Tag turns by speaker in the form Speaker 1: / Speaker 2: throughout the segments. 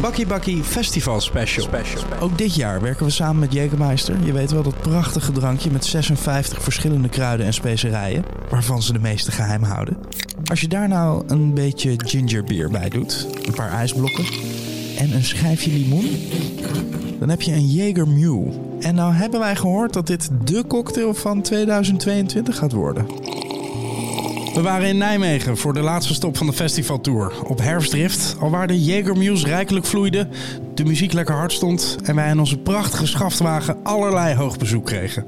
Speaker 1: Bakkie Bakkie Festival Special. Ook dit jaar werken we samen met Jägermeister. Je weet wel dat prachtige drankje met 56 verschillende kruiden en specerijen, waarvan ze de meeste geheim houden. Als je daar nou een beetje gingerbeer bij doet, een paar ijsblokken en een schijfje limoen, dan heb je een Jaeger Mule. En nou hebben wij gehoord dat dit de cocktail van 2022 gaat worden. We waren in Nijmegen voor de laatste stop van de festivaltour. Op herfstdrift, alwaar de Jägermuse rijkelijk vloeide, de muziek lekker hard stond en wij in onze prachtige schaftwagen allerlei hoog bezoek kregen.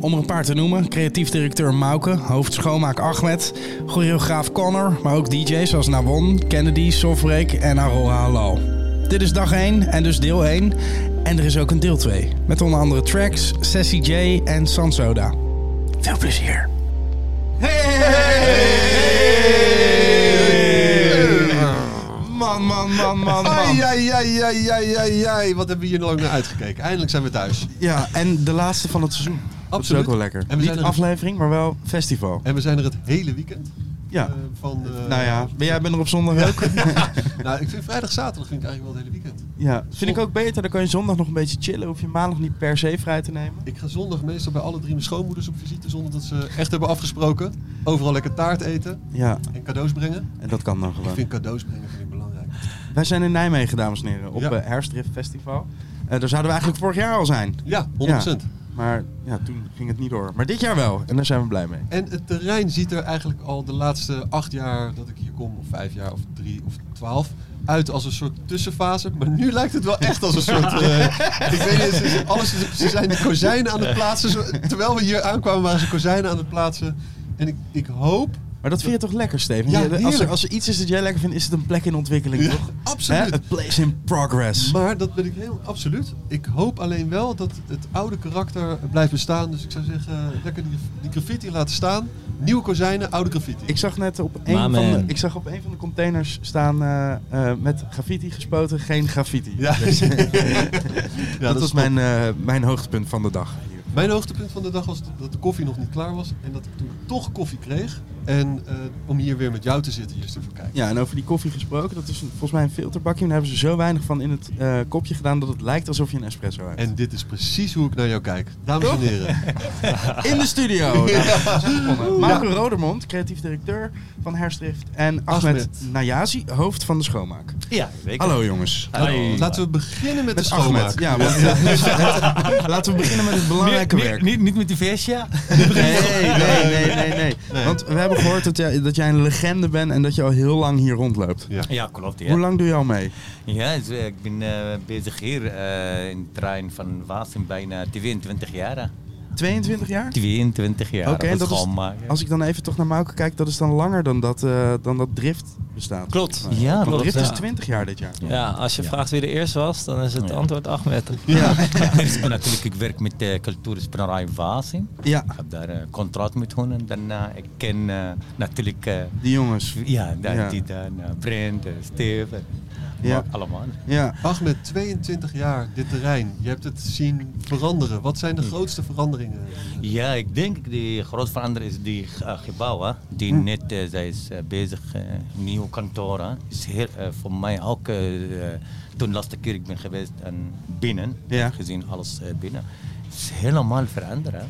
Speaker 1: Om er een paar te noemen, creatief directeur Mauke, hoofdschoonmaak Ahmed, choreograaf Connor, maar ook DJ's als Nawon, Kennedy, Softbreak en Aroha Halal. Dit is dag 1 en dus deel 1 en er is ook een deel 2 met onder andere tracks, Sessie J en Sansoda. Veel plezier! Man, man, man, man, man.
Speaker 2: Ai, ai, ai, ai, ai, ai, ai. Wat hebben we hier lang naar uitgekeken. Eindelijk zijn we thuis.
Speaker 1: Ja, en de laatste van het seizoen. Dat is
Speaker 2: Absoluut.
Speaker 1: ook wel lekker.
Speaker 2: En we
Speaker 1: Niet
Speaker 2: zijn er-
Speaker 1: aflevering, maar wel festival.
Speaker 2: En we zijn er het hele weekend.
Speaker 1: Ja.
Speaker 2: eh, van, eh,
Speaker 1: nou ja, ben jij bent er op zondag ook?
Speaker 2: Nou, ik vind vrijdag, zaterdag vind ik eigenlijk wel het hele weekend.
Speaker 1: Ja. Vind ik ook beter, dan kan je zondag nog een beetje chillen. Hoef je maandag niet per se vrij te nemen.
Speaker 2: Ik ga zondag meestal bij alle drie mijn schoonmoeders op visite zonder dat ze echt hebben afgesproken. Overal lekker taart eten
Speaker 1: Ja,
Speaker 2: en cadeaus brengen.
Speaker 1: en dat kan dan
Speaker 2: Ik
Speaker 1: gewoon.
Speaker 2: vind cadeaus brengen vind ik belangrijk.
Speaker 1: Wij zijn in Nijmegen, dames en heren, op
Speaker 2: Ja.
Speaker 1: eh, Herfstdrift Festival. Eh, daar zouden we eigenlijk vorig jaar al zijn.
Speaker 2: Ja, 100%.
Speaker 1: Maar ja, toen ging het niet door. Maar dit jaar wel, en daar zijn we blij mee.
Speaker 2: En het terrein ziet er eigenlijk al de laatste acht jaar dat ik hier kom, of vijf jaar, of drie, of twaalf, uit als een soort tussenfase. Maar nu lijkt het wel echt als een soort. eh, ik weet niet, ze- ze- alles is, ze zijn de kozijnen aan het plaatsen. Zo- Terwijl we hier aankwamen, waren ze kozijnen aan het plaatsen. En ik, ik hoop.
Speaker 1: Maar dat vind je toch lekker, Steven?
Speaker 2: Ja,
Speaker 1: Je- als, er,
Speaker 2: heerlijk.
Speaker 1: als er iets is dat jij lekker vindt, is het een plek in ontwikkeling,
Speaker 2: Ja,
Speaker 1: toch?
Speaker 2: absoluut.
Speaker 1: Hè? A place in progress.
Speaker 2: Maar dat ben ik heel absoluut. Ik hoop alleen wel dat het oude karakter blijft bestaan. Dus ik zou zeggen, lekker die, die graffiti laten staan. Nieuwe kozijnen, oude graffiti.
Speaker 1: Ik zag net op een,
Speaker 3: My
Speaker 1: van de,
Speaker 3: man.
Speaker 1: ik zag op een van de containers staan eh, eh, met graffiti gespoten, geen graffiti. Dus, eh,
Speaker 2: ja.
Speaker 1: dat, was
Speaker 2: is
Speaker 1: mijn, eh, mijn hoogtepunt van de dag. hier.
Speaker 2: Mijn hoogtepunt van de dag was dat de koffie nog niet klaar was en dat ik toen toch koffie kreeg. En eh, om hier weer met jou te zitten, hier te verkijken.
Speaker 1: Ja, en over die koffie gesproken, dat is een- volgens mij een filterbakje. En daar hebben ze zo weinig van in het eh, kopje gedaan dat het lijkt alsof je een espresso hebt.
Speaker 2: En dit is precies hoe ik naar jou kijk. Dames en heren.
Speaker 1: In de studio! Nou, Marco Rodermond, creatief directeur van Herstrift. En Ahmed,
Speaker 2: Ahmed.
Speaker 1: Najazi, hoofd van de schoonmaak.
Speaker 3: Ja, zeker.
Speaker 1: Hallo jongens.
Speaker 3: Hallo.
Speaker 2: Laten we beginnen met,
Speaker 1: Met
Speaker 2: de schoonmaak.
Speaker 1: Ahmed. Ja, want, eh, laten we beginnen met het belangrijke
Speaker 3: Niet-
Speaker 1: werk.
Speaker 3: Niet, niet, niet met die versja.
Speaker 1: Nee, nee, nee, nee, nee. Want we hebben gehoord dat jij, dat jij een legende bent en dat je al heel lang hier rondloopt.
Speaker 2: Ja.
Speaker 3: Ja, klopt. Ja,
Speaker 1: Hoe lang doe je al mee?
Speaker 3: ja dus, eh, ik ben eh, bezig hier eh, in de trein van Waassen bijna 22 jaar.
Speaker 1: 22 jaar?
Speaker 3: 22 jaar.
Speaker 1: Oké, en dat is-
Speaker 3: schoonmaken.
Speaker 1: Als ik dan even toch naar Mauke kijk, dat is dan langer dan dat, eh, dan dat drift bestaat.
Speaker 4: Klopt.
Speaker 3: Ja, eh,
Speaker 1: Want
Speaker 4: klopt,
Speaker 1: drift
Speaker 4: ja.
Speaker 1: is 20 jaar dit jaar.
Speaker 4: Ja, als je
Speaker 3: Ja.
Speaker 4: vraagt wie de eerste was, dan is het
Speaker 3: Ja.
Speaker 4: antwoord Ahmed.
Speaker 3: Ja. dus ik ben natuurlijk, ik werk met de cultuurspannerij Waassen.
Speaker 1: Ja,
Speaker 3: Ik heb daar een contract met hun en daarna ik ken eh, natuurlijk eh,
Speaker 1: die jongens.
Speaker 3: ja, daar,
Speaker 1: Ja.
Speaker 3: die dan, eh, Brent, eh, Steve, en
Speaker 1: Ja.
Speaker 3: Mark, allemaal.
Speaker 1: Ja.
Speaker 2: Ahmed, 22 jaar, dit terrein. Je hebt het zien veranderen. Wat zijn de grootste veranderingen?
Speaker 3: Ja, ik denk die grote verandering is die eh, gebouwen. Die net, eh, zij is eh, bezig, eh nieuw kantoor. hè. Is heel, eh, voor mij ook, eh, eh, toen de laatste keer ik ben geweest en binnen,
Speaker 1: Ja.
Speaker 3: heb gezien alles eh, binnen. is helemaal veranderd. hè.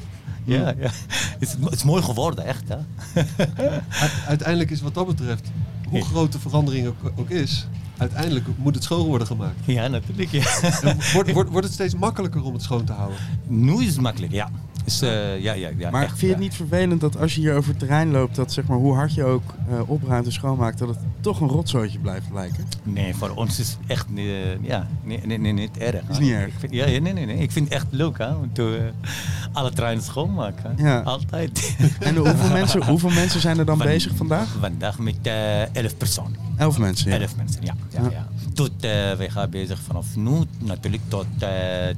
Speaker 3: Ja, ja. Het is, het is mooi geworden, echt. Hè?
Speaker 2: U- Uiteindelijk is wat dat betreft, hoe
Speaker 3: Ja.
Speaker 2: groot de verandering ook, ook is, uiteindelijk moet het schoon worden gemaakt.
Speaker 3: Ja, natuurlijk. Ja.
Speaker 2: En Wordt wordt- wordt het steeds makkelijker om het schoon te houden?
Speaker 3: Nu is het makkelijk, ja. Is, eh, ja, ja, ja
Speaker 1: Maar
Speaker 3: echt,
Speaker 1: vind je het
Speaker 3: ja.
Speaker 1: niet vervelend dat als je hier over het terrein loopt, dat zeg maar hoe hard je ook eh, opruimt en schoonmaakt, dat het toch een rotzootje blijft lijken?
Speaker 3: Nee, voor ons is het echt niet, eh, ja, nee, nee, nee, niet erg. hè.
Speaker 1: Is niet erg.
Speaker 3: Ik vind, ja, ja, nee, nee, nee. Ik vind het echt leuk hè, om te, eh, alle treinen schoonmaken. hè.
Speaker 1: Ja.
Speaker 3: Altijd.
Speaker 1: En hoeveel mensen, hoeveel mensen zijn er dan
Speaker 3: Van-
Speaker 1: bezig vandaag?
Speaker 3: Vandaag met eh, 11 personen.
Speaker 1: Elf mensen. ja.
Speaker 3: 11 mensen, ja. ja,
Speaker 1: Ja.
Speaker 3: ja. Tot, eh, wij gaan bezig vanaf nu natuurlijk tot eh,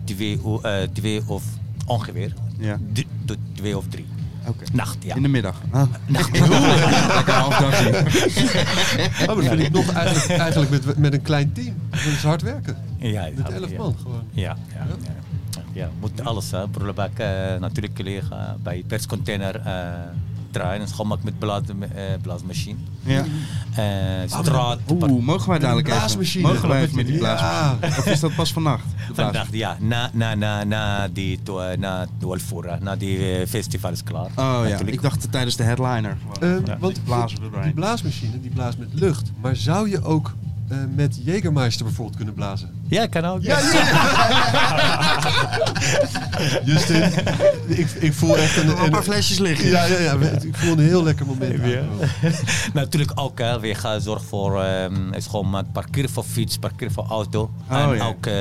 Speaker 3: twee, uur, eh, twee of ongeveer.
Speaker 1: Ja.
Speaker 3: Drie- tot twee of drie.
Speaker 1: Oké.
Speaker 3: Nacht, ja.
Speaker 1: In de middag. Ah.
Speaker 3: Nacht.
Speaker 1: Lekker afdagje.
Speaker 2: Oh, maar dat vind ik nog eigenlijk, eigenlijk met, met een klein team. Dat is hard werken.
Speaker 3: Ja,
Speaker 2: Met
Speaker 3: ja,
Speaker 2: elf
Speaker 3: ja.
Speaker 2: man gewoon.
Speaker 3: Ja, ja, ja. ja. moet alles, hè. Prullenbak eh, natuurlijk liggen bij perscontainer. eh draaien. Schoonmaak met blaas, eh, blaasmachine.
Speaker 1: Ja. Ah,
Speaker 3: Eh, straat.
Speaker 1: Oeh, mogen wij dadelijk even?
Speaker 2: blaasmachine.
Speaker 1: Mogen wij even met die
Speaker 2: Ja.
Speaker 1: blaasmachine? Of is dat pas vannacht? Oh, de blaasmachine?
Speaker 3: Vandaag, ja, na, na, na, na die to- eh, na 12 uur, eh, na die eh, festival is klaar.
Speaker 1: Oh ja,
Speaker 3: Natuurlijk. Eh,
Speaker 1: ik dacht tijdens de headliner.
Speaker 2: Ehm,
Speaker 3: Ja.
Speaker 2: Want
Speaker 1: Die blazen erbij.
Speaker 2: die blaasmachine die blaast met lucht. Maar zou je ook eh, met Jägermeister bijvoorbeeld kunnen blazen?
Speaker 3: Ja, kan ook.
Speaker 2: Justin, ik, ik voel echt een...
Speaker 5: een paar
Speaker 2: een-
Speaker 5: flesjes liggen.
Speaker 2: ja, ja, ja, ik voel een heel lekker moment. aankomen.
Speaker 3: Oh, Natuurlijk ook, hè. we gaan zorgen voor ehm, schoonmaak, parkeer voor fiets, parkeer voor auto.
Speaker 1: Oh,
Speaker 3: en
Speaker 1: ja.
Speaker 3: ook eh,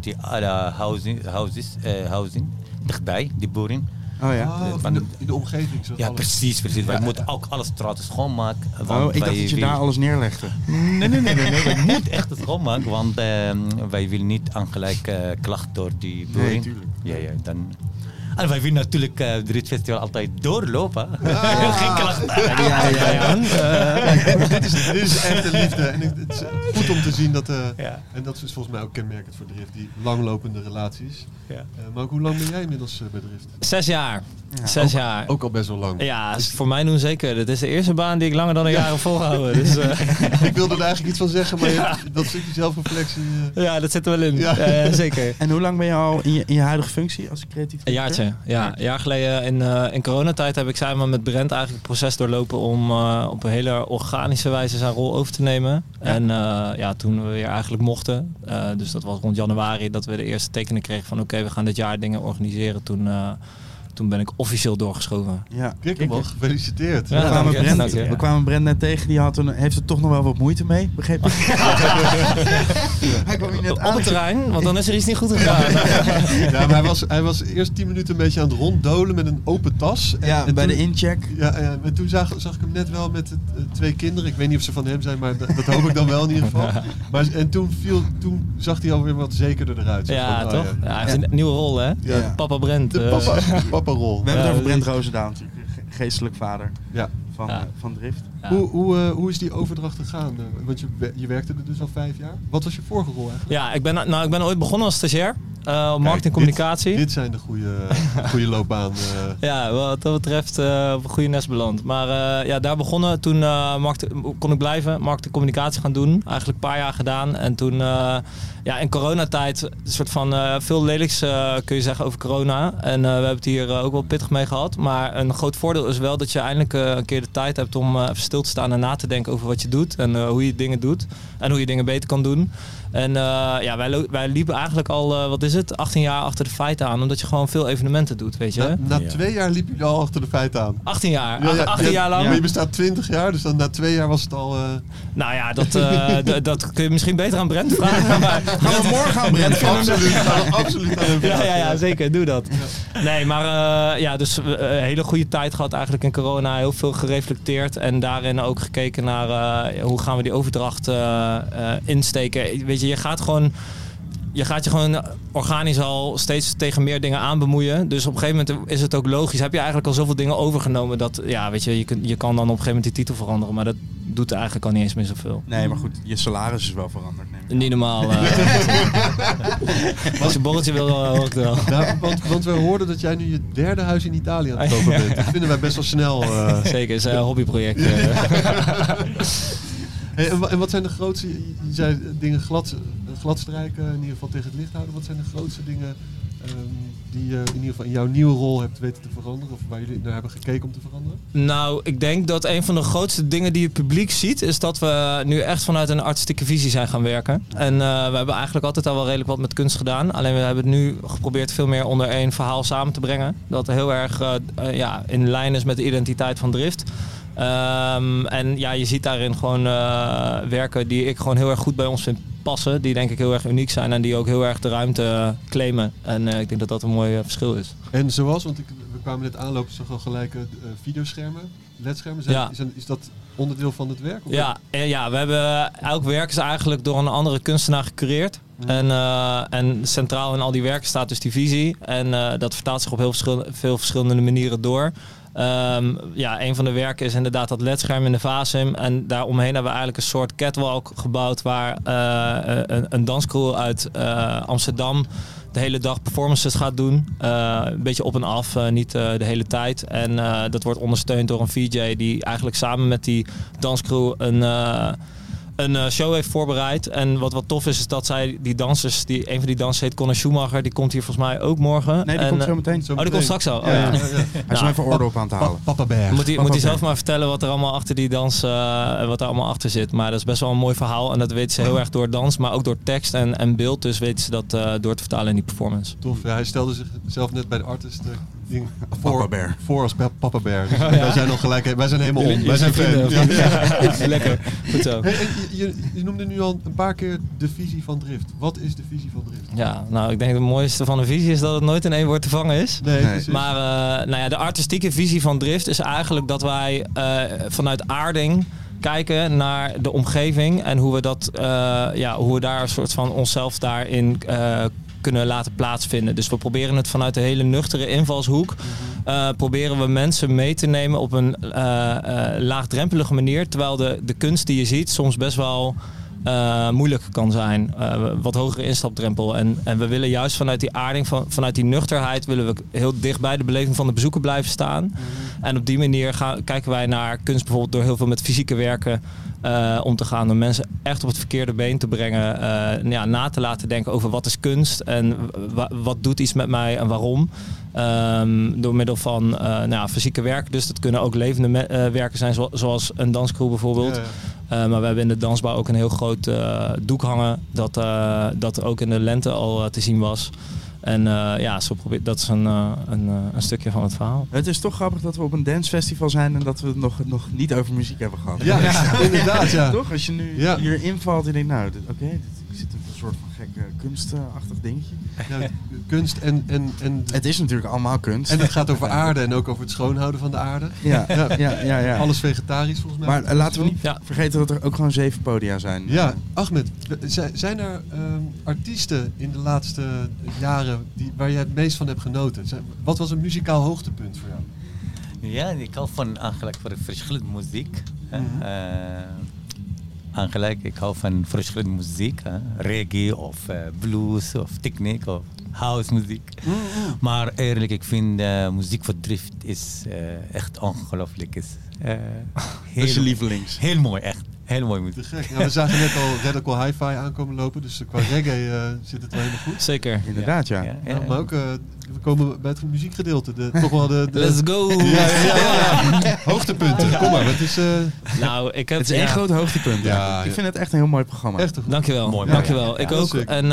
Speaker 3: die alle housing, houses, eh, housing, dichtbij, die Eh, boeren.
Speaker 1: Oh ja.
Speaker 2: Ah, in, de, in de omgeving. Zo
Speaker 3: Ja, precies, precies. Wij moeten ook alle straten schoonmaken. want
Speaker 1: Oh, ik dacht
Speaker 3: wij
Speaker 1: dat je
Speaker 3: willen-
Speaker 1: daar alles neerlegde.
Speaker 3: Nee, nee, nee, nee, nee. wij moeten echt het schoonmaken, want ehm, wij willen niet aangelijk eh klacht door die boeren.
Speaker 1: Nee, tuurlijk.
Speaker 3: Ja, ja, dan... En wij willen natuurlijk eh de Rit Festival altijd doorlopen.
Speaker 2: Ah.
Speaker 3: Geen klachten.
Speaker 1: Ah. Ja, ja, ja. Eh, dus
Speaker 2: dit, is, dit is echte liefde. En ik- het is goed om te zien dat... eh,
Speaker 3: Ja.
Speaker 2: En dat is volgens mij ook kenmerkend voor Drift, die langlopende relaties.
Speaker 3: Ja.
Speaker 2: Eh, maar ook hoe lang ben jij inmiddels eh, bij Drift?
Speaker 4: Zes jaar. Zes jaar.
Speaker 2: Ook al best wel lang.
Speaker 4: Ja, is voor mij doen zeker. Dit is de eerste baan die ik langer dan een jaar heb volgehouden. Dus, eh,
Speaker 2: Ik wilde er eigenlijk iets van zeggen, maar je- dat stukje zelfreflectie... eh,
Speaker 4: ja, dat zit er wel in.
Speaker 2: Ja.
Speaker 4: Eh, zeker.
Speaker 1: En hoe lang ben je al in je, in je huidige functie als creatief
Speaker 4: Een
Speaker 1: directeur?
Speaker 4: jaartje, ja. Een jaar geleden in, eh, in coronatijd heb ik samen met Brent eigenlijk het proces doorlopen om eh, op een hele organische wijze zijn rol over te nemen. En eh, ja, toen we weer eigenlijk mochten, eh, dus dat was rond januari dat we de eerste tekenen kregen van oké, we gaan dit jaar dingen organiseren. Toen, eh, toen ben ik officieel doorgeschoven.
Speaker 1: Ja,
Speaker 2: Kikkerman, gefeliciteerd.
Speaker 4: Ja.
Speaker 1: We kwamen,
Speaker 4: dank je.
Speaker 1: Brent,
Speaker 4: Dank je, ja.
Speaker 1: we kwamen Brent net tegen, die had een, heeft er toch nog wel wat moeite mee, begreep ik? Hij kwam hier net
Speaker 4: Op
Speaker 1: aan.
Speaker 4: het terrein, want dan is er iets niet goed gegaan.
Speaker 2: Ja, maar hij, was, hij was eerst 10 minuten een beetje aan het ronddolen met een open tas. En,
Speaker 1: Ja,
Speaker 2: en
Speaker 1: bij
Speaker 2: toen,
Speaker 1: de incheck.
Speaker 2: Ja, ja, maar toen zag, zag ik hem net wel met eh, twee kinderen. Ik weet niet of ze van hem zijn, maar dat, dat hoop ik dan wel in ieder geval. Maar, en toen, viel, toen zag hij alweer wat zekerder eruit. zeg
Speaker 4: Ja,
Speaker 2: van, nou
Speaker 4: toch? Ja, hij heeft een nieuwe rol, hè?
Speaker 2: Ja.
Speaker 4: Papa Brent.
Speaker 2: De
Speaker 4: eh,
Speaker 2: papa, rol.
Speaker 1: We hebben het
Speaker 4: Ja,
Speaker 1: over Brent
Speaker 4: die-
Speaker 1: Roosendaal natuurlijk, ge- geestelijk vader
Speaker 2: Ja.
Speaker 1: van,
Speaker 4: Ja.
Speaker 1: eh, van Drift.
Speaker 4: ja.
Speaker 2: Hoe, hoe, eh, hoe is die overdracht gegaan? Eh, Want je, we- je werkte er dus al vijf jaar. Wat was je vorige rol eigenlijk?
Speaker 4: Ja, ik ben, nou, ik ben ooit begonnen als stagiair eh op markt en
Speaker 2: dit-
Speaker 4: communicatie.
Speaker 2: Dit zijn de goede, goede loopbaan. eh.
Speaker 4: Ja, wat dat betreft eh, op een goede nest beland. Maar eh, ja, daar begonnen. Toen eh, markt, kon ik blijven, markt en communicatie gaan doen. Eigenlijk een paar jaar gedaan. En toen, eh, ja, in coronatijd, een soort van eh, veel lelijks eh, kun je zeggen over corona. En eh, we hebben het hier eh, ook wel pittig mee gehad. Maar een groot voordeel is wel dat je eindelijk eh, een keer de tijd hebt om eh, even stil te staan en na te denken over wat je doet. En eh, hoe je dingen doet. En hoe je dingen beter kan doen. En eh, ja, wij, lo- wij liepen eigenlijk al, eh, wat is het, 18 jaar achter de feiten aan. Omdat je gewoon veel evenementen doet, weet je.
Speaker 2: na na
Speaker 3: Ja.
Speaker 2: twee jaar liep je al achter de feiten aan.
Speaker 4: 18 jaar.
Speaker 2: Ja, ja,
Speaker 4: 18
Speaker 2: ja,
Speaker 4: jaar lang.
Speaker 2: Maar je bestaat 20 jaar, dus dan na twee jaar was het al. eh,
Speaker 4: Nou ja, dat, eh, d- dat kun je misschien beter aan Brent vragen. Maar
Speaker 1: Gaan we morgen aan Brent vragen?
Speaker 2: absoluut, aan- absoluut aan hem
Speaker 4: ja, ja, ja,
Speaker 2: vragen.
Speaker 4: zeker. Doe dat. Nee, maar eh, ja, dus eh, een hele goede tijd gehad eigenlijk in corona. Heel veel gereflecteerd en daarin ook gekeken naar eh, hoe gaan we die overdracht eh, eh, insteken. Weet je, je gaat gewoon... Je gaat je gewoon organisch al steeds tegen meer dingen aan bemoeien. Dus op een gegeven moment is het ook logisch. Heb je eigenlijk al zoveel dingen overgenomen dat... Ja, weet je, je, kunt- je kan dan op een gegeven moment die titel veranderen. Maar dat doet eigenlijk al niet eens meer zoveel.
Speaker 1: Nee, maar goed, je salaris is wel veranderd. Neem ik aan.
Speaker 4: Niet normaal. eh. Als je een borreltje wil, eh, hoor ik het wel.
Speaker 2: Nou, want, want we hoorden dat jij nu je derde huis in Italië aan het kopen bent. Dat vinden wij best wel snel. eh.
Speaker 4: Zeker, is een hobbyproject. eh.
Speaker 2: Hey, en, wa- en wat zijn de grootste. Je zei dingen glad, gladstrijken, in ieder geval tegen het licht houden. Wat zijn de grootste dingen ehm, die je in ieder geval in jouw nieuwe rol hebt weten te veranderen? Of waar jullie naar hebben gekeken om te veranderen?
Speaker 4: Nou, ik denk dat een van de grootste dingen die het publiek ziet, is dat we nu echt vanuit een artistieke visie zijn gaan werken. En eh, we hebben eigenlijk altijd al wel redelijk wat met kunst gedaan. Alleen we hebben het nu geprobeerd veel meer onder één verhaal samen te brengen. Dat heel erg eh, eh, ja, in lijn is met de identiteit van Drift. Ehm, en ja, je ziet daarin gewoon eh, werken die ik gewoon heel erg goed bij ons vind passen. Die denk ik heel erg uniek zijn en die ook heel erg de ruimte eh, claimen. En eh, ik denk dat dat een mooi eh, verschil is.
Speaker 2: En zoals, want ik, we kwamen net aanlopen, zag al gelijk eh, eh, videoschermen, ledschermen. Zijn,
Speaker 4: Ja.
Speaker 2: is, een- is dat onderdeel van het werk? Of-
Speaker 4: Ja, eh, ja, we hebben elk werk is eigenlijk door een andere kunstenaar gecureerd. En, eh, en centraal in al die werken staat dus die visie. En eh, dat vertaalt zich op heel verschil- veel verschillende manieren door. Ehm, ja, een van de werken is inderdaad dat ledscherm in de Vasim. En daaromheen hebben we eigenlijk een soort catwalk gebouwd waar eh, een, een danscrew uit eh, Amsterdam de hele dag performances gaat doen. Eh, een beetje op en af, eh, niet eh, de hele tijd. En eh, dat wordt ondersteund door een VJ die eigenlijk samen met die danscrew een, eh, een eh, show heeft voorbereid. En wat wat tof is, is dat zij die dansers, die, een van die dansers heet Conor Schumacher, die komt hier volgens mij ook morgen.
Speaker 1: Nee, die
Speaker 4: En,
Speaker 1: komt
Speaker 4: eh,
Speaker 1: zo meteen.
Speaker 4: Oh, die komt straks al. Oh, ja.
Speaker 1: Ja, ja. Hij is nog even orde op aan het halen.
Speaker 2: Papa Berg.
Speaker 4: Moet hij,
Speaker 1: Papa
Speaker 4: moet hij zelf
Speaker 1: Bear.
Speaker 4: maar vertellen wat er allemaal achter die dans, eh, wat er allemaal achter zit. Maar dat is best wel een mooi verhaal. En dat weten ze heel erg door dans, maar ook door tekst en, en beeld. Dus weten ze dat eh, door te vertalen in die performance.
Speaker 2: Tof, ja, hij stelde zichzelf net bij de artist eh, ding voor,
Speaker 1: Bear.
Speaker 2: voor als pa- Papa Bear. Dus Wij zijn nog gelijk, wij zijn helemaal om. Wij
Speaker 4: Jullie
Speaker 2: zijn fan.
Speaker 4: vrienden,
Speaker 2: Ja.
Speaker 4: of niet? Ja, Lekker. Goed zo.
Speaker 2: Hey, en je, je- je noemde nu al een paar keer de visie van Drift. Wat is de visie van Drift?
Speaker 4: Ja, nou, ik denk het mooiste van de visie is dat het nooit in één woord te vangen is.
Speaker 2: Nee,
Speaker 1: Nee.
Speaker 2: precies.
Speaker 4: Maar eh, nou ja, de artistieke visie van Drift is eigenlijk dat wij eh, vanuit aarding kijken naar de omgeving en hoe we, dat, eh, ja, hoe we daar een soort van onszelf daarin eh, kunnen laten plaatsvinden. Dus we proberen het vanuit een hele nuchtere invalshoek.
Speaker 2: Mhm.
Speaker 4: eh, proberen we mensen mee te nemen op een eh, eh, laagdrempelige manier. Terwijl de, de kunst die je ziet soms best wel eh, moeilijk kan zijn. Eh, wat hogere instapdrempel. En, en we willen juist vanuit die aarding, van, vanuit die nuchterheid, willen we heel dicht bij de beleving van de bezoeker blijven staan. En op die manier gaan, kijken wij naar kunst bijvoorbeeld door heel veel met fysieke werken eh, om te gaan. Om mensen echt op het verkeerde been te brengen. eh, ja, na te laten denken over wat is kunst en wa- wat doet iets met mij en waarom. Ehm, door middel van eh, nou, ja, fysieke werken. Dus dat kunnen ook levende me- eh, werken zijn, zo- zoals een danscrew bijvoorbeeld.
Speaker 2: Ja, ja.
Speaker 4: Uh, maar we hebben in de dansbouw ook een heel groot eh, doek hangen. Dat, eh, dat ook in de lente al eh, te zien was. En eh, ja, zo probeer, dat is een, eh, een, eh, een stukje van het verhaal.
Speaker 1: Het is toch grappig dat we op een dancefestival zijn en dat we het nog, nog niet over muziek hebben gehad.
Speaker 2: Ja, inderdaad, ja.
Speaker 1: Toch? Als je nu
Speaker 2: Ja.
Speaker 1: hier invalt en denkt, nou, dit- oké, dit- hier zit een soort van gekke kunstachtig dingetje.
Speaker 2: Ja, kunst en, en, en,
Speaker 1: Het is natuurlijk allemaal kunst.
Speaker 2: en het gaat over aarde en ook over het schoonhouden van de aarde.
Speaker 1: Ja, ja, ja, ja.
Speaker 2: Alles vegetarisch volgens mij.
Speaker 1: Maar eh, laten we niet
Speaker 4: Ja.
Speaker 1: vergeten dat er ook gewoon zeven podia zijn.
Speaker 2: Ja, Ahmed, w- zi- zijn er ehm, artiesten in de laatste jaren die, waar jij het meest van hebt genoten? Zijn- Wat was een muzikaal hoogtepunt voor jou?
Speaker 3: Ja, ik hou van eigenlijk voor verschillende muziek. hè.
Speaker 2: Mhm.
Speaker 3: Eh, eigenlijk, ik hou van verschillende muziek. hè. Reggae of eh, blues of techniek of house muziek.
Speaker 2: Mhm.
Speaker 3: Maar eerlijk, ik vind eh, muziek voor drift is eh, echt ongelooflijk. Is, eh, heel,
Speaker 1: Dat is je lievelings.
Speaker 3: Heel mooi, echt. Heel mooi
Speaker 2: Te
Speaker 3: muziek.
Speaker 2: gek. Ja, we zagen net al Radical Hi-Fi aankomen lopen, dus qua reggae eh, zit het wel helemaal goed.
Speaker 4: Zeker.
Speaker 1: Inderdaad, ja.
Speaker 3: Ja,
Speaker 2: Ja,
Speaker 3: ja.
Speaker 2: maar ook, eh, we komen bij het muziekgedeelte. De, Eh, toch wel de, de
Speaker 4: Let's go!
Speaker 2: Ja, ja, ja, ja. hoogtepunten. Kom maar, het is eh,
Speaker 4: Nou, ik heb...
Speaker 1: Het is één
Speaker 4: ja.
Speaker 1: groot hoogtepunt.
Speaker 2: Ja,
Speaker 1: eigenlijk.
Speaker 2: ja.
Speaker 1: Ik vind het echt een heel mooi programma.
Speaker 2: echt een goed.
Speaker 4: Dankjewel,
Speaker 3: Mooi,
Speaker 4: dankjewel.
Speaker 3: ja, ja,
Speaker 4: ik
Speaker 3: ja,
Speaker 4: ook.
Speaker 2: zeker.
Speaker 4: En eh,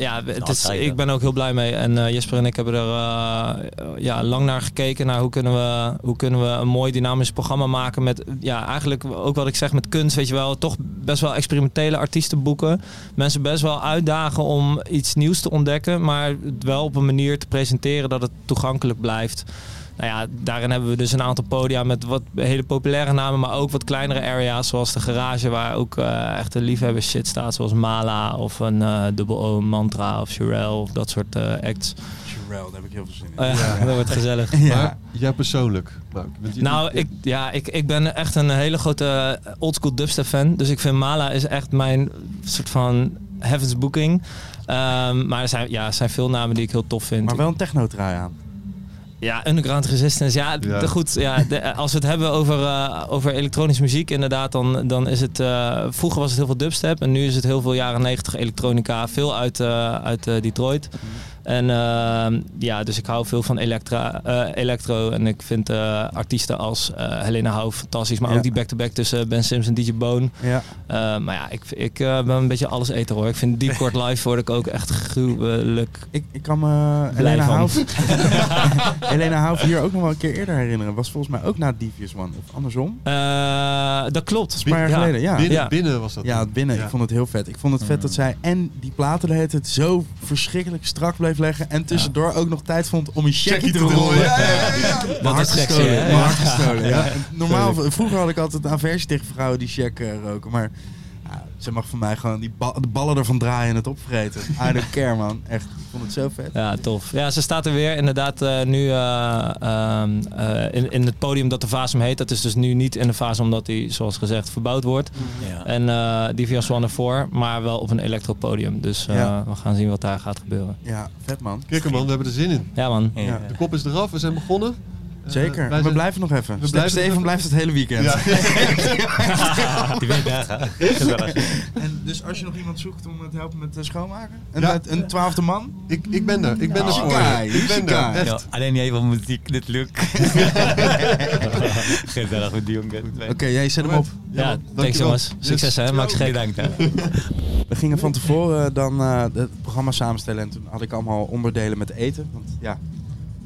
Speaker 4: ja, het is,
Speaker 3: Altijd, hè.
Speaker 4: ik ben ook heel blij mee. En eh, Jesper en ik hebben er eh, ja, lang naar gekeken. Naar hoe kunnen we, hoe kunnen we een mooi dynamisch programma maken. Met ja, eigenlijk ook wat ik zeg met kunst. Weet je wel, toch best wel experimentele artiesten boeken. Mensen best wel uitdagen om iets nieuws te ontdekken. Maar het wel op een manier te presenteren dat het toegankelijk blijft. Nou ja, daarin hebben we dus een aantal podia met wat hele populaire namen, maar ook wat kleinere area's, zoals de garage, waar ook eh echte liefhebbers shit staat, zoals Mala of een eh Double O Mantra of Sherelle of dat soort eh, acts.
Speaker 1: Sherelle, Nou, daar heb ik heel veel zin in.
Speaker 4: Oh ja, dat wordt gezellig.
Speaker 2: Maar jij persoonlijk, Mark, want je-
Speaker 4: Nou, ik, ja, ik, ik ben echt een hele grote oldschool dubstep fan. Dus ik vind Mala is echt mijn soort van heavens booking. Ehm, maar er zijn, ja, er zijn veel namen die ik heel tof vind.
Speaker 1: Maar wel een techno-trui aan.
Speaker 4: Ja, underground resistance. Ja, d-
Speaker 2: Ja.
Speaker 4: d- goed. Ja, de- als we het hebben over, eh, over elektronische muziek, inderdaad, dan, dan is het. eh, vroeger was het heel veel dubstep en nu is het heel veel jaren 90 elektronica. Veel uit, eh, uit eh, Detroit. En eh, ja, dus ik hou veel van elektra, eh, electro. En ik vind eh, artiesten als eh, Helena Houw fantastisch. Maar
Speaker 1: Ja.
Speaker 4: ook die back-to-back tussen Ben Sims en DJ Bone.
Speaker 1: Ja.
Speaker 4: Eh, maar ja, ik, ik eh, ben een beetje alles eten hoor. Ik vind Deep Court Live word ik ook echt gruwelijk
Speaker 1: Ik, ik kan me
Speaker 4: blij
Speaker 1: Helena
Speaker 4: van.
Speaker 1: Houf, Helena Houf hier ook nog wel een keer eerder herinneren. Was volgens mij ook na Devious One. Of andersom.
Speaker 4: Eh, dat klopt.
Speaker 1: Een paar jaar
Speaker 4: Ja.
Speaker 1: geleden, ja.
Speaker 2: binnen,
Speaker 4: ja.
Speaker 2: binnen was dat.
Speaker 1: Ja,
Speaker 2: dan.
Speaker 1: binnen.
Speaker 2: Ja.
Speaker 1: Ik vond het heel vet. Ik vond het vet dat zij en die platen de hele tijd zo verschrikkelijk strak bleef leggen. En tussendoor ook nog tijd vond om een checkie te rollen.
Speaker 2: Ja, ja, ja, ja.
Speaker 1: Mijn hart
Speaker 4: is sexy,
Speaker 1: gestolen,
Speaker 4: hè?
Speaker 1: mijn
Speaker 4: Ja.
Speaker 1: hart gestolen, ja. Normaal, vroeger had ik altijd een aversie tegen vrouwen die check eh, roken. Maar Ja, ze mag voor mij gewoon die ba- de ballen ervan draaien en het opvreten. I don't care, man. Echt, ik vond het zo vet.
Speaker 4: Ja, tof. Ja, ze staat er weer inderdaad eh, nu eh, ehm, eh, in, in het podium dat de Vaas hem heet. Dat is dus nu niet in de fase omdat hij, zoals gezegd, verbouwd wordt.
Speaker 3: Ja.
Speaker 4: En eh die via Swan ervoor, maar wel op een elektropodium. Dus eh,
Speaker 1: Ja.
Speaker 4: we gaan zien wat daar gaat gebeuren.
Speaker 1: Ja, vet, man.
Speaker 2: Kikker man, we hebben er zin in.
Speaker 4: Ja man.
Speaker 3: Ja.
Speaker 1: Ja.
Speaker 2: De kop is eraf, we zijn begonnen. Eh,
Speaker 1: Zeker.
Speaker 2: wij
Speaker 1: we
Speaker 2: zijn-
Speaker 1: blijven nog even.
Speaker 2: we
Speaker 1: Stef
Speaker 2: blijven nog
Speaker 1: Steven
Speaker 2: even.
Speaker 1: blijft het hele weekend.
Speaker 2: Ja.
Speaker 4: Ah,
Speaker 3: Die weet dagen. Gezellig.
Speaker 1: En dus als je nog iemand zoekt om het helpen met eh, schoonmaken? Een,
Speaker 2: Ja.
Speaker 1: uit- een twaalfde man?
Speaker 2: Ik, ik ben er, ik ben er
Speaker 1: Oh.
Speaker 2: voor je. Ik ben
Speaker 1: Jessica.
Speaker 2: er, echt.
Speaker 3: Ja, alleen jij van muziek, dit lukt. Gezellig met die jongen.
Speaker 1: Oké, jij zet hem op.
Speaker 4: Ja,
Speaker 2: man.
Speaker 4: thanks
Speaker 2: Dankjewel.
Speaker 4: jongens. Succes hè, maak je gek.
Speaker 3: Bedankt. hè.
Speaker 1: We gingen van tevoren dan eh, het programma samenstellen en toen had ik allemaal onderdelen met eten. Want ja,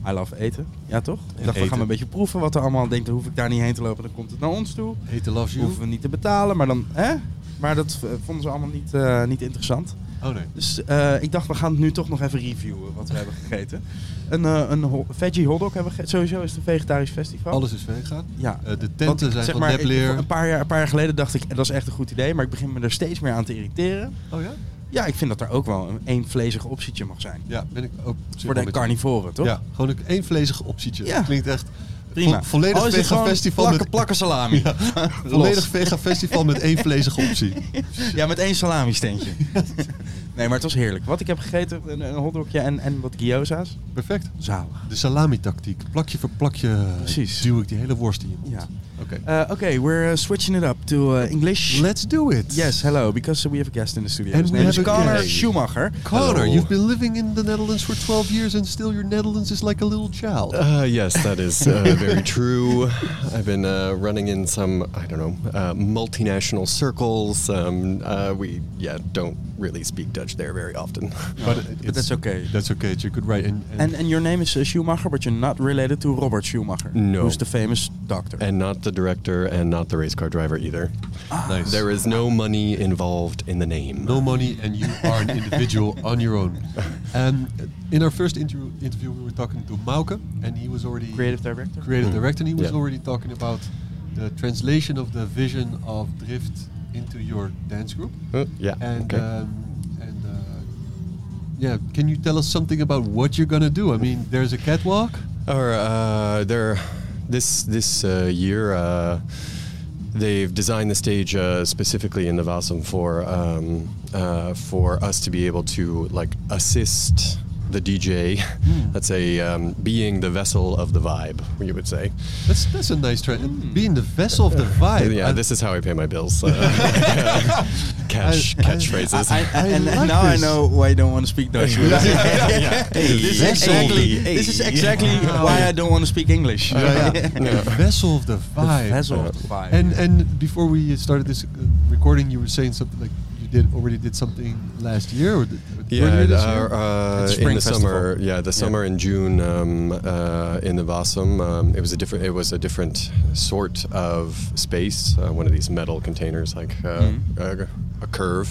Speaker 1: I love eten. Ja toch? Ik dacht, we
Speaker 3: eten.
Speaker 1: gaan een beetje proeven wat er allemaal denkt. Dan hoef ik daar niet heen te lopen, dan komt het naar ons toe.
Speaker 2: Hete love you.
Speaker 1: Hoeven we niet te betalen, maar dan, hè? Maar dat eh, vonden ze allemaal niet, eh, niet interessant.
Speaker 2: Oh nee.
Speaker 1: Dus eh, ik dacht, we gaan het nu toch nog even reviewen wat we hebben gegeten. Een, eh, een ho- veggie hotdog hebben we gegeten. Sowieso is het een vegetarisch festival.
Speaker 2: Alles is vegan.
Speaker 1: Ja.
Speaker 2: Eh, de
Speaker 1: Want,
Speaker 2: tenten zijn
Speaker 1: zeg
Speaker 2: van
Speaker 1: maar, ik-
Speaker 2: nepleer.
Speaker 1: Een paar, jaar, een paar jaar geleden dacht ik, eh, dat is echt een goed idee. Maar ik begin me er steeds meer aan te irriteren.
Speaker 2: Oh ja?
Speaker 1: Ja, ik vind dat er ook wel een één vlezig optietje mag zijn.
Speaker 2: Ja, ben ik ook.
Speaker 1: Voor de carnivoren, toch?
Speaker 2: Ja, gewoon een eenvlezig optietje.
Speaker 1: Ja.
Speaker 2: Klinkt echt
Speaker 1: Prima.
Speaker 2: vo- volledig
Speaker 1: Al is het
Speaker 2: vegan
Speaker 1: gewoon
Speaker 2: festival
Speaker 1: Plakken,
Speaker 2: met-
Speaker 1: plakken salami.
Speaker 2: Ja.
Speaker 1: Los.
Speaker 2: volledig vegan festival met één vlezige optie.
Speaker 1: Ja, met één salami-steentje. nee, maar het was heerlijk. Wat ik heb gegeten, een, een hotdogje en, en wat gyoza's.
Speaker 2: Perfect.
Speaker 1: Zalig.
Speaker 2: De salami-tactiek. Plakje voor plakje
Speaker 1: Precies.
Speaker 2: duw ik die hele worst in je mond.
Speaker 1: Ja.
Speaker 2: Oké.
Speaker 1: Eh, Oké, we're uh, switching it up to uh, English.
Speaker 2: Let's do it.
Speaker 1: Yes, hello, because we have a guest in the studio.
Speaker 2: And
Speaker 1: His
Speaker 2: we
Speaker 1: name is
Speaker 2: have a
Speaker 1: Connor
Speaker 2: guest.
Speaker 1: Schumacher.
Speaker 2: Connor,
Speaker 6: Hello.
Speaker 2: you've been living in the Netherlands for 12 years and still your Netherlands is like a little child.
Speaker 6: Uh, yes, that is uh, very true. I've been uh, running in some, I don't know, uh, multinational circles. Um, uh, we, yeah, don't really speak Dutch there very often.
Speaker 2: but, it- it's-
Speaker 1: that's okay.
Speaker 2: That's okay. It's a good right. And, and,
Speaker 1: And, and your name is uh, Schumacher, but you're not related to Robert Schumacher,
Speaker 6: No.
Speaker 1: who's the famous doctor.
Speaker 6: And not the director and not the race car driver either.
Speaker 1: Ah.
Speaker 2: nice.
Speaker 6: There is no money involved in the name.
Speaker 2: no money and you are an individual on your own. And in our first interview, interview we were talking to Mauke and he was already
Speaker 1: Creative director.
Speaker 2: creative director and he was
Speaker 6: Hmm. Yeah.
Speaker 2: already talking about the translation of the vision of drift into your dance group.
Speaker 6: Uh, yeah.
Speaker 2: And
Speaker 6: okay.
Speaker 2: um, and uh, yeah, can you tell us something about what you're gonna do? I mean, there's a catwalk.
Speaker 6: Or uh, there, this this uh, year, uh, they've designed the stage uh, specifically in the Vasum for um, uh, for us to be able to like assist the DJ.
Speaker 2: Hmm.
Speaker 6: Let's say um, being the vessel of the vibe, you would say. Hmm.
Speaker 2: That's that's a nice trend. Being the vessel of the vibe.
Speaker 6: yeah,
Speaker 2: I-
Speaker 6: this is how I pay my bills. Uh, cash
Speaker 2: I- I-
Speaker 6: catchphrases.
Speaker 1: I, I,
Speaker 2: I
Speaker 1: and
Speaker 2: like
Speaker 1: now I
Speaker 2: this.
Speaker 1: know why you don't want to speak Dutch.
Speaker 2: Yeah.
Speaker 1: Hey, this, is
Speaker 2: Vessel.
Speaker 1: exactly,
Speaker 6: Hey.
Speaker 1: this is exactly why I don't want to speak English.
Speaker 2: Yeah, yeah.
Speaker 6: Yeah.
Speaker 2: The vessel of the vibe.
Speaker 1: vessel of the vibe.
Speaker 2: And and before we started this uh, recording, you were saying something like you did already did something last year or th-
Speaker 6: Yeah,
Speaker 2: earlier this year?
Speaker 6: our, uh,
Speaker 1: At the
Speaker 6: in
Speaker 1: Spring
Speaker 6: the
Speaker 1: Festival.
Speaker 6: summer. Yeah, the summer in June um, uh, in the Vasum. Um, it was a different. It was a different sort of space. Uh, one of these metal containers, like uh,
Speaker 2: Mm-hmm.
Speaker 6: a, a curve.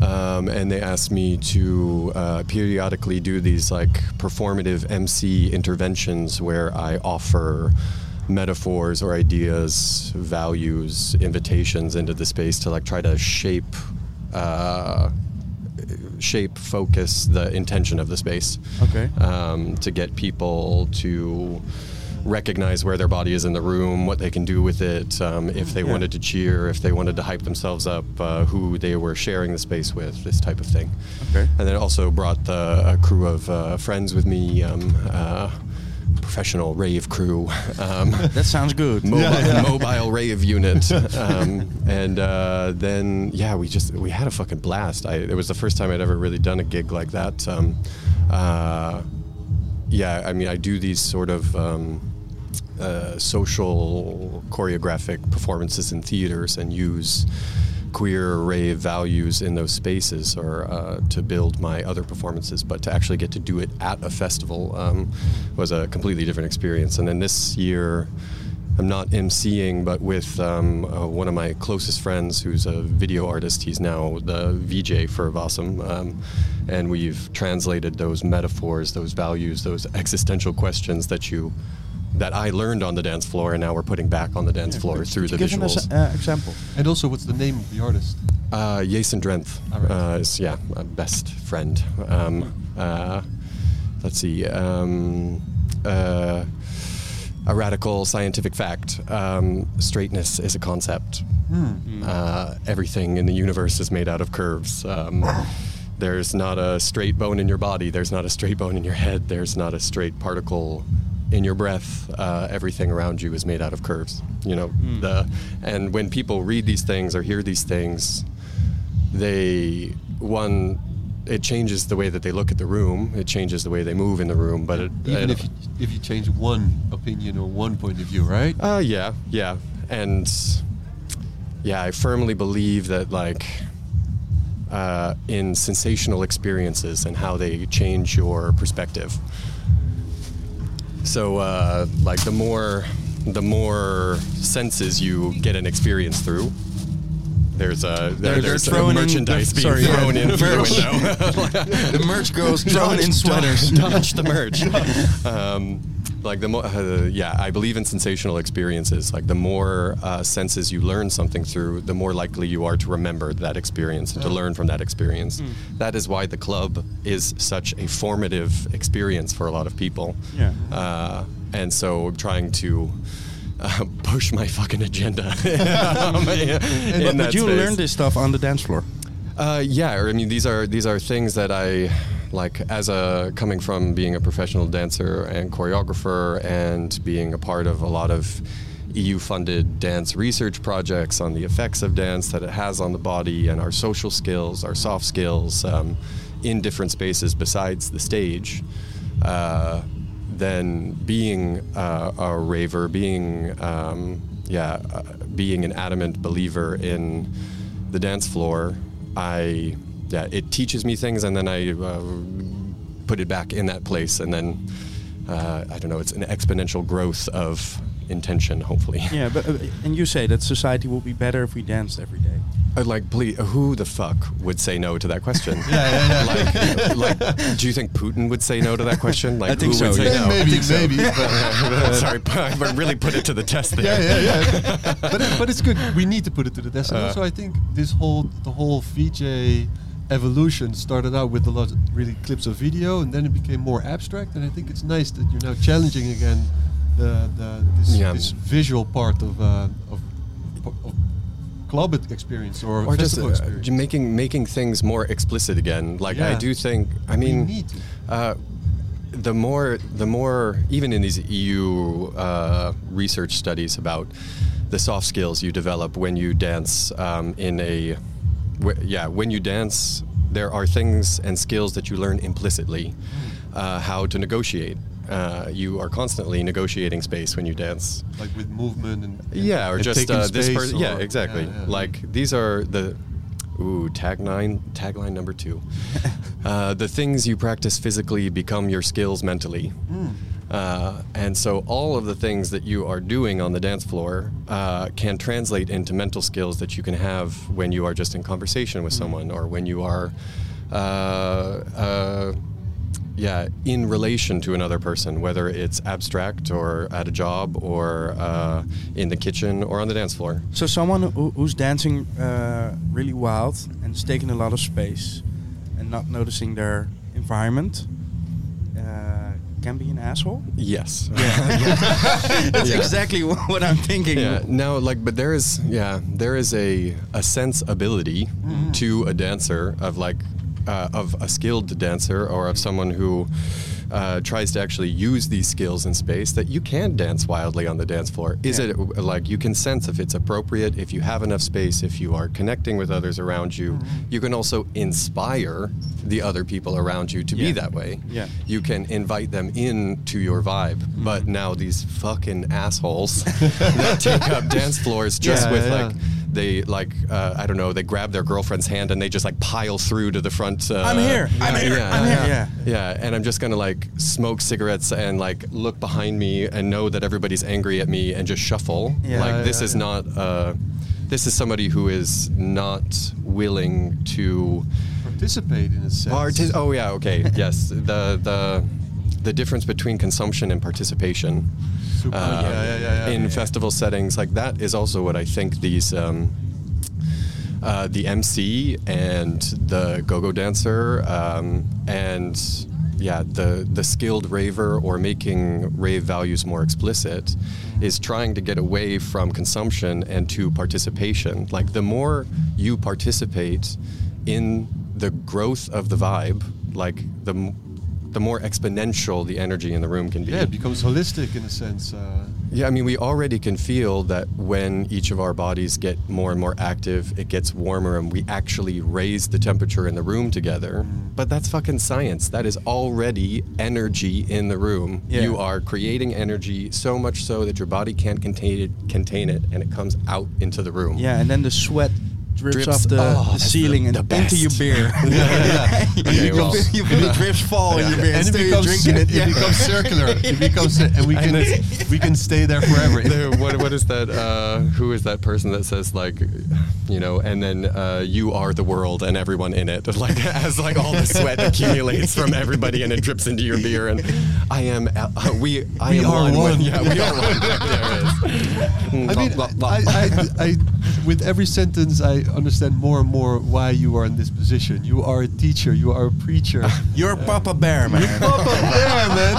Speaker 6: Um, and they asked me to uh, periodically do these like performative MC interventions where I offer metaphors or ideas, values, invitations into the space to like try to shape. Uh, shape, focus the intention of the space.
Speaker 1: Okay.
Speaker 6: Um, to get people to recognize where their body is in the room, what they can do with it, um, if they
Speaker 1: yeah.
Speaker 6: wanted to cheer, if they wanted to hype themselves up, uh, who they were sharing the space with, this type of thing.
Speaker 1: Okay.
Speaker 6: And then also brought the a crew of uh, friends with me. Um, uh, professional rave crew um,
Speaker 1: That sounds good.
Speaker 6: mobile, mobile rave unit. Um, and uh, then, yeah, we just we had a fucking blast. I, it was the first time I'd ever really done a gig like that. Um, uh, yeah, I mean, I do these sort of um, uh, social choreographic performances in theaters and use queer rave values in those spaces or uh, to build my other performances but to actually get to do it at a festival um, was a completely different experience and then this year I'm not emceeing, but with um, uh, one of my closest friends who's a video artist. He's now the VJ for Vasum. Um, and we've translated those metaphors, those values, those existential questions that you that I learned on the dance floor and now we're putting back on the dance floor through the
Speaker 1: Give an
Speaker 6: visuals.
Speaker 1: ex- uh, example.
Speaker 2: and also, what's the name of the artist?
Speaker 6: Uh, Jason Drenth
Speaker 2: All right.
Speaker 6: uh, is yeah, my best friend. Um, uh, let's see. Um, uh, a radical scientific fact: um, straightness is a concept.
Speaker 2: Mm.
Speaker 1: Hmm.
Speaker 6: Uh, everything in the universe is made out of curves. Um, there's not a straight bone in your body. There's not a straight bone in your head. There's not a straight particle in your breath. Uh, everything around you is made out of curves. You know,
Speaker 2: Mm.
Speaker 6: the and when people read these things or hear these things, they one it changes the way that they look at the room. It changes the way they move in the room. But it, it-
Speaker 2: Even if you, if you change one opinion or one point of view, right?
Speaker 6: uh, yeah, yeah, and yeah, I firmly believe that like uh, in sensational experiences and how they change your perspective. So uh, like the more the more senses you get an experience through. There's a there,
Speaker 1: They're-
Speaker 6: there's
Speaker 1: they're
Speaker 6: a
Speaker 1: throwing in-
Speaker 6: merchandise
Speaker 1: they're-
Speaker 6: being
Speaker 1: sorry, yeah.
Speaker 6: thrown in through the window.
Speaker 1: The merch girls drawn in
Speaker 6: Dodge-
Speaker 1: sweaters.
Speaker 6: Dodge, dodge the merge. um, like the more, uh, yeah, I believe in sensational experiences. Like the more uh, senses you learn something through, the more likely you are to remember that experience and to learn from that experience.
Speaker 1: Mm.
Speaker 6: That is why the club is such a formative experience for a lot of people.
Speaker 1: Yeah.
Speaker 6: Uh, and so I'm trying to. Uh, push my fucking agenda. um, in- in
Speaker 1: But,
Speaker 6: that
Speaker 1: but you
Speaker 6: space.
Speaker 1: learn this stuff on the dance floor.
Speaker 6: Uh, yeah, or, I mean these are these are things that I like as a coming from being a professional dancer and choreographer and being a part of a lot of EU-funded dance research projects on the effects of dance that it has on the body and our social skills, our soft skills, um, in different spaces besides the stage. Uh, then being uh, a raver, being um, yeah, uh, being an adamant believer in the dance floor, I yeah, it teaches me things, and then I uh, put it back in that place, and then uh, I don't know. It's an exponential growth of intention, hopefully.
Speaker 1: Yeah, but uh, and you say that society would be better if we danced every day.
Speaker 6: I'd like, please, who the fuck would say no to that question?
Speaker 2: yeah,
Speaker 6: Like, like, do you think Putin would say no to that question? Like,
Speaker 1: I think
Speaker 6: who
Speaker 1: so,
Speaker 6: would say
Speaker 1: yeah.
Speaker 6: no?
Speaker 2: maybe, maybe. But,
Speaker 6: Sorry, but really put it to the test there.
Speaker 2: yeah, yeah, yeah. but, it- but it's good. We need to put it to the test.
Speaker 6: Uh.
Speaker 2: And also, I think this whole the whole VJ evolution started out with a lot of really clips of video, and then it became more abstract. And I think it's nice that you're now challenging again the, the this,
Speaker 6: Yeah.
Speaker 2: this visual part of uh, of, of club experience or,
Speaker 6: or just
Speaker 2: festival
Speaker 6: uh,
Speaker 2: experience.
Speaker 6: j- making making things more explicit again. Like I
Speaker 2: Yeah.
Speaker 6: do think. I
Speaker 2: We
Speaker 6: mean,
Speaker 2: need to.
Speaker 6: uh, the more the more even in these EU uh, research studies about the soft skills you develop when you dance um, in a wh- yeah when you dance there are things and skills that you learn implicitly
Speaker 2: Hmm.
Speaker 6: uh, how to negotiate. Uh, you are constantly negotiating space when you dance
Speaker 2: like with movement and and-
Speaker 6: yeah, or
Speaker 2: and
Speaker 6: just
Speaker 2: taking
Speaker 6: uh, this
Speaker 2: space
Speaker 6: person. Yeah,
Speaker 2: or-
Speaker 6: exactly.
Speaker 2: yeah, yeah.
Speaker 6: Like these are the ooh tagline tagline number two. uh, the things you practice physically become your skills mentally. Uh, and so all of the things that you are doing on the dance floor uh, can translate into mental skills that you can have when you are just in conversation with someone or when you are uh, uh, yeah, in relation to another person, whether it's abstract or at a job or uh, in the kitchen or on the dance floor.
Speaker 1: So someone who, who's dancing uh, really wild and is taking a lot of space and not noticing their environment uh, can be an asshole.
Speaker 6: Yes.
Speaker 1: That's
Speaker 6: Yeah.
Speaker 1: exactly wha- what I'm thinking.
Speaker 6: Yeah. No, like, but there is, yeah, there is a a sensibility
Speaker 1: Mm-hmm.
Speaker 6: to a dancer of like, uh, of a skilled dancer or of someone who uh, tries to actually use these skills in space that you can dance wildly on the dance floor. Is
Speaker 1: Yeah.
Speaker 6: it like you can sense if it's appropriate, if you have enough space, if you are connecting with others around you.
Speaker 1: Mm-hmm.
Speaker 6: You can also inspire the other people around you to be that way
Speaker 1: Yeah.
Speaker 6: you can invite them in to your vibe.
Speaker 2: Mm-hmm.
Speaker 6: But now these fucking assholes that take up dance floors just
Speaker 2: Yeah,
Speaker 6: with
Speaker 2: yeah.
Speaker 6: like they like uh, I don't know they grab their girlfriend's hand and they just like pile through to the front. Uh,
Speaker 1: I'm here, I'm
Speaker 6: yeah,
Speaker 1: here,
Speaker 6: yeah,
Speaker 1: I'm here.
Speaker 6: Yeah. yeah, and I'm just gonna like smoke cigarettes and like look behind me and know that everybody's angry at me and just shuffle.
Speaker 1: Yeah,
Speaker 6: like this
Speaker 2: yeah,
Speaker 6: is
Speaker 2: yeah.
Speaker 6: not. Uh, this is somebody who is not willing to
Speaker 2: participate in a sense.
Speaker 6: Parti- oh yeah, okay. yes, the the the difference between consumption and participation
Speaker 2: Super.
Speaker 6: uh,
Speaker 2: yeah, yeah, yeah, yeah,
Speaker 6: in
Speaker 2: yeah.
Speaker 6: festival settings like that is also what I think these. Um, uh, the MC and the go-go dancer um, and yeah the the skilled raver or making rave values more explicit is trying to get away from consumption and to participation. Like the more you participate in the growth of the vibe, like the m- the more exponential the energy in the room can be.
Speaker 2: Yeah, it becomes holistic in a sense. Uh,
Speaker 6: Yeah, I mean, we already can feel that when each of our bodies get more and more active, it gets warmer and we actually raise the temperature in the room together. But that's fucking science. That is already energy in the room.
Speaker 1: Yeah.
Speaker 6: You are creating energy so much so that your body can't contain it, contain it and it comes out into the room.
Speaker 1: Yeah, and then the sweat drips,
Speaker 6: Drips-
Speaker 1: off the,
Speaker 6: oh,
Speaker 1: the
Speaker 6: that's
Speaker 1: ceiling
Speaker 6: the-
Speaker 1: and
Speaker 6: the
Speaker 1: into your
Speaker 6: best.
Speaker 1: beer.
Speaker 2: yeah.
Speaker 6: Okay,
Speaker 1: you
Speaker 6: well,
Speaker 1: feel, you feel the drips fall in your beer.
Speaker 2: and it
Speaker 1: instead of
Speaker 2: becomes
Speaker 1: drinking it.
Speaker 2: it,
Speaker 1: yeah.
Speaker 2: becomes circular. It becomes and we
Speaker 6: And
Speaker 2: can
Speaker 6: it's-
Speaker 2: we can stay there forever.
Speaker 6: There- what, what is that? Uh, who is that person that says like, you know, and then uh, you are the world and everyone in it, like as like all the sweat accumulates from everybody and it drips into your beer and I am uh, we I
Speaker 2: We
Speaker 6: am
Speaker 2: are
Speaker 6: one. with-
Speaker 2: one.
Speaker 6: yeah, we are one. There it is.
Speaker 2: I mean, I, I, I, with every sentence, I understand more and more why you are in this position. You are a teacher. You are a preacher. Uh,
Speaker 1: You're Papa Bear, man.
Speaker 2: Papa Bear, man.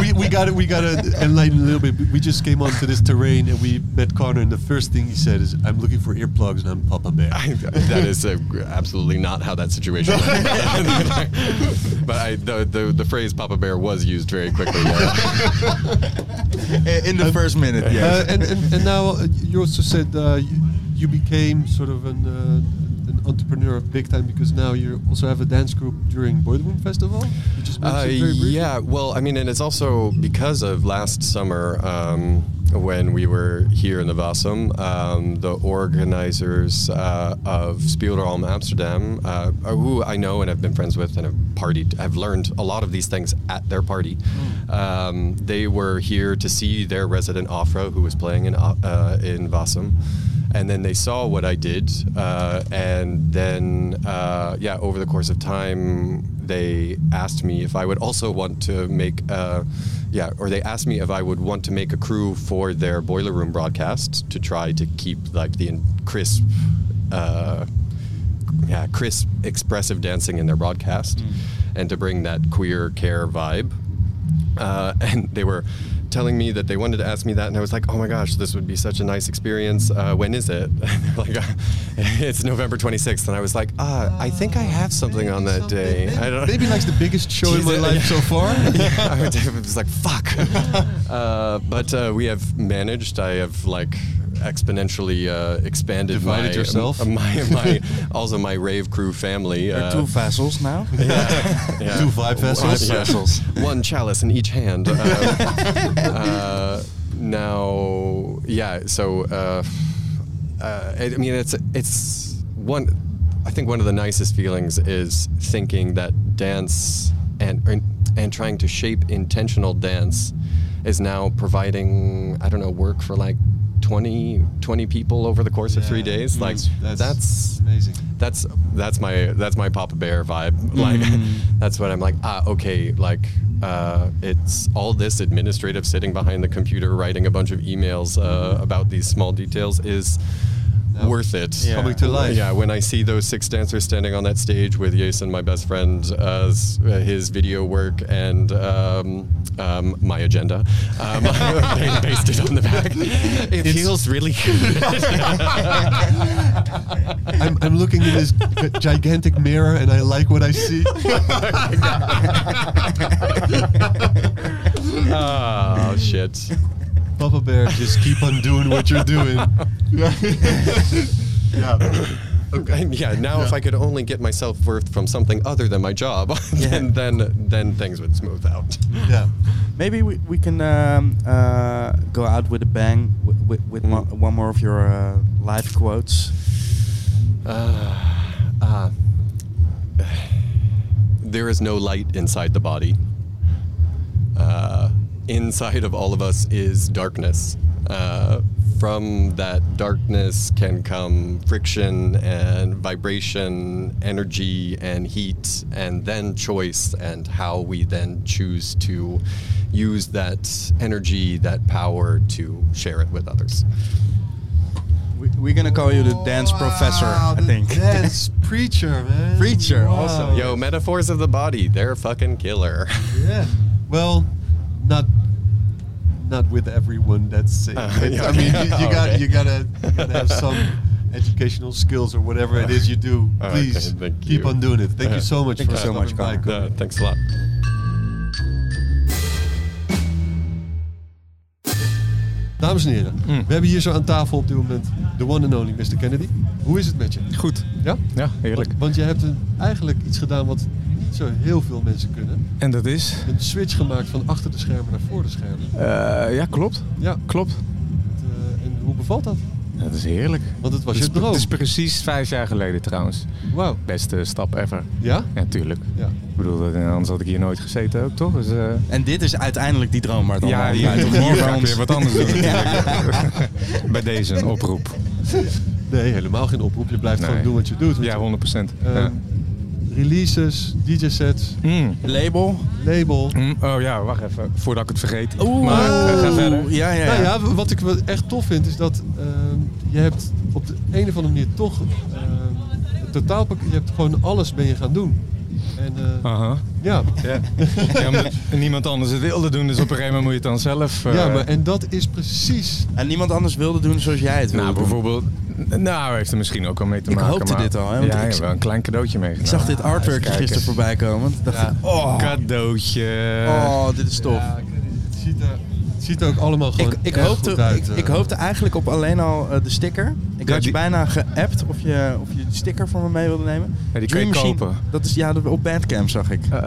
Speaker 2: We, we got to we got to enlighten a little bit. We just came onto this terrain and we met Connor, and the first thing he said is, "I'm looking for earplugs, and I'm Papa Bear."
Speaker 6: I, that is uh absolutely not how that situation went. but I, the, the, the phrase Papa Bear was used very quickly. yeah.
Speaker 1: in the first minute, yeah.
Speaker 2: Uh, and, and, and now uh, you also said uh, you, you became sort of an, uh, an entrepreneur big time because now you also have a dance group during Boardroom Festival. You just mentioned
Speaker 6: Uh,
Speaker 2: very briefly.
Speaker 6: yeah, well, I mean, and it's also because of last summer um, when we were here in the Vassum, um, the organizers uh, of Spielraum Amsterdam, uh, who I know and have been friends with and have partied, have learned a lot of these things at their party. Um, they were here to see their resident Afra, who was playing in uh, in Vassum and then they saw what I did, uh, and then uh, yeah, over the course of time, they asked me if I would also want to make, uh, yeah, or they asked me if I would want to make a crew for their boiler room broadcast to try to keep like the in- crisp. Uh, yeah, crisp, expressive dancing in their broadcast,
Speaker 2: Mm.
Speaker 6: and to bring that queer care vibe. Uh, and they were telling me that they wanted to ask me that, and I was like, "Oh my gosh, this would be such a nice experience. Uh, when is it?" And they're like, uh, "It's November 26th," and I was like, "Ah, I think I have something on that day. I don't."
Speaker 2: Maybe like the biggest show in my
Speaker 6: Jesus.
Speaker 2: life so far.
Speaker 6: yeah, I was- I was like, fuck. Uh, but uh, we have managed. I have like exponentially uh, expanded
Speaker 2: Divided
Speaker 6: my,
Speaker 2: yourself?
Speaker 6: my my also my rave crew family.
Speaker 1: There are
Speaker 6: uh,
Speaker 1: two vessels now.
Speaker 6: yeah.
Speaker 2: Two vibe vessels.
Speaker 6: Yeah.
Speaker 1: vessels.
Speaker 6: One chalice in each hand. Uh, uh, now, yeah. So, uh, uh, I I mean, it's it's one. I think one of the nicest feelings is thinking that dance and and- and trying to shape intentional dance is now providing I don't know work for like 20, 20 people over the course of three
Speaker 2: Yeah. Mm.
Speaker 6: days. Like
Speaker 2: That's-
Speaker 6: that's
Speaker 2: Amazing. Mm-hmm.
Speaker 6: that's that's my that's my Papa Bear vibe. Like that's what I'm like. Ah, okay. Like uh, it's all this administrative sitting behind the computer writing a bunch of emails uh, about these small details is
Speaker 2: No.
Speaker 6: worth it.
Speaker 1: Yeah. Coming to
Speaker 2: life.
Speaker 6: Yeah. When I see those six dancers standing on that stage with Jason, my best friend, as uh, his video work and um, um, my agenda um, pasted on the back, it feels really
Speaker 2: I'm, I'm looking in this gi- gigantic mirror and I like what I see.
Speaker 6: oh shit.
Speaker 2: Papa Bear, just keep on doing what you're doing.
Speaker 6: Okay. Yeah. Now, if I could only get my self worth from something other than my job, then, then then things would smooth out.
Speaker 2: Yeah.
Speaker 1: Maybe we, we can um, uh, go out with a bang with, with, with one, one more of your uh, live quotes.
Speaker 6: Uh, There is no light inside the body. Uh, inside of all of us is darkness. Uh, from that darkness can come friction and vibration, energy and heat, and then choice, and how we then choose to use that energy, that power to share it with others.
Speaker 1: We, We're gonna call you the dance professor,
Speaker 2: Oh, Wow,
Speaker 1: I
Speaker 2: the
Speaker 1: think.
Speaker 2: Dance preacher, man.
Speaker 1: Preacher, also.
Speaker 6: Yo, metaphors of the body, they're fucking killer.
Speaker 2: Yeah. Well, not not with everyone that's sick.
Speaker 6: Uh,
Speaker 2: But,
Speaker 6: yeah,
Speaker 2: I mean,
Speaker 6: okay.
Speaker 2: you, you
Speaker 6: Oh,
Speaker 2: got
Speaker 6: okay.
Speaker 2: you gotta you gotta have some educational skills or whatever it is you do.
Speaker 6: Oh, okay,
Speaker 2: Please
Speaker 6: thank
Speaker 2: keep
Speaker 6: you.
Speaker 2: on doing it. Thank you so much.
Speaker 1: Thank
Speaker 2: for
Speaker 1: you so much,
Speaker 2: stopping by,
Speaker 1: Connor.
Speaker 6: Uh,
Speaker 2: Connor.
Speaker 6: thanks a lot.
Speaker 2: Dames en heren,
Speaker 7: Mm.
Speaker 2: we hebben hier zo aan tafel op dit moment de one and only Mr. Kennedy. Hoe is het met je?
Speaker 1: Goed.
Speaker 2: Ja?
Speaker 7: Ja, heerlijk.
Speaker 2: Want, want je hebt een, eigenlijk iets gedaan wat niet zo heel veel mensen kunnen.
Speaker 7: En dat is?
Speaker 2: Een switch gemaakt van achter de schermen naar voor de schermen.
Speaker 7: Eh, ja, klopt.
Speaker 2: Ja.
Speaker 7: Klopt.
Speaker 2: het, eh, en hoe bevalt dat?
Speaker 7: Dat is heerlijk.
Speaker 2: Want het was
Speaker 7: Het is,
Speaker 2: je droom.
Speaker 7: het is precies vijf jaar geleden trouwens.
Speaker 2: Wauw.
Speaker 7: Beste stap ever.
Speaker 2: Ja?
Speaker 7: Ja, tuurlijk.
Speaker 2: Ja.
Speaker 7: Ik bedoel, dat- anders had ik hier nooit gezeten ook, toch? Dus, eh,
Speaker 1: En dit is uiteindelijk die droom waar het allemaal
Speaker 7: ja,
Speaker 1: om
Speaker 7: hier,
Speaker 1: draait.
Speaker 7: hier
Speaker 1: bij
Speaker 7: ga ik
Speaker 1: ons.
Speaker 7: weer wat anders doen
Speaker 1: Ja.
Speaker 7: natuurlijk. Bij deze, een oproep.
Speaker 2: Nee, helemaal geen oproep. Je blijft
Speaker 7: Nee.
Speaker 2: gewoon doen wat je doet. Want
Speaker 7: Ja, 100%.
Speaker 2: je-
Speaker 7: ja.
Speaker 2: eh, Releases, DJ-sets,
Speaker 1: Hmm.
Speaker 7: Mm,
Speaker 1: Label.
Speaker 2: label.
Speaker 7: mm, oh ja, wacht even. Voordat ik het vergeet.
Speaker 1: Oeh.
Speaker 7: Maar eh, ga verder.
Speaker 1: Ja, ja,
Speaker 2: Nou
Speaker 1: ja.
Speaker 2: ja, wat ik wel echt tof vind is dat ehm, je hebt op de een of andere manier toch ehm het totaalpakket. Je hebt gewoon alles ben je gaan doen. En eh,
Speaker 7: Aha.
Speaker 2: ja,
Speaker 7: Ja. ja, omdat niemand anders het wilde doen, dus op een gegeven moment moet je het dan zelf... eh,
Speaker 2: ja maar, en dat is precies.
Speaker 1: En niemand anders wilde doen zoals jij het wilde
Speaker 7: Nou,
Speaker 1: doen.
Speaker 7: bijvoorbeeld... Nou, heeft er misschien ook al mee te
Speaker 1: Ik
Speaker 7: maken.
Speaker 1: hoopte
Speaker 7: maar-
Speaker 1: dit al, hè,
Speaker 7: Ja,
Speaker 1: want ik-
Speaker 7: ik heb wel een klein cadeautje meegenomen.
Speaker 1: Ik zag dit artwork
Speaker 7: Even kijken.
Speaker 1: gisteren voorbij komen. Toen dacht ik, oh,
Speaker 7: Cadeautje.
Speaker 1: oh, dit is tof.
Speaker 2: Ja, ik weet niet, het, ziet er, het ziet er ook allemaal gewoon
Speaker 1: Ik, ik,
Speaker 2: erg
Speaker 1: hoopte,
Speaker 2: goed uit.
Speaker 1: ik,
Speaker 2: eh.
Speaker 1: ik hoopte eigenlijk op alleen al eh, de sticker. Ik
Speaker 7: Ja,
Speaker 1: had je
Speaker 7: die-
Speaker 1: bijna geappt of je, of je de sticker van me mee wilde nemen.
Speaker 7: Ja, die kun
Speaker 1: Dream
Speaker 7: je
Speaker 1: Machine,
Speaker 7: kopen.
Speaker 1: Dat is, ja, dat- op Bandcamp zag ik.
Speaker 7: Eh,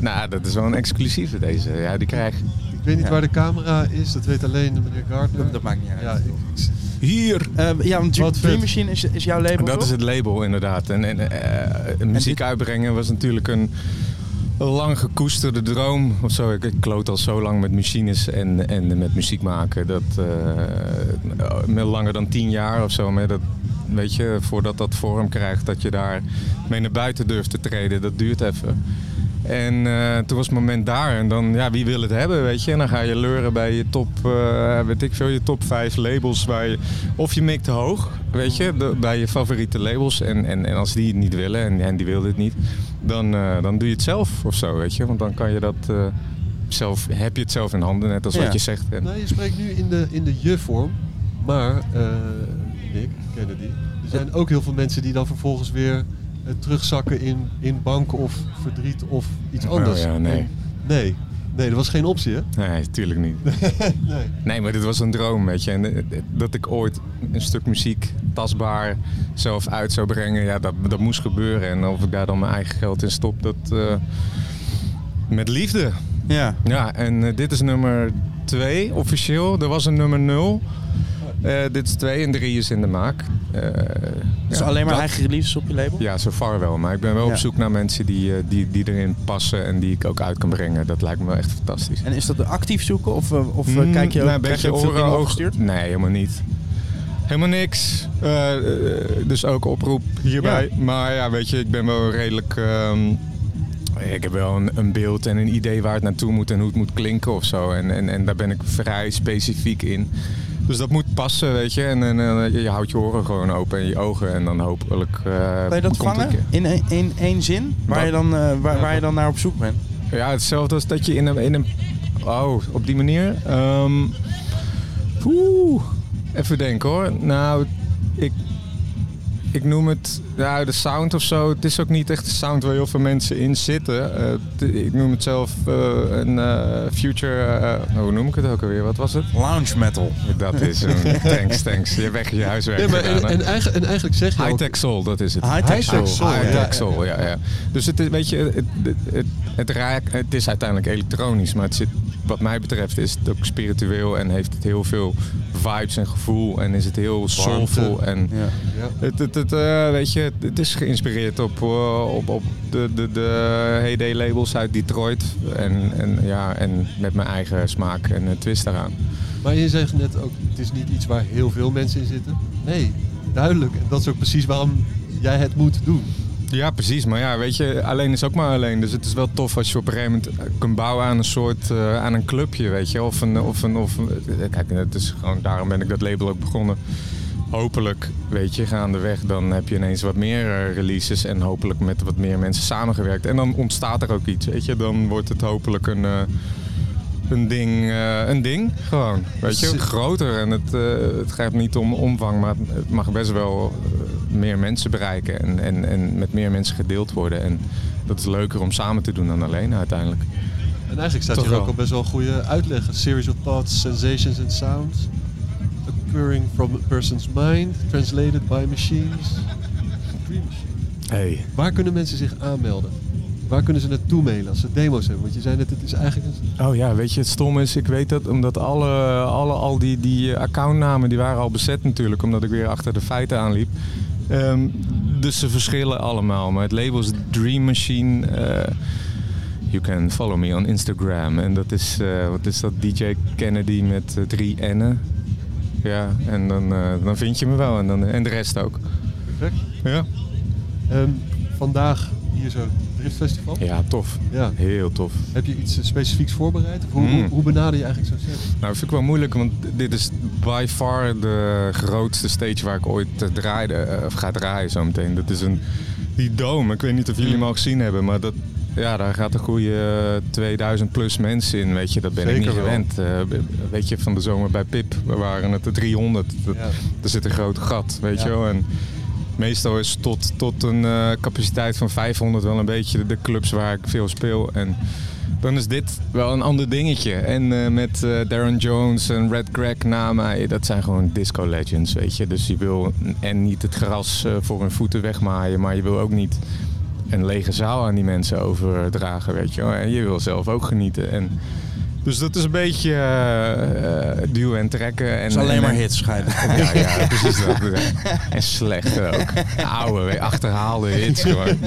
Speaker 7: nou, dat is wel een exclusieve deze. Ja, die krijg
Speaker 2: Ik weet niet
Speaker 1: Ja.
Speaker 2: waar de camera is, dat weet alleen meneer Gardner.
Speaker 1: Dat, dat maakt niet uit.
Speaker 2: ja, ik, ik-
Speaker 7: Hier!
Speaker 1: Eh, ja, want Dream,
Speaker 2: Wat vet.
Speaker 1: Dream Machine is, is jouw label,
Speaker 7: Dat
Speaker 1: toch?
Speaker 7: is het label inderdaad. En, en eh, muziek
Speaker 1: dit-
Speaker 7: uitbrengen was natuurlijk een lang gekoesterde droom of zo. Ik, ik kloot al zo lang met machines en, en met muziek maken. Dat eh, met langer dan tien jaar of zo. Maar dat, weet je, voordat dat vorm krijgt, dat je daar mee naar buiten durft te treden, dat duurt even. En eh, toen was het moment daar. En dan, ja, wie wil het hebben, weet je? En dan ga je leuren bij je top, eh, weet ik veel, je top vijf labels. Waar je, of je mikt te hoog, weet je, de- bij je favoriete labels. En, en, en als die het niet willen, en, en die wilden het niet, dan, eh, dan doe je het zelf of zo, weet je? Want dan kan je dat eh, zelf, heb je het zelf in handen, net als
Speaker 1: Ja.
Speaker 7: wat je zegt. En,
Speaker 2: Nou, je spreekt nu in de, in de je-vorm, maar eh Nick, Kennedy, er zijn ook heel veel mensen die dan vervolgens weer eh, terugzakken in, in bank of verdriet of iets
Speaker 7: Oh
Speaker 2: anders.
Speaker 7: ja, nee.
Speaker 2: En- nee. Nee, dat was geen optie, hè?
Speaker 7: nee, tuurlijk niet.
Speaker 2: Nee.
Speaker 7: Nee, maar dit was een droom, weet je. En eh, dat ik ooit een stuk muziek tastbaar zelf uit zou brengen, ja, dat, dat moest gebeuren. En of ik daar dan mijn eigen geld in stop, dat eh, met liefde.
Speaker 1: Ja.
Speaker 7: Ja, en eh, dit is nummer 2 officieel. Er was een nummer 0. dit is 2 en 3 is in de maak. Eh,
Speaker 1: Dus
Speaker 7: ja,
Speaker 1: alleen maar
Speaker 7: dat-
Speaker 1: eigen releases op je label?
Speaker 7: Ja, zo far wel. Maar ik ben wel
Speaker 1: Ja.
Speaker 7: op zoek naar mensen die, eh, die, die erin passen en die ik ook uit kan brengen. Dat lijkt me wel echt fantastisch.
Speaker 1: En is dat actief zoeken of, eh, of eh,
Speaker 7: Mm,
Speaker 1: kijk je ook,
Speaker 7: nou, een
Speaker 1: krijg je
Speaker 7: beetje
Speaker 1: ook veel
Speaker 7: oren,
Speaker 1: dingen
Speaker 7: oog-
Speaker 1: opgestuurd?
Speaker 7: Nee, helemaal niet. Helemaal niks. Eh, eh, dus ook oproep hierbij. Maar ja, weet je, ik ben wel redelijk. ehm, ik heb wel een, een beeld en een idee waar het naartoe moet en hoe het moet klinken of zo. En, en, en daar ben ik vrij specifiek in. Dus dat moet passen, weet je. En, en eh, je, je houdt je oren gewoon open en je ogen. En dan hopelijk. eh
Speaker 1: Kan je dat
Speaker 7: komt het
Speaker 1: vangen
Speaker 7: een keer.
Speaker 1: in één- in één zin? Waar
Speaker 7: Wat?
Speaker 1: je, dan, eh, waar, waar je dan naar op zoek bent?
Speaker 7: Ja, hetzelfde als dat je in een. In een oh, op die manier. Ehm, oeh, even denken hoor. Nou, ik. Ik noem het ja, de sound of zo. Het is ook niet echt de sound waar heel veel mensen in zitten. Eh, t- ik noem het zelf eh, een eh, future. eh, hoe noem ik het ook alweer? Wat was het?
Speaker 1: Lounge metal.
Speaker 7: Dat is een. thanks, thanks. Je hebt echt je huiswerk
Speaker 2: nee maar, en,
Speaker 7: gedaan, hè?
Speaker 2: en, eigen- en eigenlijk zeg je ook-
Speaker 7: High-tech soul, dat is het.
Speaker 1: High-tech High-tech soul. soul,
Speaker 7: High-tech
Speaker 2: ja.
Speaker 7: soul, ja, ja. Dus het is, weet je, het, het, het, het raakt- het is uiteindelijk elektronisch, maar het zit, wat mij betreft is het ook spiritueel en heeft het heel veel vibes en gevoel en is het heel soulful en...
Speaker 1: Ja.
Speaker 2: Ja.
Speaker 7: Het, het, het, eh, weet je, het, het is geïnspireerd op, eh, op, op de, de, de Heyday labels uit Detroit. En, en, ja, en met mijn eigen smaak en eh, twist daaraan.
Speaker 2: Maar je zegt net ook, het is niet iets waar heel veel mensen in zitten. Nee, duidelijk. En dat is ook precies waarom jij het moet doen.
Speaker 7: Ja, precies. Maar ja, weet je, alleen is ook maar alleen. Dus het is wel tof als je op een gegeven moment eh, kunt bouwen aan een soort, eh, aan een clubje, weet je. Of een, of een, of een- eh, kijk, het is gewoon, daarom ben ik dat label ook begonnen. hopelijk, weet je, gaandeweg, dan heb je ineens wat meer eh, releases en hopelijk met wat meer mensen samengewerkt. En dan ontstaat er ook iets, weet je. Dan wordt het hopelijk een, eh, een ding, eh, een ding gewoon, weet je.
Speaker 2: Ze-
Speaker 7: Groter en het, eh, het gaat niet om omvang, maar het mag best wel eh, meer mensen bereiken en, en, en met meer mensen gedeeld worden. En dat is leuker om samen te doen dan alleen uiteindelijk.
Speaker 2: En eigenlijk staat
Speaker 7: Toch
Speaker 2: hier ook
Speaker 7: wel.
Speaker 2: al best wel een goede uitleg. A series of thoughts, sensations and sounds. Occurring from a person's mind. Translated by machines. Dream machine.
Speaker 6: Hey.
Speaker 2: Waar kunnen mensen zich aanmelden? Waar kunnen ze naartoe mailen als ze demo's hebben? Want je zei net, het is eigenlijk een...
Speaker 7: Oh ja, weet je, het stom is, ik weet dat omdat alle, alle al die, die accountnamen die waren al bezet natuurlijk, omdat ik weer achter de feiten aanliep. Ehm, dus ze verschillen allemaal. Maar het label is Dream Machine. eh, you can follow me on Instagram. En dat is, eh, wat is dat, DJ Kennedy met eh, drie N'en. Ja, en dan, eh, dan vind je me wel. En, dan, en de rest ook.
Speaker 2: Perfect.
Speaker 7: Ja.
Speaker 2: Ehm, vandaag hier zo, Drift Festival.
Speaker 7: ja, tof.
Speaker 2: Ja.
Speaker 7: Heel tof.
Speaker 2: Heb je iets eh, specifieks voorbereid? Of hoe,
Speaker 7: Mm.
Speaker 2: hoe, hoe benader je eigenlijk zo'n set?
Speaker 7: Nou, dat vind ik wel moeilijk, want dit is by far de grootste stage waar ik ooit eh, draaide, eh, of ga draaien zometeen. Dat is een, die dome, ik weet niet of jullie
Speaker 2: Mm.
Speaker 7: hem al gezien hebben, maar dat, ja, daar gaat een goede eh, 2000 plus mensen in, weet je. Dat ben ik
Speaker 2: Zeker
Speaker 7: niet
Speaker 2: wel.
Speaker 7: gewend. Eh, weet je, van de zomer bij Pip waren het de 300. Dat,
Speaker 2: Ja.
Speaker 7: Er zit een groot gat, weet
Speaker 2: Ja.
Speaker 7: je wel. En meestal is tot, tot een eh, capaciteit van 500 wel een beetje de, de clubs waar ik veel speel. En dan is dit wel een ander dingetje. En eh, met eh, Darren Jones en Red Greg na mij, dat zijn gewoon disco legends, weet je. Dus je wil en niet het gras eh, voor hun voeten wegmaaien, maar je wil ook niet een lege zaal aan die mensen overdragen, weet je wel. En je wil zelf ook genieten. En dus dat is een beetje eh, eh, duwen en trekken. En,
Speaker 5: Het is alleen
Speaker 7: en-
Speaker 5: maar hits schijnen.
Speaker 7: ja, ja, precies dat. En slecht ook. Oude, achterhaalde hits gewoon.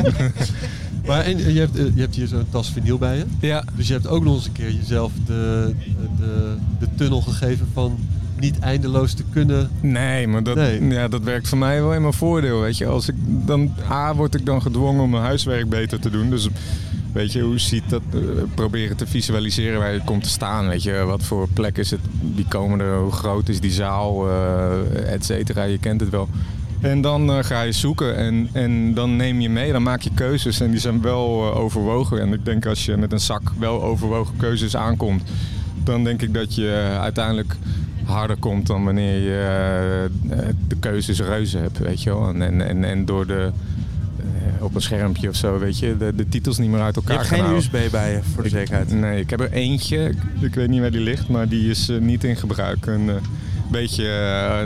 Speaker 2: Maar en, en je, hebt, eh, je hebt hier zo'n tas vinyl bij je.
Speaker 7: Ja.
Speaker 2: Dus je hebt ook nog eens een keer jezelf de, de, de tunnel gegeven van niet eindeloos te kunnen.
Speaker 7: Nee, maar dat, Mm,
Speaker 2: Nee.
Speaker 7: Ja, dat werkt voor mij wel in mijn voordeel, weet je. Als ik dan, A, word ik dan gedwongen om mijn huiswerk beter te doen. Dus weet je, hoe ziet dat, eh, proberen te visualiseren waar je komt te staan, weet je. Wat voor plek is het, wie komen er, hoe groot is die zaal, eh, et cetera. Je kent het wel. En dan eh, ga je zoeken en, en dan neem je mee, dan maak je keuzes en die zijn wel eh, overwogen. En ik denk als je met een zak wel overwogen keuzes aankomt, dan denk ik dat je eh, uiteindelijk harder komt dan wanneer je eh, de keuzes reuze hebt, weet je wel. En, en, en, en door de, eh, op een schermpje of zo, weet je, de, de titels niet meer uit
Speaker 1: Je
Speaker 7: elkaar
Speaker 1: hebt
Speaker 7: gaan
Speaker 1: geen
Speaker 7: houden.
Speaker 1: USB bij je, voor de zekerheid.
Speaker 7: Nee, ik heb er eentje. Ik, ik weet niet waar die ligt, maar die is eh, niet in gebruik. Een eh, beetje, eh,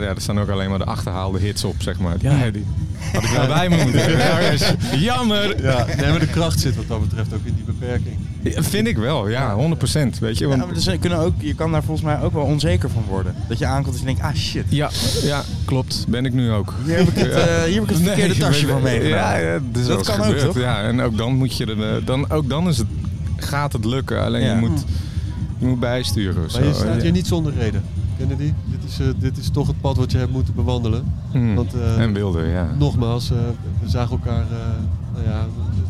Speaker 7: ja, er staan ook alleen maar de achterhaalde hits op, zeg maar. Ja, die had ik wel bij me moeten hebben. Ja, is- Jammer!
Speaker 2: Ja, nee, maar de kracht zit wat dat betreft ook in die beperking.
Speaker 7: Ja, Vind ik wel, ja, 100%. Weet je,
Speaker 1: Ja,
Speaker 7: want-
Speaker 1: maar dus, eh, kunnen ook, je kan daar volgens mij ook wel onzeker van worden. Dat je aankomt en je denkt, ah shit,
Speaker 7: ja, ja, klopt. Ben ik nu ook.
Speaker 1: hier heb ik het, eh, hier heb ik het verkeerde
Speaker 7: Nee,
Speaker 1: tasje
Speaker 7: weet-
Speaker 1: van
Speaker 7: Ja,
Speaker 1: meegenomen.
Speaker 7: ja, dat is
Speaker 1: Dat
Speaker 7: wel eens
Speaker 1: kan ook,
Speaker 7: gebeurd.
Speaker 1: toch?
Speaker 7: Ja, en ook dan moet je er, eh, dan, ook dan is het, gaat het lukken. Alleen
Speaker 1: Ja.
Speaker 7: je, moet, je moet bijsturen. of
Speaker 2: Maar je
Speaker 7: zo.
Speaker 2: staat
Speaker 7: Ja.
Speaker 2: hier niet zonder reden. Kennedy, dit is, eh, dit is toch het pad wat je hebt moeten bewandelen.
Speaker 7: Mm.
Speaker 2: Want, eh,
Speaker 7: en wilde, ja.
Speaker 2: Nogmaals, eh, we zagen elkaar eh, nou ja,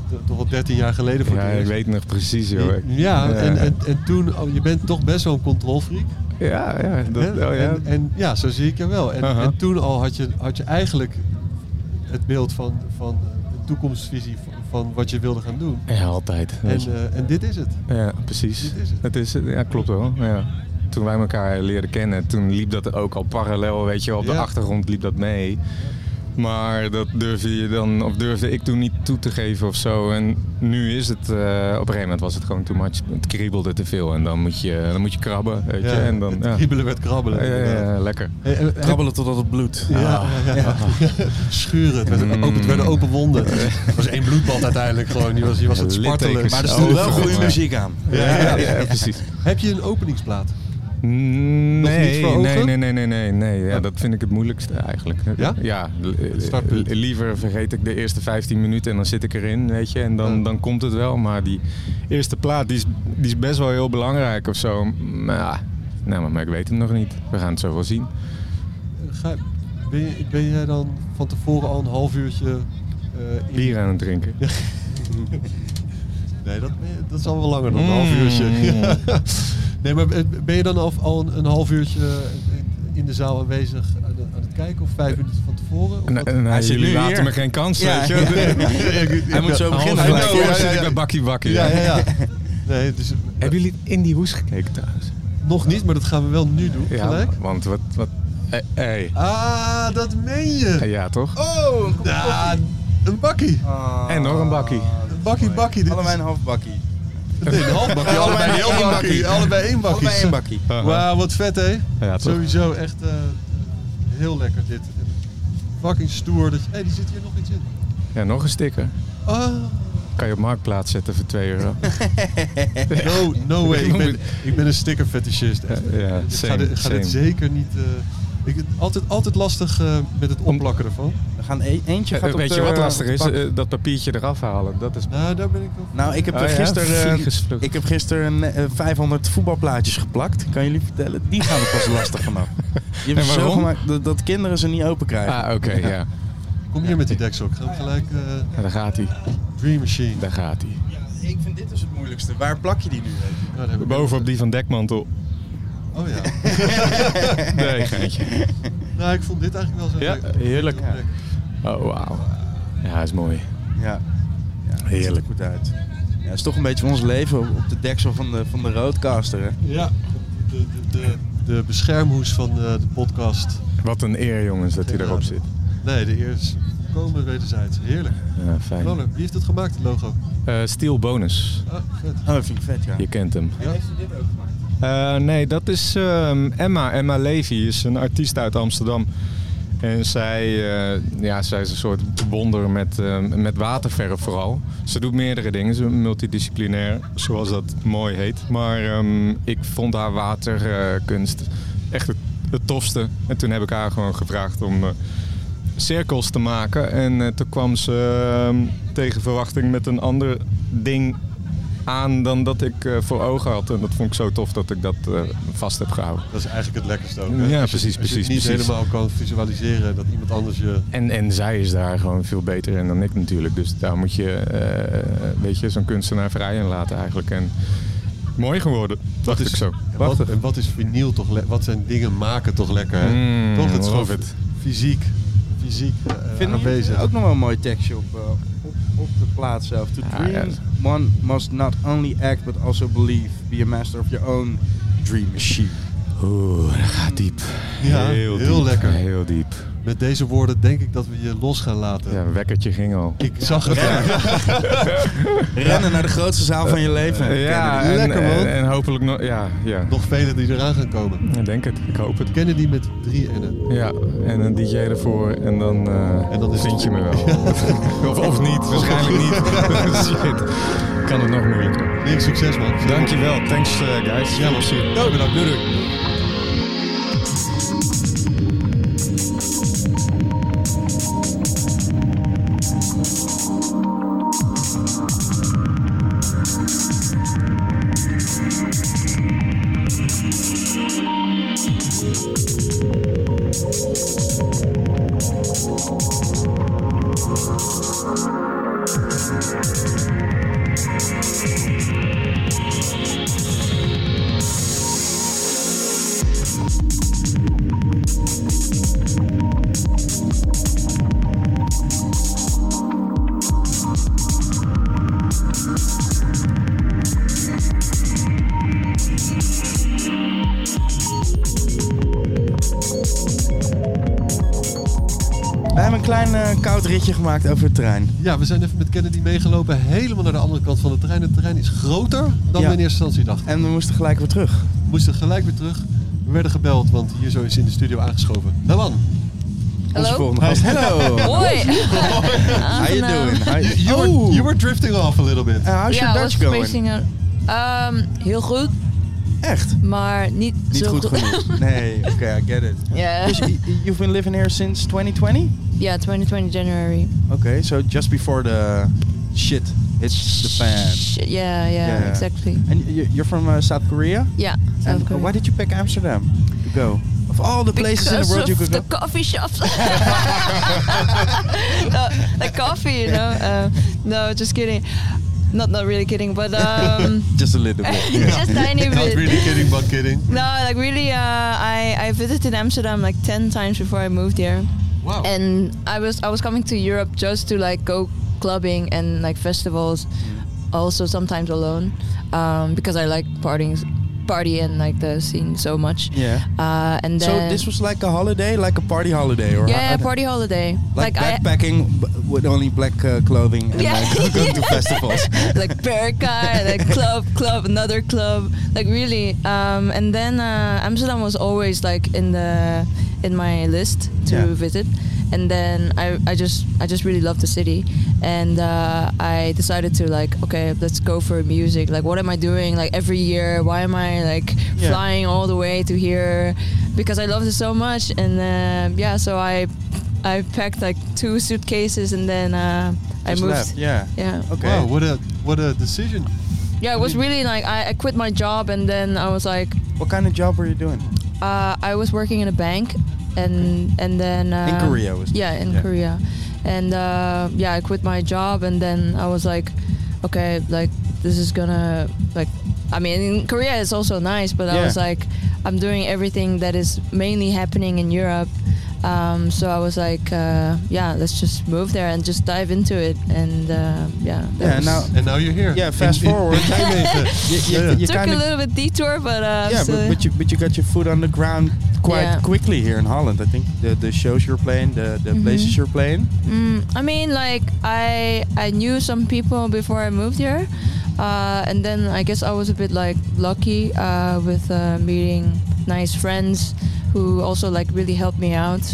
Speaker 2: t- toch al 13 jaar geleden voor
Speaker 7: Ja,
Speaker 2: het
Speaker 7: ik
Speaker 2: eerst.
Speaker 7: weet nog precies, joh. Ik-
Speaker 2: Ja, en, en, en toen, oh, je bent toch best wel een controlfreak.
Speaker 7: Ja, ja. Dat,
Speaker 2: Hè?
Speaker 7: oh, ja.
Speaker 2: En, en ja, zo zie ik je wel. En,
Speaker 7: Aha.
Speaker 2: en toen al had je, had je eigenlijk het beeld van, van de toekomstvisie van, van wat je wilde gaan doen.
Speaker 7: ja, altijd.
Speaker 2: En,
Speaker 7: weet je.
Speaker 2: eh, en dit is het.
Speaker 7: ja, precies.
Speaker 2: dit is het.
Speaker 7: is het. Ja, klopt wel. Ja. Toen wij elkaar leerden kennen, toen liep dat ook al parallel, weet je, wel, op de
Speaker 2: Ja.
Speaker 7: achtergrond liep dat mee. Maar dat durfde je dan, of durfde ik toen niet toe te geven of zo. En nu is het, eh, op een gegeven moment was het gewoon too much. Het kriebelde te veel en dan moet je, dan moet je krabben, weet je. en dan,
Speaker 2: het
Speaker 7: ja.
Speaker 2: kriebelen werd krabbelen.
Speaker 7: Ja, ja,
Speaker 2: inderdaad.
Speaker 7: ja, lekker.
Speaker 2: Hey, en- en-
Speaker 5: Krabbelen totdat het Ah. bloedt.
Speaker 2: ja, ja, ja. Schuren. Het, werd een- ook, het
Speaker 7: Mm.
Speaker 2: werden open wonden. Het was één bloedband uiteindelijk gewoon. Die was, die was het spartelen.
Speaker 7: Littekens. Oh,
Speaker 5: Maar
Speaker 2: Maar de-
Speaker 5: er stond wel
Speaker 7: Overal,
Speaker 5: goede
Speaker 7: ja.
Speaker 5: muziek aan.
Speaker 7: Ja, ja, precies.
Speaker 2: heb je een openingsplaat?
Speaker 7: Nee,
Speaker 2: niet voor
Speaker 7: nee,
Speaker 2: ogen?
Speaker 7: nee, nee, nee, nee, nee. Ja, dat vind ik het moeilijkste eigenlijk.
Speaker 2: Ja?
Speaker 7: Ja. li-
Speaker 2: startpunt.
Speaker 7: li- Liever vergeet ik de eerste 15 minuten en dan zit ik erin, weet je. En dan,
Speaker 2: Ja.
Speaker 7: dan komt het wel. Maar die eerste plaat, die is, die is best wel heel belangrijk of zo. Maar, ja, nou, maar, maar ik weet hem nog niet. We gaan het zo wel zien.
Speaker 2: Ga, ben, je, ben jij dan van tevoren al een half uurtje... eh, in-
Speaker 7: Bier aan het drinken.
Speaker 2: Nee, dat, dat is al wel langer dan een
Speaker 1: Mm.
Speaker 2: half uurtje. nee, maar ben je dan al, al een, een half uurtje in de zaal aanwezig aan, de- aan het kijken of vijf minuten van tevoren? Of
Speaker 7: En,
Speaker 2: wat?
Speaker 7: en, eh,
Speaker 1: Hij zit
Speaker 7: jullie
Speaker 1: nu
Speaker 7: laten
Speaker 1: hier.
Speaker 7: me geen kans,
Speaker 1: Ja,
Speaker 7: weet je.
Speaker 1: ja.
Speaker 7: Hij
Speaker 1: moet zo beginnen.
Speaker 7: Half
Speaker 2: Hij
Speaker 7: vijf
Speaker 2: moet-
Speaker 7: uur
Speaker 2: ja,
Speaker 7: zit
Speaker 2: ja,
Speaker 7: ik
Speaker 2: ja.
Speaker 7: bij Bakkie Bakkie.
Speaker 2: ja, ja, ja. Nee, dus,
Speaker 7: Hebben jullie in die hoes gekeken trouwens?
Speaker 2: nog niet, maar dat gaan we wel nu doen, gelijk.
Speaker 7: want wat... wat eh, eh,
Speaker 2: Ah, dat meen je.
Speaker 7: Ja, toch?
Speaker 2: Oh, een, een bakkie.
Speaker 1: Ah.
Speaker 7: En nog een bakkie.
Speaker 2: Een bakkie, bakkie. Dit
Speaker 1: Allebei
Speaker 2: is,
Speaker 1: een half bakkie.
Speaker 2: nee, een half bakkie. Allebei
Speaker 1: Allebei
Speaker 2: een
Speaker 1: één
Speaker 2: heel
Speaker 1: bakkie.
Speaker 2: bakkie. Allebei één bakkie.
Speaker 1: Allebei een bakkie.
Speaker 2: Wauw, wat vet hè?
Speaker 7: Ja, toch?
Speaker 2: Sowieso echt eh, heel lekker dit. En Fucking stoer. Dat je, hey, die zit hier nog iets in.
Speaker 7: Ja, nog een sticker.
Speaker 2: Oh,
Speaker 7: Kan je op marktplaats zetten voor 2 euro.
Speaker 2: no, no way. Ik ben, ik ben een sticker fetishist. Echt.
Speaker 7: Ja,
Speaker 2: ik Dus ga,
Speaker 7: same,
Speaker 2: dit, ik ga dit
Speaker 7: same.
Speaker 2: zeker niet... eh, ik, altijd, altijd lastig eh, met het opplakken ervan.
Speaker 1: We gaan e- eentje gaat
Speaker 7: Eh,
Speaker 1: op
Speaker 7: Weet je
Speaker 1: de
Speaker 7: wat lastig is?
Speaker 1: bak.
Speaker 7: Eh, Dat papiertje eraf halen. Dat is...
Speaker 2: Nou, daar ben ik wel...
Speaker 1: Nou, ik heb
Speaker 7: Oh ja,
Speaker 1: gisteren eh,
Speaker 7: vliegensvlucht.
Speaker 1: ik heb gisteren eh, 500 voetbalplaatjes geplakt. Kan jullie vertellen? Die gaan er pas lastig vanaf. Je hebt
Speaker 7: En
Speaker 1: zo
Speaker 7: waarom?
Speaker 1: gemaakt dat, dat kinderen ze niet open krijgen.
Speaker 7: Ah, oké, ja.
Speaker 2: Kom hier met die deksel. Ik ga hem gelijk... eh,
Speaker 7: Ja, Daar gaat hij.
Speaker 2: Dream Machine.
Speaker 7: Daar gaat hij.
Speaker 1: ik vind dit dus het moeilijkste. Waar plak je die nu?
Speaker 2: Nou, daar heb ik-
Speaker 7: Bovenop die van Dekmantel.
Speaker 2: Oh ja.
Speaker 7: Nee, geintje.
Speaker 2: nou, ik vond dit eigenlijk wel zo
Speaker 7: Ja,
Speaker 2: leuk.
Speaker 7: heerlijk.
Speaker 2: Leuk.
Speaker 7: Oh, wauw. Ja, is mooi.
Speaker 1: Ja. ja
Speaker 7: Heerlijk.
Speaker 1: Heerlijk. Goed uit. Ja, het is toch een beetje ons leven op- op de deksel van de, van de roadcaster. Hè?
Speaker 2: Ja. De, de, de, de beschermhoes van eh, de podcast.
Speaker 7: Wat een e- eer, jongens, dat hij erop zit.
Speaker 2: Nee, de eerste komen wederzijds. Heerlijk.
Speaker 7: Ja, fijn.
Speaker 2: Lola, wie heeft het gemaakt, het logo?
Speaker 7: Eh, Steel Bonus.
Speaker 2: Ah, vet.
Speaker 1: Oh, dat vind ik vet, ja.
Speaker 7: Je kent hem.
Speaker 2: Ja.
Speaker 7: Eh, nee, dat is ehm, Emma. Emma Levy is een artiest uit Amsterdam. En zij, eh, ja, zij is een soort wonder met, ehm, met waterverf vooral. Ze doet meerdere dingen. Ze is multidisciplinair, zoals dat mooi heet. Maar ehm, ik vond haar waterkunst echt het, het tofste. En toen heb ik haar gewoon gevraagd om eh, cirkels te maken. En eh, toen kwam ze ehm, tegen verwachting met een ander ding aan dan dat ik eh, voor ogen had. En dat vond ik zo tof dat ik dat eh, vast heb gehouden.
Speaker 2: Dat is eigenlijk het lekkerste ook. hè?
Speaker 7: Ja,
Speaker 2: Als je-
Speaker 7: precies,
Speaker 2: Als je
Speaker 7: precies,
Speaker 2: het niet
Speaker 7: precies.
Speaker 2: helemaal kan visualiseren dat iemand anders je...
Speaker 7: En, en zij is daar gewoon veel beter in dan ik natuurlijk. Dus daar moet je, eh, weet je, zo'n kunstenaar vrij in laten eigenlijk. En mooi geworden, dacht ik zo.
Speaker 2: En wat, en wat is vinyl toch lekker? Wat zijn dingen maken toch lekker, hè?
Speaker 7: Mm,
Speaker 2: toch, het is
Speaker 7: love
Speaker 2: gewoon
Speaker 7: it.
Speaker 2: fysiek, fysiek eh,
Speaker 1: Vinden jullie
Speaker 2: aanwezig.
Speaker 1: ook nog wel een mooi tekstje op, eh, op, op de plaat zelf. To
Speaker 7: Ja,
Speaker 1: dream, one must not only act, but also believe. Be a master of your own dream machine.
Speaker 7: Oeh, dat gaat diep.
Speaker 2: Ja, heel lekker.
Speaker 7: Heel diep.
Speaker 2: Met deze woorden denk ik dat we je los gaan laten.
Speaker 7: Ja, een wekkertje ging al.
Speaker 2: Ik zag het.
Speaker 1: Rennen naar de grootste zaal van je leven.
Speaker 7: Eh, Ja,
Speaker 1: Kennedy.
Speaker 7: en,
Speaker 1: Lekker man.
Speaker 7: en, en hopelijk nog, ja, ja.
Speaker 2: Nog velen die eraan gaan komen.
Speaker 7: Ik denk het, ik hoop het.
Speaker 2: Kennedy met drie N'en.
Speaker 7: Ja, en een DJ ervoor en dan, eh
Speaker 2: En dan is het-
Speaker 7: vind je me wel. of, of niet, waarschijnlijk niet. Shit, kan het nog moeilijker.
Speaker 2: Niks succes, man.
Speaker 7: Dankjewel. Thanks,
Speaker 1: eh,
Speaker 7: uh, guys.
Speaker 2: Ja, man. Ook bedankt. Doei, doei.
Speaker 1: We hebben een klein eh, koud ritje gemaakt over de trein.
Speaker 2: Ja, we zijn even met Kennedy meegelopen. Helemaal naar de andere kant van de trein. Het terrein is groter dan
Speaker 1: Ja.
Speaker 2: we in eerste instantie dachten.
Speaker 1: En we moesten gelijk weer terug.
Speaker 2: We moesten gelijk weer terug. We werden gebeld, want hier zo is in de studio aangeschoven. Naman,
Speaker 1: Onze
Speaker 8: Hallo?
Speaker 1: volgende gast. Hello.
Speaker 8: Hoi!
Speaker 1: How you doing? How
Speaker 2: you, you, were, you were drifting off a little bit.
Speaker 1: Uh, how's
Speaker 8: Ja,
Speaker 1: your
Speaker 8: was
Speaker 1: Dutch going?
Speaker 8: Facing a- Ehm, heel goed,
Speaker 1: Echt?
Speaker 8: maar niet,
Speaker 1: Niet
Speaker 8: zo
Speaker 1: goed genoeg. Nee, oké, I get it.
Speaker 8: Ja,
Speaker 1: Dus y- y- you've been living here since 2020?
Speaker 8: Ja, 2020 January.
Speaker 1: Okay, so just before the shit hits the fan.
Speaker 8: Sh- Yeah, yeah,
Speaker 1: Yeah.
Speaker 8: exactly.
Speaker 1: And y- you're from uh, South Korea?
Speaker 8: Yeah,
Speaker 1: and
Speaker 8: South Korea.
Speaker 1: why did you pick Amsterdam to go? Of all the places in
Speaker 8: Because
Speaker 1: the world you
Speaker 8: of
Speaker 1: could
Speaker 8: the
Speaker 1: go.
Speaker 8: coffee shops. no, the coffee, you know. Uh, no, just kidding. Not not really kidding, but um,
Speaker 1: Just a little bit.
Speaker 8: just tiny
Speaker 2: Not
Speaker 8: bit.
Speaker 2: really kidding, but kidding.
Speaker 8: No, like really, uh, I I visited Amsterdam like ten times before I moved here,
Speaker 2: Wow.
Speaker 8: and I was I was coming to Europe just to like go clubbing and like festivals,
Speaker 1: Mm.
Speaker 8: also sometimes alone, um, because I like partying, party and like the scene so much.
Speaker 1: Yeah.
Speaker 8: Uh, and
Speaker 1: So
Speaker 8: then
Speaker 1: this was like a holiday, like a party holiday, or
Speaker 8: yeah,
Speaker 1: how-
Speaker 8: party holiday.
Speaker 1: like,
Speaker 8: I.
Speaker 1: backpacking b- with only black uh, clothing and
Speaker 8: Yeah.
Speaker 1: like going to festivals.
Speaker 8: like Berka, like club, club, another club, like really. Um, and then uh, Amsterdam was always like in the in my list to
Speaker 1: Yeah.
Speaker 8: visit. And then I, I just I just really love the city, and uh, I decided to like okay let's go for music. Like what am I doing like every year? Why am I like
Speaker 1: Yeah.
Speaker 8: flying all the way to here? Because I loved it so much, and uh, yeah, so I I packed like two suitcases, and then uh, I
Speaker 1: Just
Speaker 8: moved.
Speaker 1: left, Yeah.
Speaker 8: Yeah.
Speaker 1: Okay.
Speaker 2: Wow, what a what a decision.
Speaker 8: Yeah, it was really like I, I quit my job and then I was like,
Speaker 1: Mm-hmm. What kind of job were you doing?
Speaker 8: uh, I was working in a bank, and and then uh,
Speaker 1: Korea was it?
Speaker 8: yeah in
Speaker 1: Yeah.
Speaker 8: Korea, and uh, yeah I quit my job and then I was like, okay like this is gonna like I mean in Korea it's also nice but I
Speaker 1: Yeah.
Speaker 8: was like I'm doing everything that is mainly happening in Europe, um, so I was like uh, yeah let's just move there and just dive into it and uh, yeah that
Speaker 1: Yeah.
Speaker 8: was-
Speaker 1: Now
Speaker 2: And now you're here.
Speaker 1: Yeah, fast
Speaker 2: In- in-
Speaker 1: forward.
Speaker 2: in Nijmegen.
Speaker 1: you, you,
Speaker 2: Yeah.
Speaker 1: you
Speaker 8: took
Speaker 1: kind
Speaker 8: a
Speaker 1: of
Speaker 8: little bit detour but uh,
Speaker 1: yeah,
Speaker 8: so-
Speaker 1: but, but you but you got your foot on the ground quite
Speaker 8: Yeah.
Speaker 1: quickly here in Holland. I think the the shows you're playing, the
Speaker 8: Mm-hmm.
Speaker 1: the places you're playing.
Speaker 8: Mm, I mean, like I I knew some people before I moved here, uh, and then I guess I was a bit like lucky uh, with uh, meeting nice friends who also like really helped me out,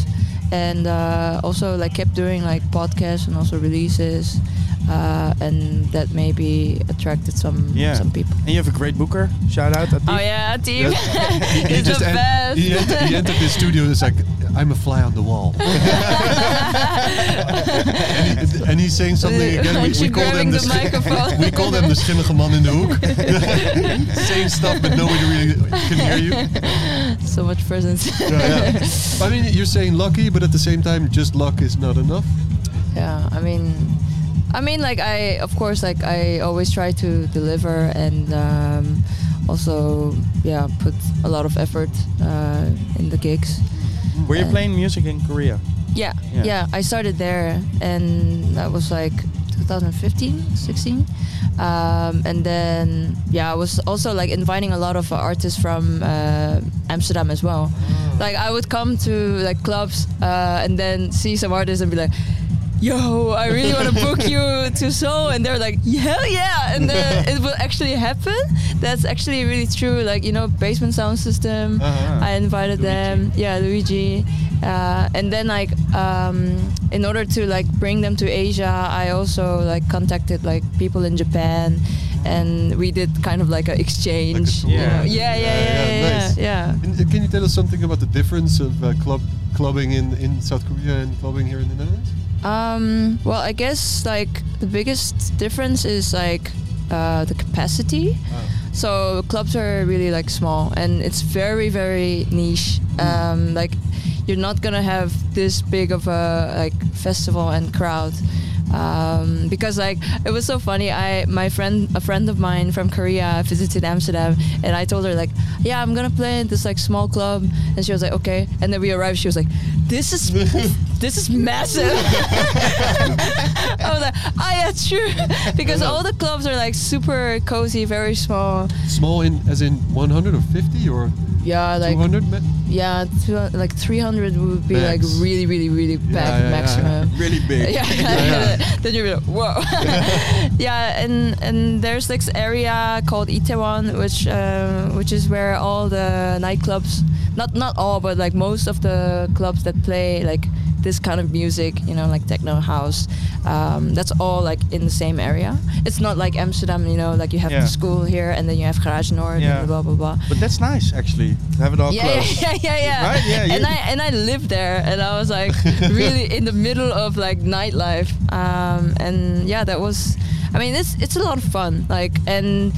Speaker 8: and uh, also like kept doing like podcasts and also releases, uh, and that maybe attracted some
Speaker 1: Yeah.
Speaker 8: some people.
Speaker 1: And you have a great booker. Shout out. Atif.
Speaker 8: Oh yeah, team
Speaker 2: He
Speaker 8: is the
Speaker 2: just en-
Speaker 8: best.
Speaker 2: He entered, he entered the studio. It's like I'm a fly on the wall. and, he, and he's saying something again. We,
Speaker 8: She's
Speaker 2: we call
Speaker 8: grabbing
Speaker 2: them the,
Speaker 8: the
Speaker 2: schi-
Speaker 8: microphone.
Speaker 2: we call them the schimmige man in the hoek. Same stuff, but nobody really can hear you.
Speaker 8: so much presence.
Speaker 2: Yeah, yeah. I mean, you're saying lucky, but at the same time, just luck is not enough.
Speaker 8: yeah i mean i mean like i of course like i always try to deliver and um, also yeah put a lot of effort uh, in the gigs
Speaker 1: Were you
Speaker 8: uh,
Speaker 1: playing music in Korea?
Speaker 8: yeah,
Speaker 1: Yeah.
Speaker 8: yeah i started there and that was like 2015 16 um, and then yeah i was also like inviting a lot of uh, artists from uh, amsterdam as well like i would come to like clubs uh, and then see some artists and be like yo i really want to book you to seoul and they're like hell yeah and then it will actually happen that's actually really true like you know basement sound system
Speaker 1: Uh-huh.
Speaker 8: i invited
Speaker 1: Luigi.
Speaker 8: them yeah luigi uh, and then like um, in order to like bring them to asia i also like contacted like people in japan and we did kind of like an exchange
Speaker 2: tour.
Speaker 8: you know?
Speaker 2: Yeah.
Speaker 8: yeah yeah yeah
Speaker 2: Yeah,
Speaker 8: yeah,
Speaker 2: yeah,
Speaker 8: yeah,
Speaker 2: nice.
Speaker 8: yeah.
Speaker 2: And, uh, can you tell us something about the difference of uh, club clubbing in, in South Korea and clubbing here in the Netherlands?
Speaker 8: Um, well, I guess like the biggest difference is like uh, the capacity. So clubs are really like small, and it's very very niche. Um, like you're not gonna have this big of a like festival and crowd. Um, because like it was so funny I my friend a friend of mine from Korea visited Amsterdam and I told her like yeah I'm gonna play in this like small club and she was like okay and then we arrived she was like this is this is massive I was like oh yeah true because all the clubs are like super cozy very small
Speaker 2: Small in as in 100 or 50 or
Speaker 8: yeah like
Speaker 2: 200 met?
Speaker 8: yeah two, like 300 would be
Speaker 2: Max.
Speaker 8: like really really really packed
Speaker 2: yeah, yeah.
Speaker 8: maximum
Speaker 1: Really big.
Speaker 8: yeah, then you'll be like, whoa. yeah, and and there's this area called Itaewon, which uh, which is where all the nightclubs, not not all, but like most of the clubs that play like this kind of music, you know, like techno house. Um, that's all like in the same area. It's not like Amsterdam, you know, like you have
Speaker 1: Yeah.
Speaker 8: the school here and then you have Garage Noord
Speaker 1: Yeah.
Speaker 8: and blah blah blah
Speaker 1: But that's nice actually to have it all
Speaker 8: yeah,
Speaker 1: close.
Speaker 8: yeah, yeah, yeah, yeah.
Speaker 1: Right? Yeah,
Speaker 8: and
Speaker 1: you-
Speaker 8: I and I lived there, and I was like really in the middle of like nightlife, um, and yeah, that was. I mean, it's it's a lot of fun, like, and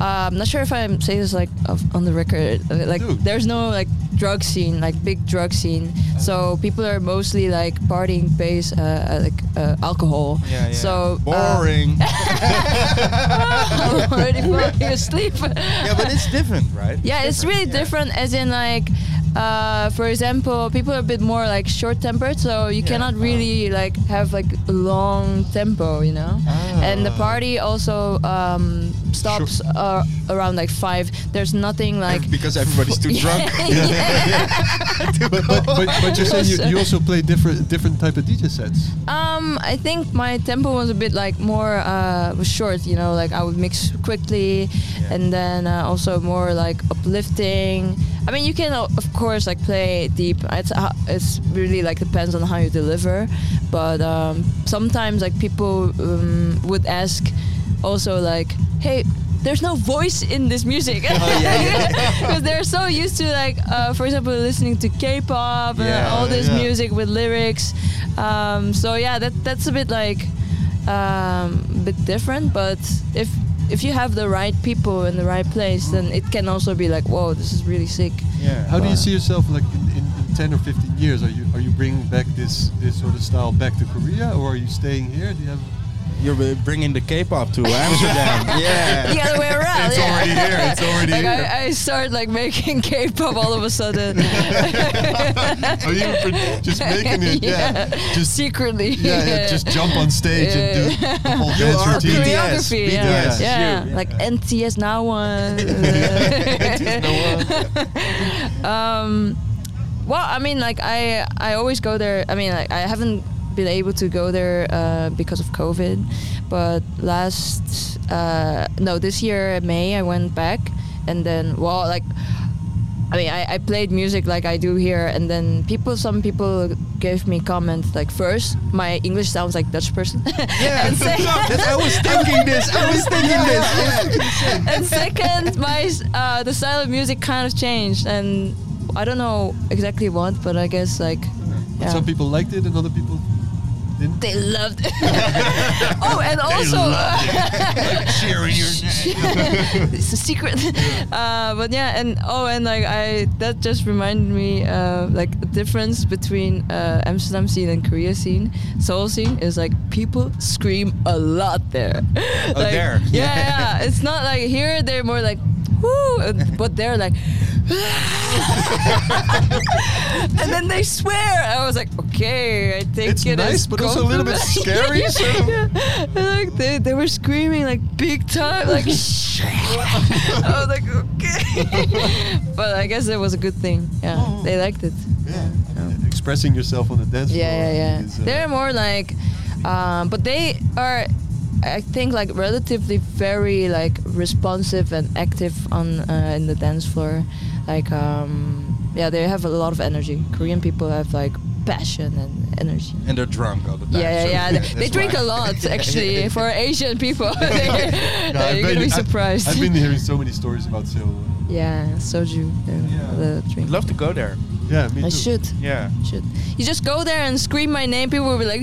Speaker 8: uh, I'm not sure if I say this like of, on the record, uh, like,
Speaker 2: Dude.
Speaker 8: there's no like drug scene, like big drug scene.
Speaker 1: Uh-huh.
Speaker 8: So people are mostly like partying based uh, uh, like uh, alcohol.
Speaker 1: Yeah, yeah.
Speaker 8: So uh,
Speaker 1: boring.
Speaker 8: I'm already falling asleep.
Speaker 1: yeah, but it's different, right?
Speaker 8: Yeah, it's really
Speaker 1: yeah.
Speaker 8: different. As in, like, uh, for example, people are a bit more like short-tempered, so you
Speaker 1: Yeah. Uh-huh.
Speaker 8: cannot really like have like a long tempo, you know.
Speaker 1: Ah.
Speaker 8: And the party also um, stops uh, around like five. There's nothing like.
Speaker 1: because everybody's too drunk.
Speaker 2: but, but, but, but you're saying you, you also play different different type of DJ sets.
Speaker 8: Um, I think my tempo was a bit like more uh, was short, you know, like I would mix quickly, and then uh, also more like uplifting. I mean, you can o- of course like play deep. It's ho- it's really like depends on how you deliver, but um, sometimes like people um, would ask also like, hey. There's no voice in this music
Speaker 1: Oh,
Speaker 8: because they're so used to like, uh, for example, listening to K-pop and
Speaker 1: Yeah,
Speaker 8: all this
Speaker 1: yeah.
Speaker 8: music with lyrics. Um, so yeah, that that's a bit like um, a bit different. But if if you have the right people in the right place, then it can also be like, whoa, this is really sick.
Speaker 1: yeah.
Speaker 2: How do you see yourself like in, in, in 10 or 15 years? Are you are you bringing back this this sort of style back to Korea, or are you staying here? Do you have
Speaker 1: You're bringing the K-pop to Amsterdam. yeah.
Speaker 8: The other way around.
Speaker 1: It's
Speaker 8: yeah.
Speaker 1: already here, it's already
Speaker 8: like
Speaker 1: here.
Speaker 8: I, I start like making K-pop all of a sudden.
Speaker 2: Are you pre- just making it? Yeah. Just
Speaker 8: secretly.
Speaker 2: yeah, yeah, Just jump on stage and do the whole
Speaker 1: You
Speaker 2: dance
Speaker 1: are
Speaker 2: routine.
Speaker 1: BTS.
Speaker 8: choreography. Yeah.
Speaker 2: BTS,
Speaker 8: yeah.
Speaker 1: you, yeah.
Speaker 8: like NTS now one. um, well, I mean, like I I always go there. I mean, like I haven't been able to go there uh, because of COVID, but last uh, no this year May I went back, and then well like. I mean, I, I played music like I do here, and then people, some people gave me comments like, first, my English sounds like Dutch person.
Speaker 1: Yeah.
Speaker 8: and, se-
Speaker 1: That's- I was thinking this. I was thinking this. Yeah.
Speaker 8: and second, my uh, the style of music kind of changed, and I don't know exactly what, but I guess like,
Speaker 2: But
Speaker 8: yeah.
Speaker 2: Some people liked it and other people didn't.
Speaker 8: they loved it. oh, and also. uh,
Speaker 2: Cheering your
Speaker 8: it's a secret. Uh, but yeah, and oh, and like I, that just reminded me uh, like the difference between uh, Amsterdam scene and Korea scene. Seoul scene is like people scream a lot there. Oh, like,
Speaker 1: there.
Speaker 8: Yeah, yeah. It's not like here they're more like, woo, and- but they're like. and then they swear. I was like, okay, I think
Speaker 2: It's
Speaker 8: it
Speaker 2: nice,
Speaker 8: is
Speaker 2: but also a little bit
Speaker 8: compliment."
Speaker 2: scary, sort of.
Speaker 8: Yeah. And, like they, they were screaming like big time, like shit. I was like, okay. but I guess it was a good thing. Yeah, they liked it.
Speaker 2: Yeah. I mean, Expressing yourself on the dance floor.
Speaker 8: Yeah, yeah, yeah.
Speaker 2: is, uh,
Speaker 8: They're more like, um, but they are, I think, like relatively very like responsive and active on uh, in the dance floor. Like, um, yeah, they have a lot of energy. Korean people have like passion and energy.
Speaker 1: And they're drunk all the time.
Speaker 8: Yeah,
Speaker 1: so
Speaker 8: yeah, yeah. They, they
Speaker 1: that's
Speaker 8: drink
Speaker 1: why.
Speaker 8: a lot, actually, for Asian people.
Speaker 2: No, I've
Speaker 8: You're gonna
Speaker 2: been-
Speaker 8: be
Speaker 2: I've-
Speaker 8: surprised.
Speaker 2: I've, been hearing so many stories about Seoul.
Speaker 8: yeah, soju, uh,
Speaker 2: Yeah.
Speaker 8: the drink.
Speaker 1: Love to go there.
Speaker 2: Yeah, me too.
Speaker 8: I should,
Speaker 1: Yeah.
Speaker 8: should. You just go there and scream my name. People will be like,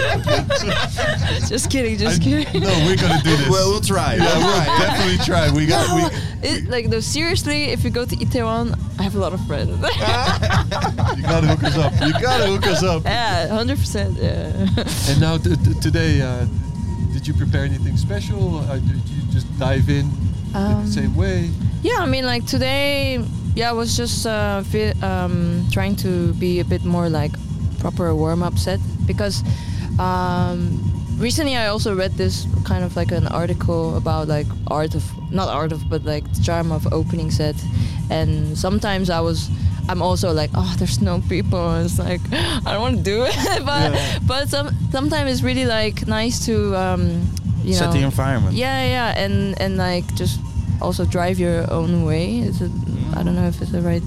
Speaker 8: yeah. just kidding, just
Speaker 2: I-
Speaker 8: kidding.
Speaker 2: no, we're gonna do this.
Speaker 1: Well, we'll try.
Speaker 2: yeah, we'll definitely try. We got.
Speaker 8: No,
Speaker 2: We,
Speaker 8: it, like no, seriously. If you go to Itaewon, I have a lot of friends.
Speaker 2: you gotta hook us up. You gotta hook us up.
Speaker 8: yeah, hundred percent. Yeah.
Speaker 2: And now t- t- today, uh, did you prepare anything special? Uh, did you just dive in in
Speaker 8: Um,
Speaker 2: the same way?
Speaker 8: Yeah, I mean, like today, yeah, I was just uh, fe- um, trying to be a bit more like proper warm up set because um, recently I also read this kind of like an article about like art of not art of but like the charm of opening set,
Speaker 2: Mm.
Speaker 8: and sometimes I was. I'm also like, oh, there's no people. It's like I don't want to do it, but but some, sometimes it's really like nice to um, you
Speaker 1: Set
Speaker 8: know
Speaker 1: the environment.
Speaker 8: yeah, yeah, and and like just also drive your own way. Is it? I don't know if it's the right.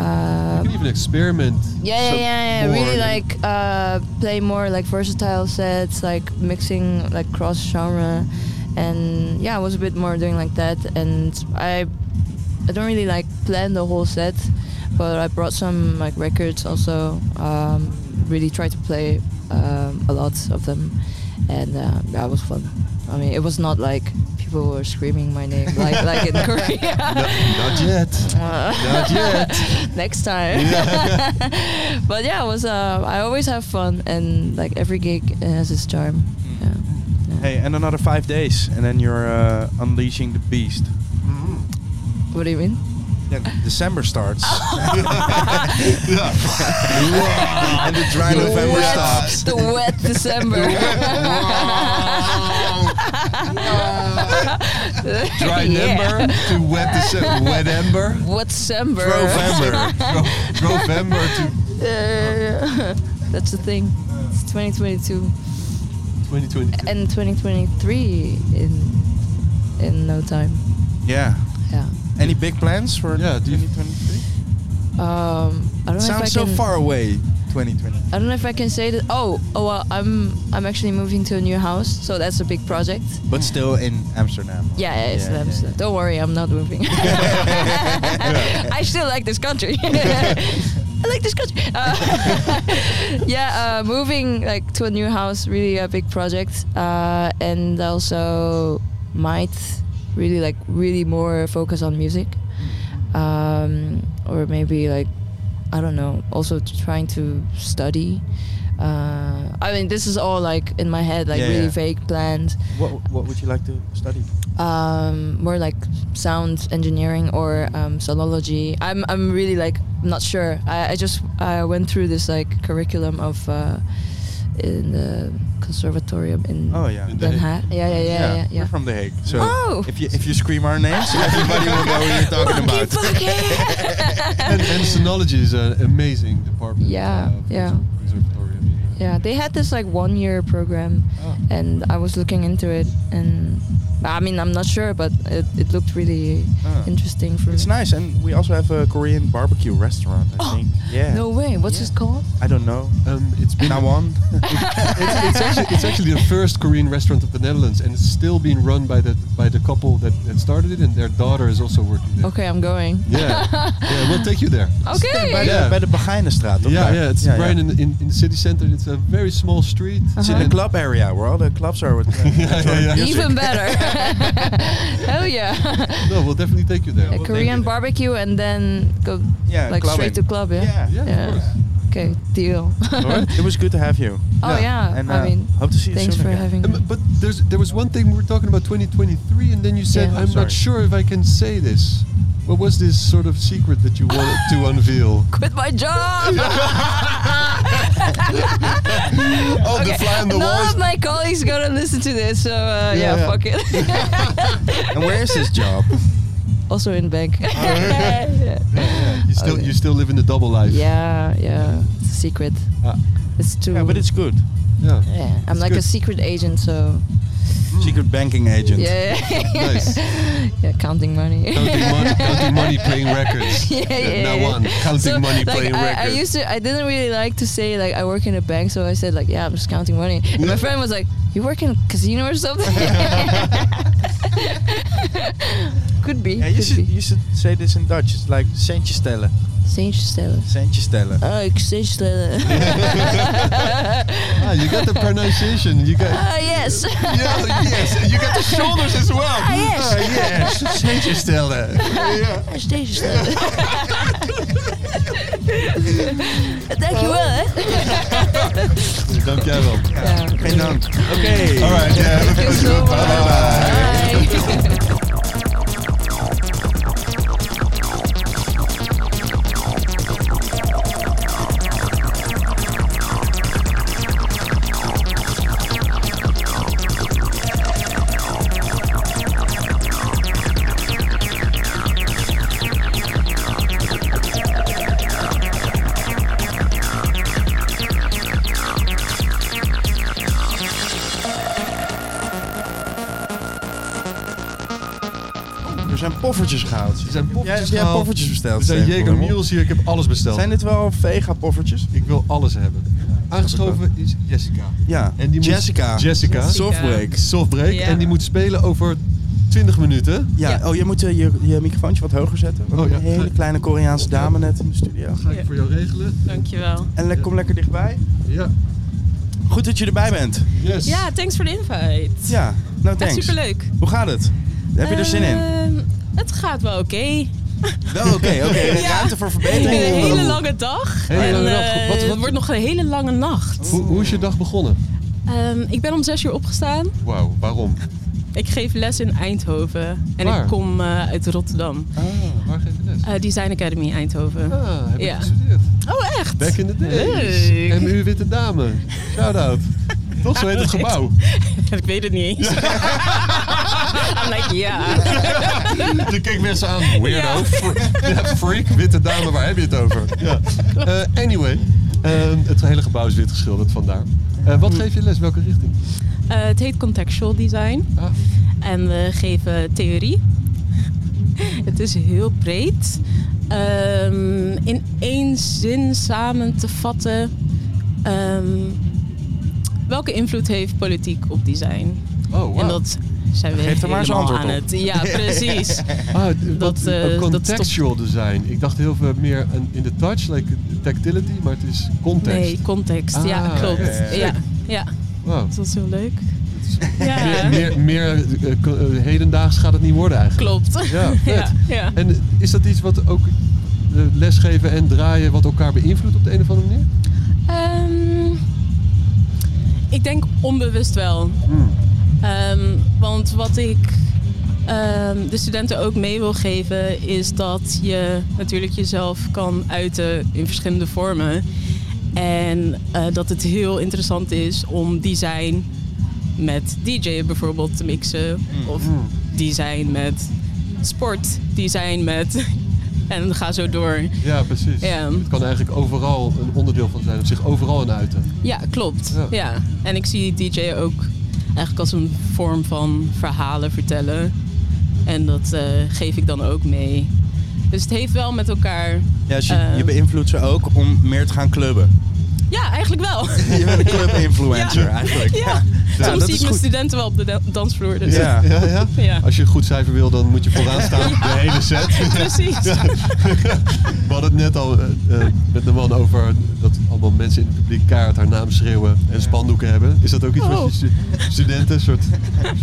Speaker 8: Uh,
Speaker 2: You can even experiment.
Speaker 8: yeah, yeah,
Speaker 2: some
Speaker 8: yeah, yeah.
Speaker 2: more
Speaker 8: Really
Speaker 2: than-
Speaker 8: like uh, play more like versatile sets, like mixing like cross genre, and yeah, I was a bit more doing like that. And I, I don't really like plan the whole set, but I brought some like records also. Um, really tried to play um, a lot of them, and uh, that was fun. I mean, it was not like people were screaming my name like like in Korea.
Speaker 2: Not yet.
Speaker 8: Uh,
Speaker 2: Not yet.
Speaker 8: next time. but yeah, it was. Uh, I always have fun, and like every gig has its charm. Yeah. Yeah.
Speaker 1: Hey, and another five days, and then you're uh, unleashing the beast.
Speaker 8: Mm-hmm. What do you mean? Oh.
Speaker 1: Then December starts.
Speaker 2: Ja.
Speaker 1: and the dry
Speaker 2: The
Speaker 1: November
Speaker 2: wet-
Speaker 1: stops.
Speaker 8: The wet December.
Speaker 2: Dry November to wet December. Wet Ember.
Speaker 8: What December?
Speaker 2: November. November to
Speaker 8: Uh, that's the thing. It's 2022
Speaker 2: 2022.
Speaker 8: and 2023 in in no time.
Speaker 1: Yeah.
Speaker 8: Yeah.
Speaker 1: Any big plans for
Speaker 2: Yeah, do you-
Speaker 1: 2023?
Speaker 8: Um, I don't know if I
Speaker 1: Sounds so
Speaker 8: can-
Speaker 1: far away. 2020.
Speaker 8: I don't know if I can say that. Oh, oh, well, I'm I'm actually moving to a new house, so that's a big project.
Speaker 1: But still in Amsterdam.
Speaker 8: Yeah, yeah, it's
Speaker 1: Yeah,
Speaker 8: Amsterdam.
Speaker 1: yeah, yeah.
Speaker 8: Don't worry, I'm not moving. I still like this country. I like this country. Uh, yeah, uh, moving like to a new house really a big project, uh, and also might really like really more focus on music, um, or maybe like I don't know. Also t- trying to study. Uh, I mean, this is all like in my head, like
Speaker 1: Yeah,
Speaker 8: really
Speaker 1: yeah.
Speaker 8: vague plans
Speaker 1: What What would you like to study?
Speaker 8: um, more like sound engineering or um, sonology. I'm, I'm really like not sure. I, I just I went through this like curriculum of uh, in the conservatorium in
Speaker 1: Oh yeah.
Speaker 2: In The
Speaker 8: Den
Speaker 2: Hague.
Speaker 8: Haag. Yeah, yeah, yeah, yeah.
Speaker 1: We're
Speaker 8: yeah.
Speaker 1: from The Hague. So
Speaker 8: Oh!
Speaker 1: if you if you scream our names, everybody will know who you're talking
Speaker 8: Monkey
Speaker 1: about.
Speaker 8: fuck yeah.
Speaker 2: And, and Sonology is an amazing department. uh,
Speaker 8: Yeah, yeah.
Speaker 2: Conservatorium.
Speaker 8: yeah, they had this like one year program,
Speaker 2: Oh.
Speaker 8: and I was looking into it, and I mean I'm not sure, but it, it looked really
Speaker 2: Oh.
Speaker 1: Ah.
Speaker 8: interesting for
Speaker 1: It's
Speaker 8: me.
Speaker 1: nice, and we also have a Korean barbecue restaurant. I
Speaker 8: Oh,
Speaker 1: think. Yeah.
Speaker 8: No way. What's
Speaker 1: Yeah.
Speaker 8: it called?
Speaker 1: I don't know.
Speaker 2: Um, it's been
Speaker 1: Nawan.
Speaker 2: it's, it's, actually, it's actually the first Korean restaurant of the Netherlands, and it's still being run by the by the couple that, that started it, and their daughter is also working there.
Speaker 8: Okay, I'm going.
Speaker 2: Yeah, yeah, we'll take you there.
Speaker 8: Okay.
Speaker 1: Bij de,
Speaker 2: Yeah.
Speaker 1: bij de Begijnenstraat, toch?
Speaker 2: Yeah,
Speaker 1: Daar.
Speaker 2: yeah, it's right In, in in the city center. It's a very small street.
Speaker 1: It's in the club area where all the clubs are. With,
Speaker 2: Yeah, yeah, yeah.
Speaker 1: music.
Speaker 8: Even better. Hell yeah.
Speaker 2: No, we'll definitely take you there.
Speaker 8: A
Speaker 2: We'll take
Speaker 8: Korean
Speaker 2: you there.
Speaker 8: barbecue and then go
Speaker 1: Yeah,
Speaker 8: like straight to
Speaker 1: clubbing.
Speaker 8: club, yeah?
Speaker 1: Yeah.
Speaker 2: Yeah,
Speaker 8: Yeah.
Speaker 2: of course.
Speaker 8: Okay, deal.
Speaker 1: Alright, It was good to have you.
Speaker 8: oh
Speaker 2: Yeah,
Speaker 8: yeah.
Speaker 1: And
Speaker 8: I
Speaker 1: uh,
Speaker 8: mean
Speaker 1: hope to see you
Speaker 8: thanks
Speaker 1: soon
Speaker 8: for
Speaker 1: again.
Speaker 8: having me.
Speaker 2: Um, but there's there was one thing we were talking about 2023, and then you said
Speaker 8: Yeah.
Speaker 2: I'm
Speaker 1: Sorry.
Speaker 2: not sure if I can say this. What was this sort of secret that you wanted to unveil?
Speaker 8: Quit my job!
Speaker 2: Oh, the fly on the
Speaker 8: None
Speaker 2: walls.
Speaker 8: of my colleagues gonna listen to this, so uh, yeah,
Speaker 2: Yeah, yeah.
Speaker 8: fuck it.
Speaker 1: And where is this job?
Speaker 8: also in bank. yeah.
Speaker 2: You still
Speaker 8: Okay.
Speaker 2: you still live in the double life.
Speaker 8: yeah, yeah. It's a secret.
Speaker 2: Ah.
Speaker 8: It's too
Speaker 1: yeah, but it's good.
Speaker 2: Yeah.
Speaker 8: yeah, I'm
Speaker 2: it's
Speaker 8: like a
Speaker 2: good.
Speaker 8: secret agent, so
Speaker 1: Secret banking agent.
Speaker 8: Yeah, yeah, yeah.
Speaker 2: Nice.
Speaker 8: Yeah, counting money.
Speaker 2: Counting money, counting money, playing records.
Speaker 8: Yeah, yeah, yeah,
Speaker 2: Now
Speaker 8: yeah.
Speaker 2: on, counting
Speaker 8: So,
Speaker 2: money,
Speaker 8: like,
Speaker 2: playing
Speaker 8: I, I
Speaker 2: records.
Speaker 8: used to, I didn't really like to say like I work in a bank, so I said like, yeah, I'm just counting money. And my friend was like, you work in a casino or something? could be.
Speaker 1: Yeah, you
Speaker 8: could
Speaker 1: should
Speaker 8: be.
Speaker 1: you should say this in Dutch. It's like centjes tellen,
Speaker 8: Centjes tellen.
Speaker 1: centjes tellen.
Speaker 8: Oh, ik centjes tellen.
Speaker 2: Ah, you got the pronunciation. You got.
Speaker 8: Ah, yes.
Speaker 2: Yeah, yes, and you got the shoulders as well.
Speaker 8: Ah, yes.
Speaker 2: Ah, yes, centjes tellen. Ja.
Speaker 8: Centjes tellen. Dankjewel, hè.
Speaker 2: Dank jij wel.
Speaker 8: Ja.
Speaker 1: Geen dank. Oké.
Speaker 2: Alright, yeah.
Speaker 8: Thank you so much. Bye.
Speaker 1: Er zijn poffertjes gehaald.
Speaker 2: Er zijn
Speaker 1: Jij-
Speaker 2: poffertjes
Speaker 1: jij hebt
Speaker 2: gehaald.
Speaker 1: poffertjes besteld.
Speaker 2: Er zijn
Speaker 1: Steven,
Speaker 2: Jager
Speaker 1: Rommel.
Speaker 2: Mules hier. Ik heb alles besteld.
Speaker 1: Zijn dit wel vega poffertjes?
Speaker 2: Ik wil alles hebben. Aangeschoven is Jessica.
Speaker 1: Ja.
Speaker 2: En die moet-
Speaker 1: Jessica.
Speaker 2: Jessica.
Speaker 1: Softbreak.
Speaker 2: Softbreak.
Speaker 8: Ja.
Speaker 2: En die moet spelen over 20 minuten.
Speaker 1: Ja. Oh, je moet eh, je, je microfoontje wat hoger zetten. We
Speaker 2: Oh,
Speaker 1: hebben
Speaker 2: ja.
Speaker 1: Een hele kleine Koreaanse dame net in de studio.
Speaker 2: Ga ik voor jou regelen.
Speaker 9: Dankjewel.
Speaker 1: En le- kom lekker dichtbij.
Speaker 2: Ja.
Speaker 1: Goed dat je erbij bent.
Speaker 2: Yes.
Speaker 9: Ja, thanks voor de invite.
Speaker 1: Ja, nou
Speaker 9: Echt
Speaker 1: thanks.
Speaker 9: superleuk.
Speaker 1: Hoe gaat het? Heb je er zin
Speaker 8: Eh,
Speaker 1: in?
Speaker 9: Ehm, Het gaat wel oké.
Speaker 1: Wel oké, Oh, oké.
Speaker 9: Ja.
Speaker 1: Ruimte voor
Speaker 9: Een
Speaker 1: verbetering.
Speaker 9: hele lange dag.
Speaker 2: Hele
Speaker 9: en,
Speaker 2: lange dag.
Speaker 9: eh,
Speaker 2: Wat- wat-
Speaker 9: het wordt nog een hele lange
Speaker 1: Oh.
Speaker 9: nacht.
Speaker 2: Hoe, hoe is je dag begonnen?
Speaker 9: Ehm, ik ben om zes uur opgestaan.
Speaker 2: Wauw, waarom?
Speaker 9: Ik geef les in Eindhoven. En
Speaker 2: Waar?
Speaker 9: ik kom eh, uit Rotterdam.
Speaker 2: Ah, waar geef je les?
Speaker 9: Eh, Design Academy Eindhoven.
Speaker 2: Ah, heb
Speaker 9: ja.
Speaker 2: ik gestudeerd.
Speaker 9: Oh, echt?
Speaker 2: Back in the days.
Speaker 9: Leuk.
Speaker 2: MU Witte Dame. Shout-out. Toch, zo heet het gebouw.
Speaker 9: ik weet het niet eens. I'm like, ja.
Speaker 2: Je keek mensen aan. Weirdo.
Speaker 9: Ja.
Speaker 2: Fre- Ja, freak, witte dame, waar heb je het over? Ja. Eh, anyway, eh, het hele gebouw is wit geschilderd vandaar. Eh, wat geef je les? Welke richting?
Speaker 9: Eh, het heet Contextual Design.
Speaker 2: Ah,
Speaker 9: En we geven theorie. Het is heel breed. Ehm, in één zin samen te vatten. ehm, welke invloed heeft politiek op design?
Speaker 2: oh,
Speaker 9: En
Speaker 2: wow.
Speaker 9: dat zijn we
Speaker 1: Geef er maar eens
Speaker 9: helemaal
Speaker 1: antwoord
Speaker 9: aan
Speaker 1: op.
Speaker 9: het. Ja, precies.
Speaker 2: Ah, d-
Speaker 9: dat,
Speaker 2: wat-
Speaker 9: eh,
Speaker 2: oh,
Speaker 9: dat
Speaker 2: contextual design. Ik dacht heel veel meer aan- in de touch, like tactility, maar het is context.
Speaker 9: Nee, context. ja,
Speaker 2: Ah,
Speaker 9: klopt.
Speaker 2: ja, ja, ja.
Speaker 9: Ja, ja,
Speaker 2: Wow.
Speaker 9: dat is heel leuk. Ja,
Speaker 2: Meer, meer eh, co- eh, hedendaags gaat het niet worden eigenlijk.
Speaker 9: klopt.
Speaker 2: Ja, vet.
Speaker 9: Ja, ja.
Speaker 2: En is dat iets wat ook eh, lesgeven en draaien wat elkaar beïnvloedt op de een of andere manier?
Speaker 9: Ehm, ik denk onbewust wel. Ehm, want wat ik ehm, de studenten ook mee wil geven, is dat je natuurlijk jezelf kan uiten in verschillende vormen. En eh, dat het heel interessant is om design met DJ bijvoorbeeld te mixen. Of design met sport, design met. en ga zo door.
Speaker 2: Ja, precies.
Speaker 9: Ja.
Speaker 2: Het kan eigenlijk overal een onderdeel van zijn, op zich overal een uiten.
Speaker 9: Ja, klopt.
Speaker 2: Ja.
Speaker 9: Ja. En ik zie DJ ook eigenlijk als een vorm van verhalen vertellen. En dat eh, geef ik dan ook mee. Dus het heeft wel met elkaar.
Speaker 1: Ja, dus je,
Speaker 9: Eh.
Speaker 1: je beïnvloedt ze ook om meer te gaan clubben.
Speaker 9: Ja, eigenlijk wel.
Speaker 1: Je bent een club-influencer
Speaker 9: Ja.
Speaker 1: eigenlijk.
Speaker 9: ja.
Speaker 1: Ja,
Speaker 9: Soms
Speaker 1: dat
Speaker 9: zie
Speaker 1: is
Speaker 9: ik mijn
Speaker 1: goed.
Speaker 9: studenten wel op de da- dansvloer. Dus ja.
Speaker 1: Ja.
Speaker 2: Ja, ja.
Speaker 9: Ja.
Speaker 2: Als je een goed cijfer wil, dan moet je vooraan staan de hele set.
Speaker 9: Precies.
Speaker 2: We hadden het net al eh, eh, met de man over dat allemaal mensen in het publiek kaart haar naam schreeuwen en spandoeken hebben. Is dat ook iets wat
Speaker 9: Oh.
Speaker 2: je stu- studenten een soort,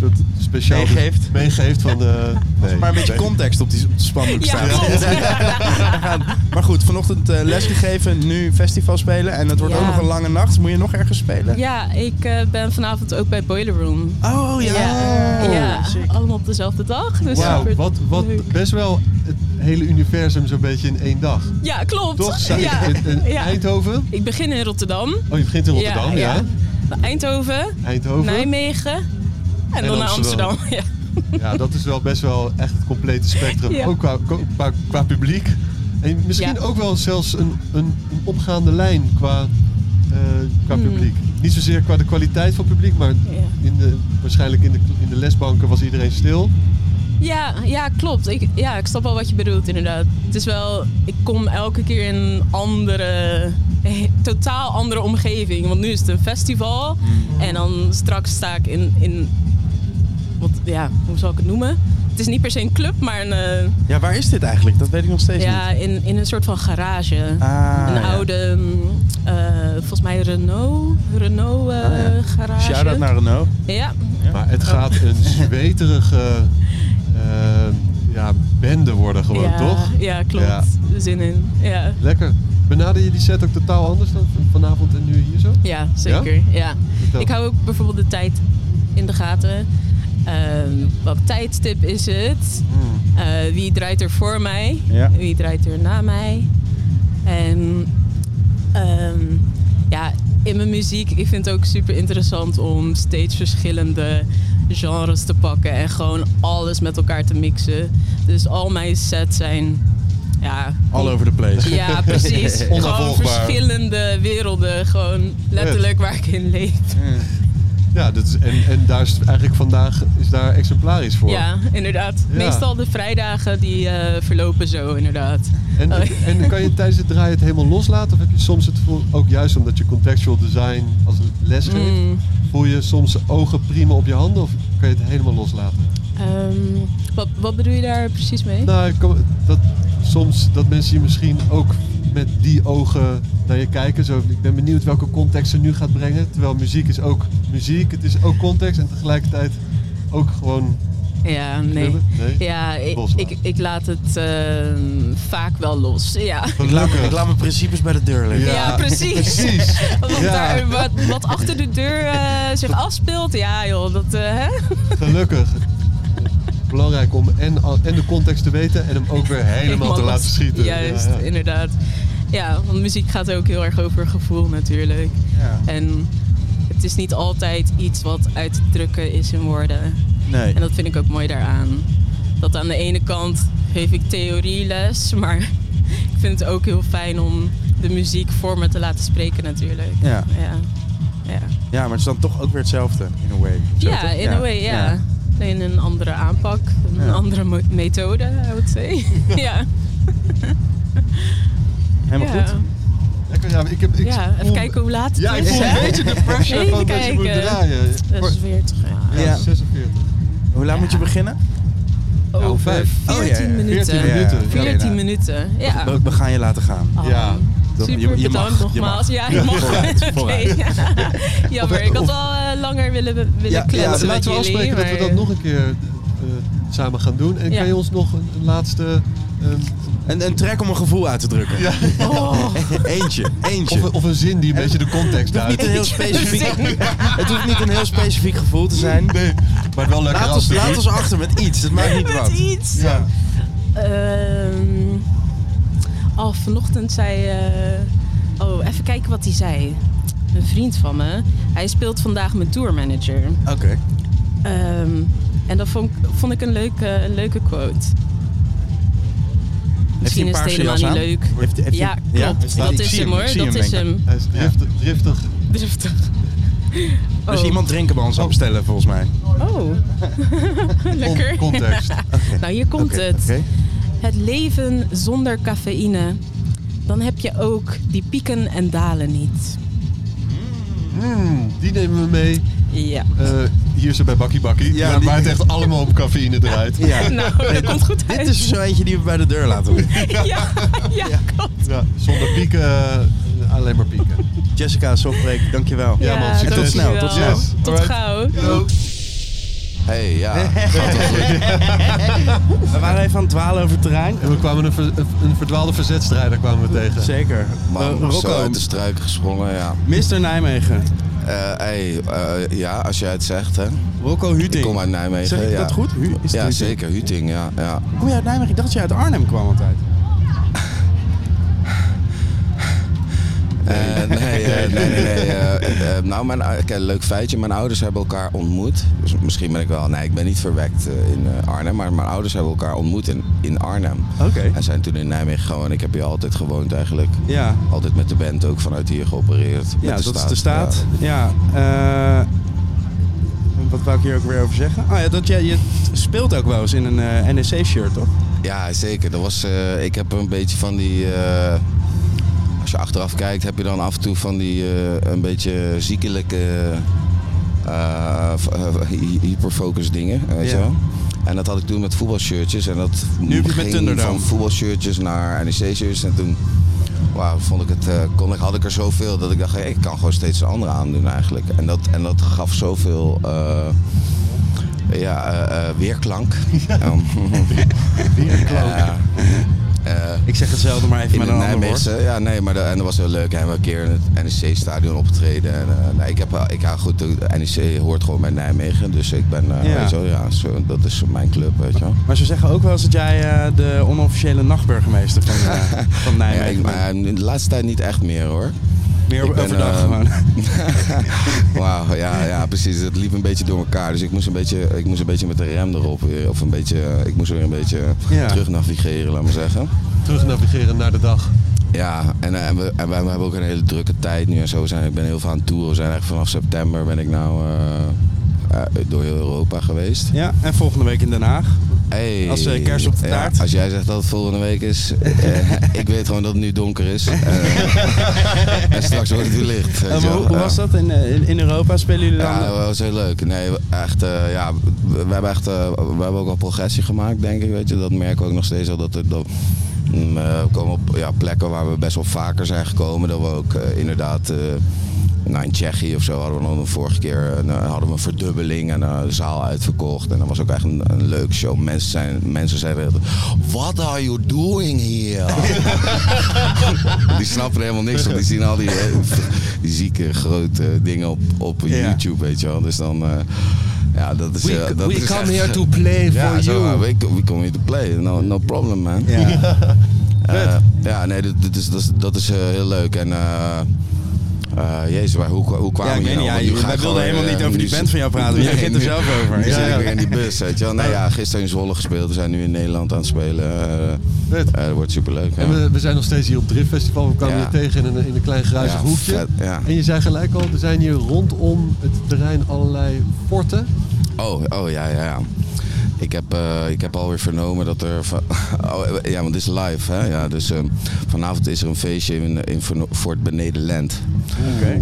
Speaker 2: soort speciaal
Speaker 1: Meegeeft.
Speaker 2: meegeeft van... eh nee,
Speaker 1: Maar een beetje
Speaker 2: nee.
Speaker 1: context op die op de spandoek
Speaker 9: Ja,
Speaker 1: staan.
Speaker 9: klopt.
Speaker 1: Maar goed, vanochtend eh, les lesgegeven, nu festival spelen. En het wordt
Speaker 9: Ja.
Speaker 1: ook nog een lange nacht. Moet je nog ergens spelen?
Speaker 9: Ja, ik eh, ben vanavond ook bij Boiler Room.
Speaker 1: Oh ja.
Speaker 9: ja.
Speaker 1: Oh,
Speaker 9: Ja,
Speaker 1: sick.
Speaker 9: allemaal op dezelfde dag. Dus
Speaker 2: Wauw,
Speaker 9: super
Speaker 2: wat, wat
Speaker 9: leuk.
Speaker 2: best wel het hele universum zo'n beetje in één dag.
Speaker 9: Ja, klopt.
Speaker 2: Toch? Zou-
Speaker 9: Ja.
Speaker 2: in- in
Speaker 9: Ja.
Speaker 2: Eindhoven?
Speaker 9: Ik begin in Rotterdam.
Speaker 2: Oh, je begint in Rotterdam, ja.
Speaker 9: Eindhoven,
Speaker 2: Eindhoven.
Speaker 9: Nijmegen en, dan naar
Speaker 2: Amsterdam.
Speaker 9: Amsterdam. Ja.
Speaker 2: Ja, dat is wel best wel echt het complete spectrum.
Speaker 9: Ja.
Speaker 2: Ook qua, ko- qua, qua publiek. En misschien
Speaker 9: Ja.
Speaker 2: ook wel zelfs een, een, een opgaande lijn qua, eh, qua
Speaker 9: Hmm.
Speaker 2: publiek. Niet zozeer qua de kwaliteit van het publiek, maar in de, waarschijnlijk in de, in de lesbanken was iedereen stil.
Speaker 9: Ja, ja, klopt. Ik, ja, ik snap wel wat je bedoelt inderdaad. Het is wel, ik kom elke keer in een andere, eh, totaal andere omgeving. Want nu is het een festival
Speaker 1: Mm.
Speaker 9: en dan straks sta ik in, in wat, ja, hoe zal ik het noemen? Het is niet per se een club, maar een, eh,
Speaker 1: Ja, waar is dit eigenlijk? Dat weet ik nog steeds
Speaker 9: ja,
Speaker 1: niet.
Speaker 9: in, in een soort van garage.
Speaker 1: Ah,
Speaker 9: een
Speaker 1: ja.
Speaker 9: oude, mm, eh, volgens mij Renault, Renault eh,
Speaker 1: Ah, ja.
Speaker 9: garage.
Speaker 1: Shout-out naar Renault.
Speaker 9: Ja,
Speaker 2: Maar het gaat een zweterige eh, ja, bende worden gewoon,
Speaker 9: ja,
Speaker 2: toch?
Speaker 9: Ja, klopt.
Speaker 2: Ja.
Speaker 9: Zin in. Ja,
Speaker 2: Lekker. Benader je die set ook totaal anders dan van- vanavond en nu hier zo?
Speaker 9: ja zeker. Ja? Ik hou ook bijvoorbeeld de tijd in de gaten. Ehm, wat tijdstip is het?
Speaker 1: Mm.
Speaker 9: Eh, wie draait er voor mij?
Speaker 1: Ja.
Speaker 9: Wie draait er na mij? En ehm, ja, in mijn muziek, ik vind het ook super interessant om steeds verschillende genres te pakken en gewoon alles met elkaar te mixen. Dus al mijn sets zijn ja,
Speaker 1: All over the place.
Speaker 9: Ja, precies. gewoon
Speaker 2: Onafvolgbaar.
Speaker 9: verschillende werelden. Gewoon letterlijk waar ik in leef.
Speaker 2: Ja, dat is, en, en daar is het eigenlijk vandaag is daar exemplarisch voor.
Speaker 9: Ja, inderdaad.
Speaker 2: Ja.
Speaker 9: Meestal de vrijdagen die eh, verlopen zo, inderdaad.
Speaker 2: En,
Speaker 9: Oh.
Speaker 2: en kan je tijdens het draaien het helemaal loslaten? Of heb je soms het gevoel, ook juist omdat je contextual design als les geeft,
Speaker 9: Mm.
Speaker 2: voel je soms ogen prima op je handen? Of kan je het helemaal loslaten?
Speaker 9: Ehm, wat, wat bedoel je daar precies mee?
Speaker 2: Nou, ik kom- dat, soms dat mensen je misschien ook met die ogen naar je kijken. Zo, ik ben benieuwd welke context ze nu gaat brengen. Terwijl muziek is ook muziek, het is ook context en tegelijkertijd ook gewoon
Speaker 9: Ja, nee.
Speaker 2: Willen? Nee? nou.
Speaker 9: Ja, ik,
Speaker 2: Loslaten.
Speaker 9: ik, ik laat het ehm, vaak wel los. Ja,
Speaker 5: Ik laat, ik laat mijn principes bij de deur liggen.
Speaker 9: ja. precies.
Speaker 2: precies.
Speaker 9: Want
Speaker 2: Ja.
Speaker 9: daar, wat, wat achter de deur eh, zich afspeelt, ja joh, dat... eh, hè?
Speaker 2: Gelukkig. Belangrijk om en, al- en de context te weten en hem ook weer helemaal te
Speaker 9: los.
Speaker 2: laten schieten.
Speaker 9: Juist,
Speaker 2: Ja, ja.
Speaker 9: inderdaad. Ja, want muziek gaat ook heel erg over gevoel natuurlijk.
Speaker 1: Ja.
Speaker 9: En het is niet altijd iets wat uit te drukken is in woorden.
Speaker 1: Nee.
Speaker 9: En dat vind ik ook mooi daaraan. Dat aan de ene kant geef ik theorieles, maar ik vind het ook heel fijn om de muziek voor me te laten spreken natuurlijk.
Speaker 1: Ja.
Speaker 9: Ja, ja.
Speaker 1: Ja, maar het is dan toch ook weer hetzelfde, in a way. Zo,
Speaker 9: Ja,
Speaker 1: toch?
Speaker 9: in a way, ja. Alleen een andere aanpak, een
Speaker 1: Ja.
Speaker 9: andere mo- methode, I would say. ja.
Speaker 1: Helemaal
Speaker 9: ja.
Speaker 1: goed.
Speaker 2: Lekker, ja, maar ik heb, ik
Speaker 9: Ja, even
Speaker 2: voel-
Speaker 9: kijken hoe laat het
Speaker 2: Ja, ik
Speaker 9: is.
Speaker 2: voel
Speaker 9: hè?
Speaker 2: een beetje de pressure
Speaker 9: Even
Speaker 2: van dat je moet
Speaker 9: kijken.
Speaker 2: draaien.
Speaker 9: Dat is weer terug.
Speaker 2: Ja,
Speaker 1: Ja.
Speaker 2: 46.
Speaker 1: Hoe laat moet je beginnen?
Speaker 9: Over
Speaker 2: Nou, vijf.
Speaker 9: 14
Speaker 1: Oh, ja, ja.
Speaker 9: eh, minuten.
Speaker 2: 14
Speaker 1: Ja.
Speaker 2: minuten. Ja.
Speaker 9: 14 minuten, ja.
Speaker 1: We, we gaan je laten gaan.
Speaker 9: Ah,
Speaker 2: Ja.
Speaker 1: Dat-
Speaker 9: Super
Speaker 1: je- je
Speaker 9: bedankt
Speaker 1: mag, je
Speaker 9: nogmaals.
Speaker 1: mag.
Speaker 9: Ja, je mag. Oké. Jammer, ik had wel eh, langer willen, willen
Speaker 1: ja,
Speaker 9: kletsen met
Speaker 2: Laten we
Speaker 9: jullie.
Speaker 2: afspreken dat we
Speaker 9: maar-
Speaker 2: dat nog een keer eh, samen gaan doen. En
Speaker 9: Ja.
Speaker 2: kan je ons nog een, een laatste... ehm,
Speaker 1: Een, een track om een gevoel uit te drukken.
Speaker 9: Oh,
Speaker 1: Eentje, eentje.
Speaker 2: of, een- of een zin die een beetje de context
Speaker 1: het, hoeft niet
Speaker 2: duidt.
Speaker 1: een heel specifiek, het hoeft niet een heel specifiek gevoel te zijn.
Speaker 2: Nee, maar wel lekker
Speaker 1: Laat
Speaker 2: als
Speaker 1: ons,
Speaker 2: het
Speaker 1: laat
Speaker 2: doet.
Speaker 1: ons achter met iets, het maakt niet
Speaker 9: met
Speaker 1: wat.
Speaker 9: iets.
Speaker 2: Ja.
Speaker 9: Ehm oh, vanochtend zei. eh, oh, even kijken wat hij zei. Een vriend van me. Hij speelt vandaag mijn tourmanager.
Speaker 1: Oké.
Speaker 9: Ehm, en dat vond, ik- vond ik een leuke, een leuke quote. Misschien is het
Speaker 1: een paarse
Speaker 9: helemaal
Speaker 1: jas
Speaker 9: niet
Speaker 1: aan?
Speaker 9: leuk.
Speaker 1: Heeft- heeft hij-
Speaker 9: Ja, klopt.
Speaker 1: Ik
Speaker 9: Dat is
Speaker 1: zie
Speaker 9: hem
Speaker 1: ik
Speaker 9: hoor.
Speaker 1: zie
Speaker 9: Dat is
Speaker 1: denk ik.
Speaker 9: hem.
Speaker 2: Hij is driftig. driftig.
Speaker 9: Driftig.
Speaker 1: Dus
Speaker 9: Oh.
Speaker 1: iemand drinken bij ons aan bestellen, volgens mij.
Speaker 9: Oh,
Speaker 2: Con-
Speaker 9: lekker.
Speaker 2: context.
Speaker 9: Nou, hier komt
Speaker 1: Oké,
Speaker 9: het.
Speaker 1: oké.
Speaker 9: Het leven zonder cafeïne. Dan heb je ook die pieken en dalen niet.
Speaker 2: Hmm, die nemen we mee.
Speaker 9: Ja.
Speaker 2: Eh, hier zo bij Bakkie Bakkie.
Speaker 1: Ja,
Speaker 2: waar-
Speaker 1: die-
Speaker 2: waar het echt allemaal om cafeïne draait.
Speaker 1: Ja.
Speaker 9: Nou, dat komt goed
Speaker 1: Dit
Speaker 9: uit.
Speaker 1: is zo eentje die we bij de deur laten horen.
Speaker 9: Ja, ja, klopt.
Speaker 2: Ja, zonder pieken, eh, alleen maar pieken.
Speaker 1: Jessica, Softbreak, dankjewel.
Speaker 2: Ja, man,
Speaker 1: Oh.
Speaker 2: succes.
Speaker 1: tot snel, tot
Speaker 9: dankjewel.
Speaker 2: snel.
Speaker 9: Tot
Speaker 2: Alright.
Speaker 9: gauw.
Speaker 10: Hey, ja.
Speaker 1: We waren even aan het dwalen over het terrein.
Speaker 2: En we kwamen een, ver- een verdwaalde verzetstrijder kwamen we tegen.
Speaker 1: Zeker.
Speaker 10: Man,
Speaker 1: Eh,
Speaker 10: zo
Speaker 1: Rocco,
Speaker 10: uit de struik gesprongen, ja.
Speaker 1: Mr. Nijmegen.
Speaker 10: Eh, hey, eh, ja, als jij het zegt, hè.
Speaker 1: Rocco Huting.
Speaker 10: Ik kom uit Nijmegen,
Speaker 1: Zeg ik
Speaker 10: ja.
Speaker 1: dat goed? Hu- is het
Speaker 10: Ja,
Speaker 1: Huting?
Speaker 10: zeker. Huting, ja. ja.
Speaker 1: Kom je uit Nijmegen? Ik dacht dat je uit Arnhem kwam altijd.
Speaker 10: Eh, nee, eh, nee, nee, nee. eh, eh, nou, mijn, oké, leuk feitje. Mijn ouders hebben elkaar ontmoet. Dus misschien ben ik wel... Nee, ik ben niet verwekt eh, in eh, Arnhem. Maar mijn ouders hebben elkaar ontmoet in, in Arnhem.
Speaker 1: Oké.
Speaker 10: En zijn toen in Nijmegen gewoon... Ik heb hier altijd gewoond eigenlijk.
Speaker 1: Ja.
Speaker 10: Altijd met de band ook vanuit hier geopereerd.
Speaker 1: Ja,
Speaker 10: Met
Speaker 1: dat is de staat. Ja. eh, wat wou ik hier ook weer over zeggen? Ah ja, dat jij je speelt ook wel eens in een eh, NEC-shirt, toch?
Speaker 10: Ja, Ja, zeker. Dat was, eh, ik heb een beetje van die... eh, als je achteraf kijkt, heb je dan af en toe van die eh, een beetje ziekelijke eh, v- eh, hy- hyperfocus dingen, weet
Speaker 1: Ja.
Speaker 10: je wel. En dat had ik toen met voetbalshirtjes. En dat
Speaker 1: Nu heb je het met
Speaker 10: ging
Speaker 1: Thunderdome.
Speaker 10: van voetbalshirtjes naar NEC-shirts. En toen wauw, vond ik het, eh, kon ik, had ik er zoveel dat ik dacht, hey, ik kan gewoon steeds een andere aandoen eigenlijk. En dat, en dat gaf zoveel eh, ja, eh, eh, weerklank. weerklank.
Speaker 1: Ik zeg hetzelfde, maar even
Speaker 10: Eh, In
Speaker 1: met
Speaker 10: de
Speaker 1: een ander woord.
Speaker 10: Nijmeegse, ja, nee, maar de- en dat was heel leuk. En we een keer in het NEC-stadion opgetreden. En, eh, nee, ik heb, wel- ik, ja, goed, de NEC hoort gewoon bij Nijmegen. Dus ik ben, eh,
Speaker 1: Ja.
Speaker 10: weet je wel, ja, zo, dat is mijn club, weet je wel.
Speaker 1: Maar ze zeggen ook wel eens dat jij eh, de onofficiële nachtburgemeester van, eh, van
Speaker 10: Ja,
Speaker 1: Nijmegen
Speaker 10: ik,
Speaker 1: bent.
Speaker 10: maar eh, de laatste tijd niet echt meer, hoor.
Speaker 1: Meer
Speaker 10: ik ben,
Speaker 1: overdag
Speaker 10: eh,
Speaker 1: gewoon.
Speaker 10: Wauw, ja, ja, precies. Het liep een beetje door elkaar. Dus ik moest een beetje, ik moest een beetje met de rem erop weer. Of een beetje, eh, ik moest weer een beetje
Speaker 1: Ja.
Speaker 10: terug navigeren, laat maar zeggen.
Speaker 2: Terug navigeren naar de dag.
Speaker 10: Ja, en, eh, en, we, en wij- we hebben ook een hele drukke tijd nu en zo. We zijn, ik ben heel veel aan het toeren. We zijn eigenlijk vanaf september ben ik nou eh, eh, door heel Europa geweest.
Speaker 1: Ja, en volgende week in Den Haag.
Speaker 10: Hey,
Speaker 1: Als, eh, kerst op de
Speaker 10: ja,
Speaker 1: taart.
Speaker 10: als jij zegt dat het volgende week is, eh, ik weet gewoon dat het nu donker is. Eh, en straks wordt het weer licht. weet
Speaker 1: Eh,
Speaker 10: je
Speaker 1: maar
Speaker 10: wel.
Speaker 1: hoe, hoe
Speaker 10: Ja.
Speaker 1: was dat? In, eh, in, in Europa spelen jullie dan?
Speaker 10: Ja, dat was heel leuk. Nee, echt, eh, ja, we, we hebben echt, eh, we hebben ook al progressie gemaakt, denk ik, weet je. Dat merken we ook nog steeds al, dat, er- dat, Mm, eh, we komen op ja, plekken waar we best wel vaker zijn gekomen. Dat we ook eh, inderdaad. eh, nou, in Tsjechië of zo hadden we dan de vorige keer een, eh, hadden we een verdubbeling en eh, de zaal uitverkocht. En dat was ook echt een, een leuke show. Mensen, zijn, mensen zeiden altijd, What are you doing here? die snappen er helemaal niks van. Die zien al die, eh, die zieke grote dingen op, op YouTube, weet je wel. Dus dan... eh, ja, dat is, eh, dat is echt-
Speaker 11: play
Speaker 10: ja, zo, eh, we, we come here to play. No, no problem, man.
Speaker 1: Ja.
Speaker 10: Eh, ja, nee, dat, dat is, dat is, dat is eh, heel leuk. En, eh eh jezus, waar, hoe, hoe kwamen
Speaker 1: Ja, ik
Speaker 10: we
Speaker 1: weet
Speaker 10: hier
Speaker 1: niet.
Speaker 10: nou? Want nu
Speaker 1: Ja, wij
Speaker 10: ga ik
Speaker 1: wilden
Speaker 10: gewoon,
Speaker 1: helemaal
Speaker 10: eh,
Speaker 1: niet over die
Speaker 10: nu
Speaker 1: band van jou praten, dus jij
Speaker 10: Nee,
Speaker 1: begint er
Speaker 10: nu-
Speaker 1: zelf over.
Speaker 10: Nu
Speaker 1: Ja,
Speaker 10: zit
Speaker 1: ja.
Speaker 10: ik weer in die bus, weet je wel. Nou ja, gisteren in Zwolle gespeeld. We zijn nu in Nederland aan het spelen. eh
Speaker 2: Vet.
Speaker 10: eh, dat wordt superleuk.
Speaker 2: En
Speaker 10: ja.
Speaker 2: we, we zijn nog steeds hier op Drift Festival. We kwamen
Speaker 10: Ja.
Speaker 2: hier tegen in een, in een klein
Speaker 10: Ja,
Speaker 2: gruizig hoekje.
Speaker 10: vet, ja.
Speaker 2: En je zei gelijk al, er zijn hier rondom het terrein allerlei forten.
Speaker 10: Oh, oh ja, ja, ja. Ik heb, eh, ik heb alweer vernomen dat er. van- oh, ja, want dit is live, hè? Ja, dus ehm, vanavond is er een feestje in, in Verno- Fort Benedenland. Oké.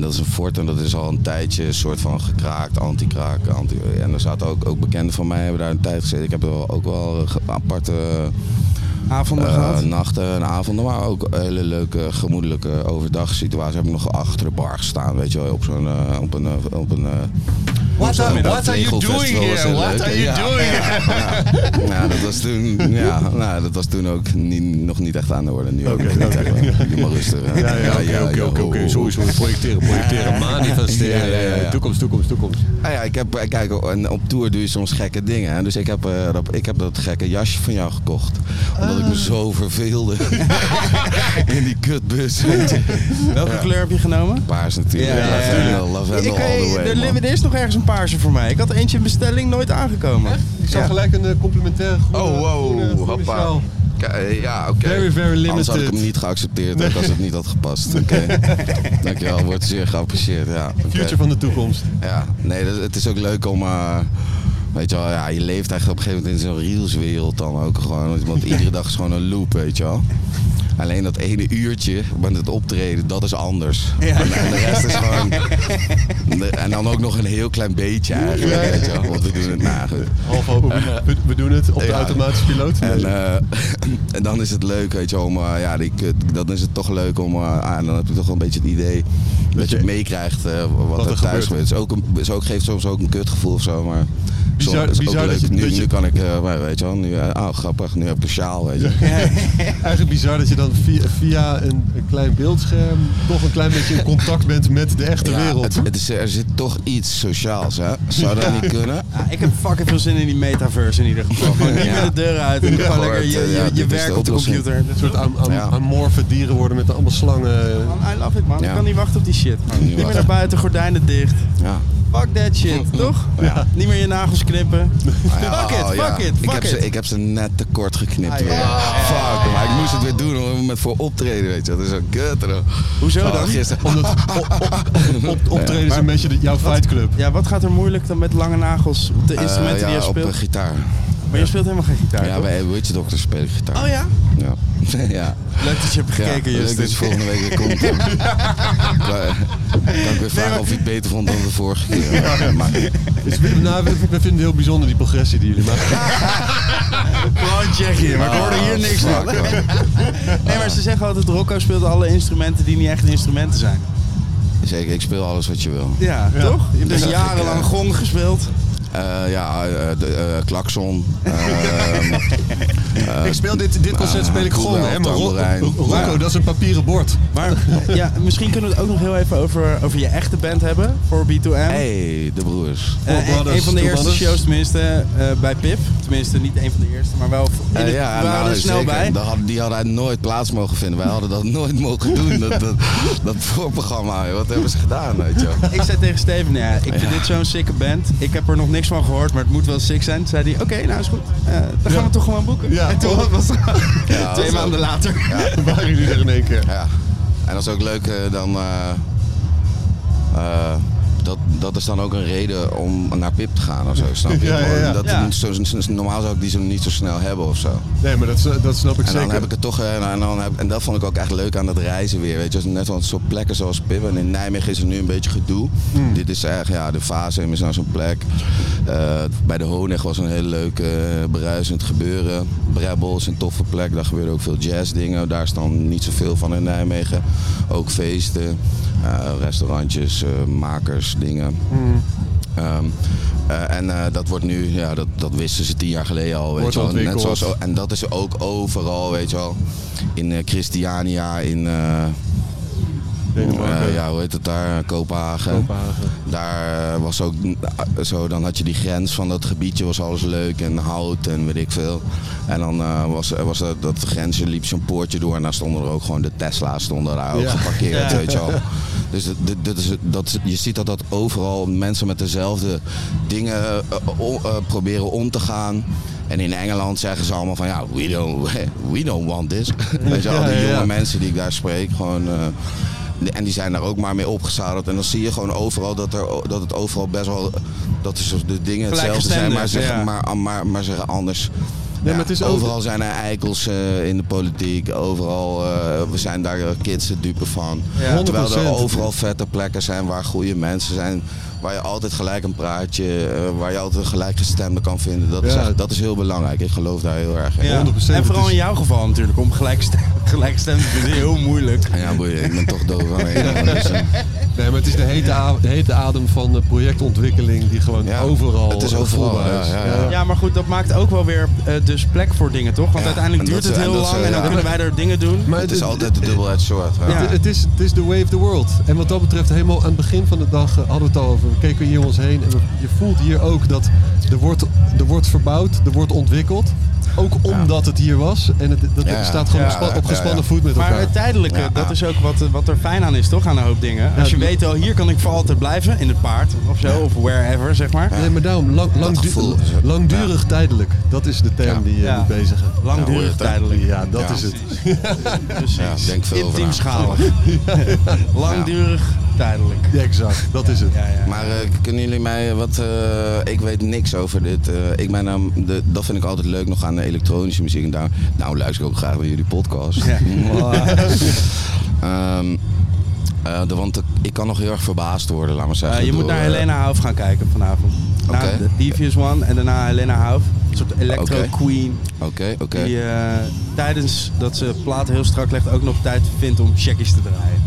Speaker 10: dat is een fort en dat is al een tijdje een soort van gekraakt, anti-kraak. Anti en er zaten ook, ook bekenden van mij, hebben daar een tijd gezeten. Ik heb er wel, ook wel ge- aparte.
Speaker 1: Avonden
Speaker 10: Eh,
Speaker 1: gehad.
Speaker 10: Nachten en avonden, maar ook hele leuke gemoedelijke overdag situaties. Heb ik nog achter de bar gestaan, weet je wel, op zo'n eh, op een eh, op een eh, op zo'n- op een regelfestival was heel leuk. Ja, ja, ja. Nou, dat was toen, ja, nou, dat was toen ook niet, nog niet echt aan de orde. Nu ook nog niet echt. hoor. Doe maar rustig. hè.
Speaker 11: nou, Ja, ja, oké, oké,
Speaker 10: joh,
Speaker 11: oké,
Speaker 10: ho, ho,
Speaker 11: oké. Sorry,
Speaker 10: ho.
Speaker 11: sorry. Projecteren, projecteren. Manifesteren. eh,
Speaker 10: Ja, ja, ja, ja.
Speaker 11: Toekomst, toekomst, toekomst.
Speaker 10: Nou ja, ik heb, kijk, en op tour doe je soms gekke dingen. Hè? Dus ik heb, eh, dat, ik heb dat gekke jasje van jou gekocht. Omdat ik
Speaker 11: Ah.
Speaker 10: me zo verveelde. In die kutbus.
Speaker 1: Welke kleur heb je genomen?
Speaker 10: Paars natuurlijk.
Speaker 1: Ja, ja,
Speaker 10: Lavendel,
Speaker 1: ja. Ik,
Speaker 10: lavendel all the
Speaker 1: eh,
Speaker 10: way,
Speaker 1: er,
Speaker 10: man.
Speaker 1: li- er is nog ergens een paarse voor mij. Ik had eentje in bestelling nooit aangekomen.
Speaker 2: Ik zag
Speaker 1: Ja.
Speaker 2: gelijk een eh, complimentaire groene,
Speaker 10: Oh,
Speaker 2: groene-
Speaker 10: wow.
Speaker 2: groene
Speaker 10: Hoppa.
Speaker 2: sjaal.
Speaker 10: K- eh, Ja, oké.
Speaker 2: Very, very
Speaker 10: Anders had ik
Speaker 2: limited.
Speaker 10: hem niet geaccepteerd ook als het niet had gepast. Oké. Dankjewel, wordt zeer geapprecieerd. Ja, oké.
Speaker 2: Future van de toekomst.
Speaker 10: Ja, nee, dat- het is ook leuk om. eh, weet je wel, ja, je leeft echt op een gegeven moment in zo'n reelswereld dan ook gewoon. Want- Want iedere dag is gewoon een loop, weet je wel. Alleen dat ene uurtje met het optreden, dat is anders. En, en de rest is gewoon. de- en dan ook nog een heel klein beetje eigenlijk, weet je wel. Want we doen het na. goed.
Speaker 2: Half open. eh, We, we doen het op de
Speaker 10: Ja.
Speaker 2: automatische piloot.
Speaker 10: En, eh, en dan is het leuk, weet je, wel, om, eh, ja, die kut- dan is het toch leuk om, eh, ah, en dan heb je toch wel een beetje het idee dat je meekrijgt eh, wat,
Speaker 2: er
Speaker 10: er thuis
Speaker 2: gebeurt.
Speaker 10: gebeurt. Is ook een, is ook, geeft soms ook een kutgevoel of zo, maar soms
Speaker 2: Bizar-
Speaker 10: is het
Speaker 2: bizar
Speaker 10: ook
Speaker 2: dat
Speaker 10: leuk.
Speaker 2: je-
Speaker 10: nu,
Speaker 2: dat je-
Speaker 10: nu kan ik, eh, maar weet je wel, nu, eh, oh grappig, nu heb ik een sjaal, weet je.
Speaker 2: Eigenlijk bizar dat je dan via, via een, een klein beeldscherm toch een klein beetje in contact bent met de echte
Speaker 10: Ja,
Speaker 2: wereld.
Speaker 10: het, het is, er zit toch iets sociaals, hè? Zou dat niet kunnen?
Speaker 1: Ja, ik heb fucking veel zin in die metaverse in ieder geval. Gewoon niet
Speaker 10: Ja.
Speaker 1: met de deur uit en gewoon
Speaker 10: Ja,
Speaker 1: lekker je,
Speaker 10: hoor, eh,
Speaker 1: je,
Speaker 10: ja,
Speaker 1: je
Speaker 10: dit is
Speaker 1: werk
Speaker 10: de
Speaker 1: op de
Speaker 10: oplossing.
Speaker 1: computer.
Speaker 2: Een soort am- am-
Speaker 10: Ja.
Speaker 2: amorfe dieren worden met allemaal slangen.
Speaker 1: Man, I love it man.
Speaker 10: Ja.
Speaker 1: Ik kan niet wachten op die shit. man.
Speaker 10: Niet
Speaker 1: Niet meer
Speaker 10: wachten.
Speaker 1: naar buiten, gordijnen dicht.
Speaker 10: Ja.
Speaker 1: Fuck that shit, toch?
Speaker 10: Ja.
Speaker 1: Niet meer je nagels knippen.
Speaker 10: Ah, ja,
Speaker 1: Fuck it,
Speaker 10: oh, ja.
Speaker 1: fuck it,
Speaker 10: ik,
Speaker 1: fuck
Speaker 10: heb
Speaker 1: it.
Speaker 10: Ze, ik heb ze net te kort geknipt
Speaker 1: Ah,
Speaker 10: weer.
Speaker 1: ja.
Speaker 10: Fuck, maar ik moest het weer doen om met voor optreden, weet je. Dat is zo kut. hoor.
Speaker 1: Hoezo
Speaker 10: Oh,
Speaker 1: dan?
Speaker 10: Gisteren.
Speaker 2: Omdat op, op, op, optreden is een beetje de- jouw fight club.
Speaker 1: Ja, wat gaat er moeilijk dan met lange nagels op de instrumenten
Speaker 10: Eh,
Speaker 1: die
Speaker 10: ja,
Speaker 1: je speelt?
Speaker 10: op een gitaar.
Speaker 1: Maar je speelt helemaal geen gitaar,
Speaker 10: Ja,
Speaker 1: toch?
Speaker 10: bij Witch Doctor speel ik gitaar.
Speaker 1: Oh ja?
Speaker 10: Ja. ja.
Speaker 1: Leuk dat je hebt
Speaker 10: Ja,
Speaker 1: gekeken,
Speaker 10: leuk
Speaker 1: Justin.
Speaker 10: dat je volgende week weer komt. Dan kan ik weer vragen
Speaker 1: maar-
Speaker 10: of je het beter vond dan de vorige keer. Ja, maar,
Speaker 2: Dus, we- nou, we, we vinden het heel bijzonder die progressie die jullie maken.
Speaker 1: Gewoon Tsjechië, maar ik hoorde hier niks
Speaker 10: fuck,
Speaker 2: Oh,
Speaker 1: van.
Speaker 10: hoor.
Speaker 1: Nee, maar ze zeggen altijd, Rocco speelt alle instrumenten die niet echt instrumenten zijn.
Speaker 10: Zeker, ik speel alles wat je wil.
Speaker 1: Ja, toch? Je hebt dus
Speaker 10: Ja.
Speaker 1: jarenlang gong gespeeld.
Speaker 10: Eh, ja, eh, de, eh, klakson. ehm,
Speaker 2: ik speel dit, dit concert
Speaker 10: ah,
Speaker 2: speel ik gewoon,
Speaker 10: Koewel,
Speaker 2: hè, maar Ro-
Speaker 10: Tamboerijn.
Speaker 2: Rocco,
Speaker 10: Ja.
Speaker 2: dat is een papieren bord.
Speaker 1: Maar eh, ja, misschien kunnen we het ook nog heel even over, over je echte band hebben voor B2M.
Speaker 10: hey, de broers.
Speaker 1: Eh,
Speaker 2: Four Brothers,
Speaker 1: een van de
Speaker 2: Two
Speaker 1: eerste
Speaker 2: Brothers.
Speaker 1: shows tenminste eh, bij Pip. Tenminste, niet een van de eerste, maar wel. in
Speaker 10: Eh,
Speaker 1: het- we waren
Speaker 10: nou,
Speaker 1: er snel
Speaker 10: zeker.
Speaker 1: bij.
Speaker 10: Dat had- die hadden nooit plaats mogen vinden. Wij hadden dat nooit mogen doen. Dat, dat, dat voorprogramma, wat hebben ze gedaan? Weet je? wel?
Speaker 1: Ik zei tegen Steven, nou ja, ik vind
Speaker 10: Ja.
Speaker 1: dit zo'n sicke band. Ik heb er nog niks van gehoord, maar het moet wel sick zijn. Toen zei hij, oké, nou is goed. Eh, dan gaan we toch gewoon boeken.
Speaker 2: Ja,
Speaker 1: en toen
Speaker 2: toch?
Speaker 1: was het
Speaker 10: Ja,
Speaker 1: twee
Speaker 10: was
Speaker 1: maanden later.
Speaker 2: Dan waren jullie er in één keer.
Speaker 10: Ja. En dat is ook leuk eh, dan. eh, eh, dat, dat is dan ook een reden om naar Pip te gaan of zo, snap je?
Speaker 2: Ja, ja, ja.
Speaker 10: Dat,
Speaker 2: Ja.
Speaker 10: niet zo- zo- zo- normaal zou ik die zo niet zo snel hebben of zo.
Speaker 2: Nee, maar dat, s- dat snap ik
Speaker 10: En dan
Speaker 2: zeker.
Speaker 10: heb ik het toch, eh, en, dan heb, en dat vond ik ook echt leuk aan het reizen weer. Weet je, Dus net zo'n soort plekken zoals Pip. En in Nijmegen is er nu een beetje gedoe.
Speaker 2: Hmm.
Speaker 10: Dit is echt, ja, de fase is nou zo'n plek. Eh, bij de Honeg was een heel leuk eh, bruisend gebeuren. Brebbel is een toffe plek, daar gebeuren ook veel jazzdingen. Daar is dan niet zoveel van in Nijmegen. Ook feesten, eh, restaurantjes, eh, makers, dingen.
Speaker 2: Mm.
Speaker 10: Ehm, eh, en eh, dat wordt nu, ja, dat, dat wisten ze tien jaar geleden al. Weet
Speaker 2: Wordt
Speaker 10: je wel. Net
Speaker 2: ontwikkeld.
Speaker 10: zoals, en dat is ook overal, weet je wel. In eh, Christiania, in. eh, eh, ja, hoe heet het daar? Kopenhagen. Daar eh, was ook eh, zo, dan had je die grens van dat gebiedje, was alles leuk en hout en weet ik veel. En dan eh, was, was dat, dat grensje, liep zo'n poortje door en daar stonden er ook gewoon de Tesla's stonden daar ook
Speaker 2: Ja.
Speaker 10: geparkeerd,
Speaker 2: Ja.
Speaker 10: weet je wel. Dus dit- dit, dit is, dat, is- je ziet dat dat overal mensen met dezelfde dingen eh, o- eh, proberen om te gaan. En in Engeland zeggen ze allemaal van ja, we don't, we don't want this. Weet je wel,
Speaker 2: Ja,
Speaker 10: die
Speaker 2: ja,
Speaker 10: jonge
Speaker 2: ja.
Speaker 10: mensen die ik daar spreek, gewoon... eh, en die zijn daar ook maar mee opgezadeld. En dan zie je gewoon overal dat, er, o- dat het overal best wel... Dat is de dingen hetzelfde zijn, maar,
Speaker 1: Gelijkgestemd,
Speaker 10: zeggen,
Speaker 1: ja.
Speaker 10: maar, Ah, maar, maar zeggen anders.
Speaker 2: Nee,
Speaker 10: Ja,
Speaker 2: maar het is ook-
Speaker 10: overal zijn er eikels eh, in de politiek. Overal eh, we zijn daar eh, kids de dupe van.
Speaker 2: Ja.
Speaker 10: Terwijl er
Speaker 2: 100%.
Speaker 10: overal vette plekken zijn waar goede mensen zijn. Waar je altijd gelijk een praatje, eh, waar je altijd een gelijkgestemde kan vinden. Dat, is
Speaker 2: Ja.
Speaker 10: echt, dat is heel belangrijk. Ik geloof daar heel erg in.
Speaker 1: Ja.
Speaker 2: 100%,
Speaker 1: En vooral
Speaker 2: het is-
Speaker 1: in jouw geval natuurlijk, om gelijkstem- gelijkstemmen te vinden, heel moeilijk.
Speaker 10: Ja, boeien, ik ben toch doof aan de ene. Dus, eh,
Speaker 2: Nee, maar het is de hete, a- de hete adem van de projectontwikkeling die gewoon
Speaker 10: Ja,
Speaker 2: overal
Speaker 10: het is overal,
Speaker 2: voelbaar
Speaker 10: ja,
Speaker 2: is.
Speaker 10: ja, ja.
Speaker 1: Ja, maar goed, dat maakt ook wel weer eh, dus plek voor dingen, toch? Want
Speaker 10: Ja,
Speaker 1: uiteindelijk
Speaker 10: en
Speaker 1: duurt
Speaker 10: dat
Speaker 1: het
Speaker 2: eh,
Speaker 10: ze- en
Speaker 1: heel
Speaker 10: dat
Speaker 1: lang
Speaker 10: ze-
Speaker 1: en dan
Speaker 10: ja.
Speaker 1: kunnen wij er dingen doen.
Speaker 2: Maar
Speaker 10: het is altijd de dubbel-edged sword. hè.
Speaker 1: Ja.
Speaker 2: Het, het is, het is the way of the world. En wat dat betreft, helemaal aan het begin van de dag eh, hadden we het al over. We keken hier om ons heen en we- je voelt hier ook dat er wordt, er wordt verbouwd, er wordt ontwikkeld. Ook omdat het hier was. En het, dat
Speaker 10: Ja.
Speaker 2: staat gewoon
Speaker 10: Ja,
Speaker 2: op spa-
Speaker 10: ja,
Speaker 2: op
Speaker 10: ja,
Speaker 2: gespannen
Speaker 10: ja.
Speaker 2: voet met elkaar.
Speaker 1: Maar het tijdelijke,
Speaker 10: Ja.
Speaker 1: dat is ook wat, eh, wat er fijn aan is, toch? Aan een hoop dingen. Als je
Speaker 2: die-
Speaker 1: weet, al hier kan ik voor altijd blijven, in het paard of zo, of wherever, zeg maar.
Speaker 2: Nee, maar daarom, lang, lang,
Speaker 10: gevoel is het.
Speaker 2: langdurig tijdelijk. Dat is de term
Speaker 10: Ja.
Speaker 2: die je
Speaker 1: Ja.
Speaker 2: moet bezigen.
Speaker 10: Ja, hoor je
Speaker 1: Langdurig
Speaker 10: het, hè?
Speaker 1: tijdelijk.
Speaker 2: Ja, dat
Speaker 10: Ja.
Speaker 2: is het.
Speaker 1: Precies.
Speaker 10: Ja, denk veel over
Speaker 1: Intiem
Speaker 10: na.
Speaker 1: schalig. Langdurig, tijdelijk.
Speaker 2: Ja, exact. Dat is het.
Speaker 1: Ja, ja.
Speaker 10: Maar eh, kunnen jullie mij eh, wat. eh, ik weet niks over dit. eh, ik ben, ehm, de, dat vind ik altijd leuk nog aan de elektronische muziek. En daar, nou, luister ik ook graag naar jullie podcast.
Speaker 1: Ja.
Speaker 10: Ehm, eh, de- want ik kan nog heel erg verbaasd worden, laat maar zeggen.
Speaker 1: Eh, je moet
Speaker 10: door,
Speaker 1: naar
Speaker 10: eh,
Speaker 1: Helena Hauf gaan kijken vanavond. Na
Speaker 10: Oké.
Speaker 1: de Devious One en daarna Helena Hauf. Een soort electro
Speaker 10: Oké.
Speaker 1: queen.
Speaker 10: Oké, oké.
Speaker 1: Die eh, tijdens dat ze plaat heel strak legt ook nog tijd vindt om checkies te draaien.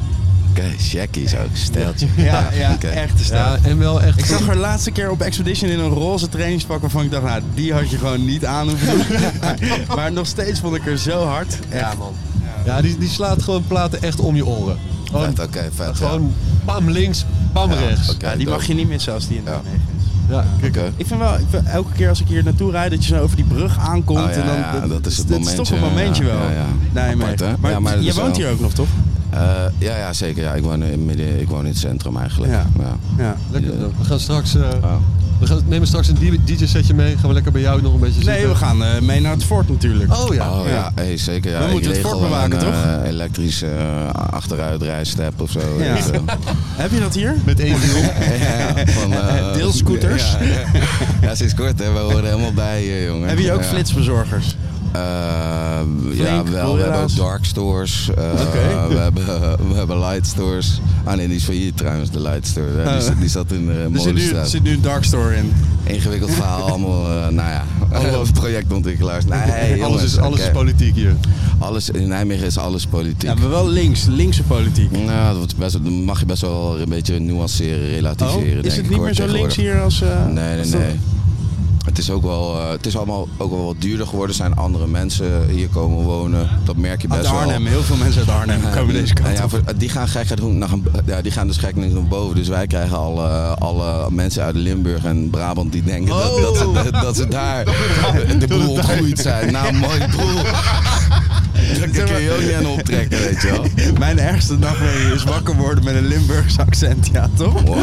Speaker 10: Oké, checkies ook. Steltje.
Speaker 1: Ja, ja
Speaker 10: oké.
Speaker 1: echt te staan.
Speaker 2: Ja, en wel echt.
Speaker 1: Ik zag haar laatste keer op Expedition in een roze trainingspak waarvan ik dacht, nou, die had je gewoon niet aan hoeven doen. maar nog steeds vond ik haar zo hard. Ja, man.
Speaker 2: Ja, die, die slaat gewoon platen echt om je oren. Gewoon,
Speaker 10: Vet, oké, vet.
Speaker 2: gewoon pam links, pam
Speaker 10: ja.
Speaker 2: rechts.
Speaker 10: Oké,
Speaker 1: Ja, die
Speaker 10: dope.
Speaker 1: mag je niet missen als die in
Speaker 10: Ja.
Speaker 1: Nijmegen is.
Speaker 2: Ja, kijk.
Speaker 10: Oké.
Speaker 1: Ik vind wel, ik vind elke keer als ik hier naartoe rijd, dat je zo over die brug aankomt.
Speaker 10: Oh, ja,
Speaker 1: en dan,
Speaker 10: ja, dat is het
Speaker 1: is toch een
Speaker 10: momentje,
Speaker 1: momentje
Speaker 10: ja,
Speaker 1: wel.
Speaker 10: ja, ja.
Speaker 1: Nijmegen.
Speaker 10: Apart, hè?
Speaker 1: maar,
Speaker 10: Ja, maar dat
Speaker 1: je
Speaker 10: is
Speaker 1: woont
Speaker 10: wel-
Speaker 1: hier ook nog, toch?
Speaker 10: Eh, ja, ja, zeker. Ja. Ik, woon in midden, ik woon in het centrum eigenlijk.
Speaker 1: Ja.
Speaker 10: Ja.
Speaker 1: Ja.
Speaker 2: Lekker. We gaan straks. eh,
Speaker 10: Ah.
Speaker 2: we gaan, nemen straks een DJ-setje mee. Gaan we lekker bij jou nog een beetje
Speaker 1: Nee,
Speaker 2: zitten.
Speaker 1: we gaan eh, mee naar het fort natuurlijk.
Speaker 2: Oh ja.
Speaker 10: Oh ja,
Speaker 1: Ja.
Speaker 10: hey, zeker. Ja.
Speaker 1: We
Speaker 10: ik
Speaker 1: moeten het
Speaker 10: regel
Speaker 1: fort bewaken,
Speaker 10: een,
Speaker 1: toch?
Speaker 10: eh, elektrische eh, achteruitrijstep of zo. Dus, eh,
Speaker 1: Ja.
Speaker 10: weet je wel.
Speaker 1: Heb je dat hier?
Speaker 2: Met één wiel.
Speaker 10: Ja, ja, van, eh,
Speaker 1: Deelscooters.
Speaker 10: Ja, ja. Ja, sinds kort, hè. we horen helemaal bij je, jongen.
Speaker 1: Heb je ook
Speaker 10: ja.
Speaker 1: flitsbezorgers?
Speaker 10: Eh, ja, wel. We hebben
Speaker 1: Gorilla's?
Speaker 10: ook dark stores. eh,
Speaker 1: Oké.
Speaker 10: we, hebben, we hebben light stores. Ah nee, die is failliet trouwens, de light store. Eh, Die,
Speaker 1: Oh.
Speaker 10: zat- die zat in de
Speaker 1: Er zit nu, er
Speaker 10: Molenstraat.
Speaker 1: zit nu een dark store in.
Speaker 10: Ingewikkeld verhaal, allemaal, eh, nou ja, projectontwikkelaars. Nee,
Speaker 2: alles
Speaker 10: jongens,
Speaker 2: is, alles
Speaker 10: oké.
Speaker 2: is politiek hier.
Speaker 10: Alles- in Nijmegen is alles politiek.
Speaker 1: Ja, maar wel links, linkse politiek.
Speaker 10: Nou, dat wordt best, dan mag je best wel een beetje nuanceren,
Speaker 1: Oh,
Speaker 10: relativeren. denk
Speaker 1: is
Speaker 10: ik,
Speaker 1: het niet
Speaker 10: hoor,
Speaker 1: meer zo links
Speaker 10: tegenwoordig.
Speaker 1: hier als... eh,
Speaker 10: Nee, nee,
Speaker 1: als dat-
Speaker 10: nee. Het is ook wel, eh, het is allemaal ook wel wat duurder geworden. Er zijn andere mensen hier komen wonen. Dat merk je best
Speaker 1: Uit
Speaker 10: wel.
Speaker 1: Ah, Arnhem, heel veel mensen uit Arnhem komen deze
Speaker 10: En
Speaker 1: kant
Speaker 10: ja,
Speaker 1: op.
Speaker 10: voor- eh, die gaan gek naar, ja, die gaan dus gek naar boven. Dus wij krijgen al eh, alle mensen uit Limburg en Brabant die denken
Speaker 1: Oh.
Speaker 10: dat, dat, ze, dat ze daar de boel ontgroeid zijn. Nou, mooi boel. Dat kun je ook niet aan optrekken, weet je wel.
Speaker 1: Mijn ergste nachtmerrie is wakker worden met een Limburgs accent, ja toch?
Speaker 10: Wauw.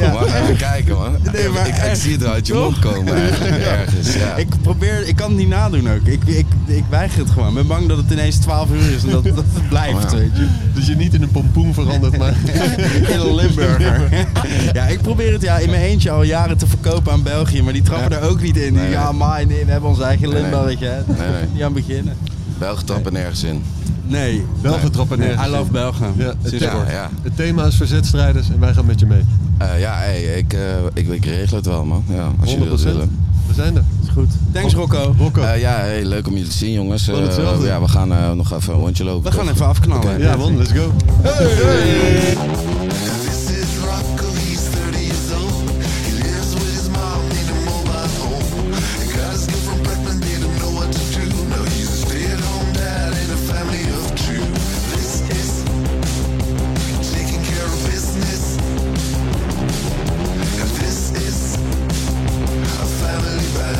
Speaker 1: Ja.
Speaker 10: Wacht even kijken, man.
Speaker 1: Nee, maar
Speaker 10: ik, ik
Speaker 1: echt,
Speaker 10: zie het uit je
Speaker 1: toch?
Speaker 10: mond komen eigenlijk ergens. Ja.
Speaker 1: Ik probeer, ik kan het niet nadoen ook. Ik, ik, ik weiger het gewoon. Ik ben bang dat het ineens 12 uur is en dat, dat het blijft,
Speaker 10: Oh ja.
Speaker 1: weet je.
Speaker 2: Dus je niet in een pompoen verandert, maar...
Speaker 1: In een Limburger. Ja, ik probeer het ja, in mijn eentje al jaren te verkopen aan België, maar die trappen er ook niet in. Die,
Speaker 10: Nee,
Speaker 1: ja,
Speaker 10: nee.
Speaker 1: maar nee, we hebben ons eigen
Speaker 10: Nee, nee.
Speaker 1: Limburgetje. hè.
Speaker 10: Nee, nee.
Speaker 1: Niet aan beginnen.
Speaker 10: Belgen trappen nergens in.
Speaker 1: Nee.
Speaker 2: Belgen trappen
Speaker 1: Nee,
Speaker 2: nergens
Speaker 1: I love
Speaker 2: in.
Speaker 1: Belgen.
Speaker 2: Ja, het,
Speaker 1: Sinds
Speaker 2: thema-
Speaker 10: Ja, ja.
Speaker 2: het thema is verzetstrijders en wij gaan met je mee.
Speaker 10: Eh, ja, hey, ik, eh, ik, ik regel het wel, man. Ja, als jullie dat
Speaker 2: 100%.
Speaker 10: willen.
Speaker 2: We zijn er.
Speaker 1: is goed. Thanks Rocco.
Speaker 2: Rocco.
Speaker 10: Eh, ja, hey, leuk om jullie te zien, jongens.
Speaker 2: Gewoon
Speaker 10: Eh,
Speaker 2: hetzelfde.
Speaker 10: ja, we gaan eh, nog even een rondje lopen.
Speaker 1: We gaan
Speaker 10: toch?
Speaker 1: even afknallen.
Speaker 10: Oké.
Speaker 2: ja man, let's go.
Speaker 12: This is Rocco, he's 30 years old. He lives with his mom in a mobile home. And got his girl from Brooklyn, didn't know what to do. Now he's a stay-at-home dad in a family of two. This is taking care of business. And this is a family band.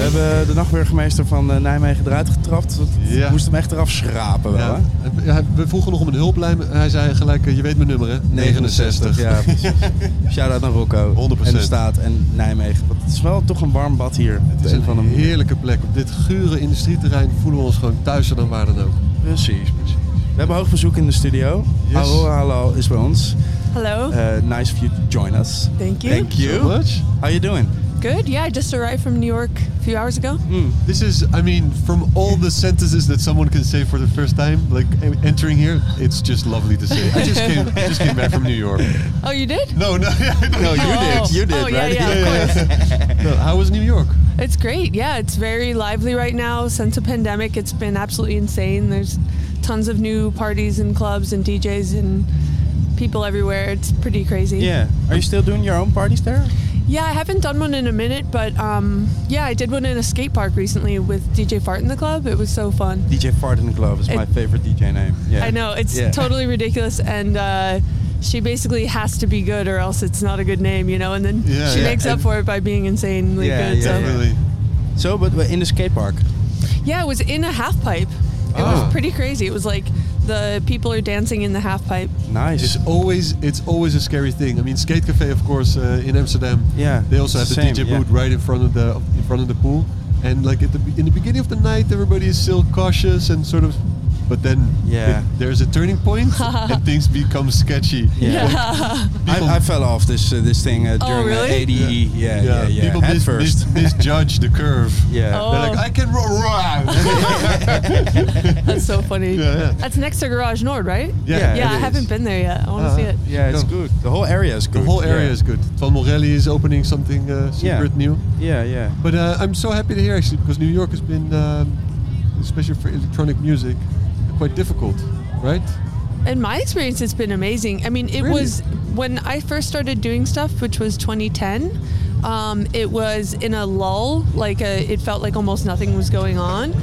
Speaker 1: We hebben de nachtburgemeester van eh, Nijmegen eruit getrapt. We
Speaker 2: Ja.
Speaker 1: moesten hem echt eraf schrapen wel,
Speaker 2: Ja.
Speaker 1: hè?
Speaker 2: Hij- We vroegen nog om een hulplijn. Hij zei gelijk, eh, je weet mijn nummer hè? 69.
Speaker 1: Ja, precies. Shout-out naar Rocco.
Speaker 2: 100%.
Speaker 1: En de staat en Nijmegen. Want het is wel toch een warm bad hier.
Speaker 2: Het is een heerlijke plek. Op dit gure industrieterrein voelen we ons gewoon thuiser dan waar dan ook.
Speaker 1: Precies, precies. We hebben hoog bezoek in de studio.
Speaker 2: Yes.
Speaker 1: Aurora Hallo is bij ons.
Speaker 13: Hello.
Speaker 1: Eh, nice of you to join us.
Speaker 13: Oh. Thank you.
Speaker 1: Thank you.
Speaker 2: So much.
Speaker 1: How you doing?
Speaker 13: Good. Yeah, I just arrived from New York a few hours ago.
Speaker 2: This is, I mean, from all the sentences that someone can say for the first time, like em- entering here, it's just lovely to say. I just came, I just came back from New York.
Speaker 13: Oh, you did?
Speaker 2: No, no, no,
Speaker 13: you Oh. did. You did, Oh, yeah, right? yeah, of
Speaker 2: No, how was New York?
Speaker 13: It's great. Yeah, it's very lively right now. Since the pandemic, it's been absolutely insane. There's tons of new parties and clubs and DJs and people everywhere. It's pretty crazy.
Speaker 1: Yeah. Are you still doing your own parties there?
Speaker 13: Yeah, I haven't done one in a minute, but um, yeah, I did one in a skate park recently with DJ Fart in the club. It was so fun.
Speaker 1: DJ Fart in the Glove is my
Speaker 13: It-
Speaker 1: favorite DJ name. Yeah.
Speaker 13: I know it's
Speaker 1: Yeah.
Speaker 13: totally ridiculous, and uh, she basically has to be good, or else it's not a good name, you know. And then
Speaker 2: Yeah,
Speaker 13: she
Speaker 2: yeah,
Speaker 13: makes up
Speaker 1: and-
Speaker 13: for it by being insanely
Speaker 1: Yeah,
Speaker 13: good.
Speaker 1: yeah,
Speaker 13: so.
Speaker 2: Definitely.
Speaker 1: So, but we're in the skate park.
Speaker 13: Yeah, it was in a half pipe. It
Speaker 2: Ah.
Speaker 13: was pretty crazy. It was like the people are dancing in the half pipe.
Speaker 1: Nice.
Speaker 2: It's always it's always a scary thing. I mean, skate cafe, of course, uh, in Amsterdam.
Speaker 1: Yeah,
Speaker 2: They also have
Speaker 1: it's
Speaker 2: the
Speaker 1: the same,
Speaker 2: DJ
Speaker 1: yeah.
Speaker 2: booth right in front of the in front of the pool, and like at the be- in the beginning of the night, everybody is still cautious and sort of, but then
Speaker 1: Yeah.
Speaker 2: it- there's a turning point and things become sketchy.
Speaker 1: Yeah.
Speaker 2: People-
Speaker 1: I, I fell off this uh, this thing uh,
Speaker 13: Oh,
Speaker 1: during
Speaker 13: really?
Speaker 1: uh, ADE. Yeah, yeah, yeah.
Speaker 2: People
Speaker 1: Head
Speaker 2: mis-
Speaker 1: first.
Speaker 2: mis- misjudge the curve.
Speaker 1: yeah.
Speaker 13: Oh.
Speaker 2: They're like, I can roll around.
Speaker 13: That's so funny.
Speaker 2: Yeah, yeah.
Speaker 13: That's next to Garage Nord, right?
Speaker 1: Yeah,
Speaker 13: Yeah,
Speaker 1: it
Speaker 13: I
Speaker 1: is.
Speaker 13: haven't been there yet. I want to
Speaker 2: Uh-huh.
Speaker 13: see it.
Speaker 1: Yeah, it's
Speaker 2: No.
Speaker 1: good. The whole area is
Speaker 2: The
Speaker 1: good.
Speaker 2: whole area
Speaker 1: yeah.
Speaker 2: is good. Van Morelli is opening something uh,
Speaker 1: Yeah.
Speaker 2: secret new.
Speaker 1: Yeah, yeah.
Speaker 2: But uh, I'm so happy to hear actually because New York has been, um, especially for electronic music, quite difficult, right?
Speaker 13: In my experience, it's been amazing. I mean, it
Speaker 2: Really?
Speaker 13: was when I first started doing stuff, which was 2010. Um, it was in a lull, like a, it felt like almost nothing was going on,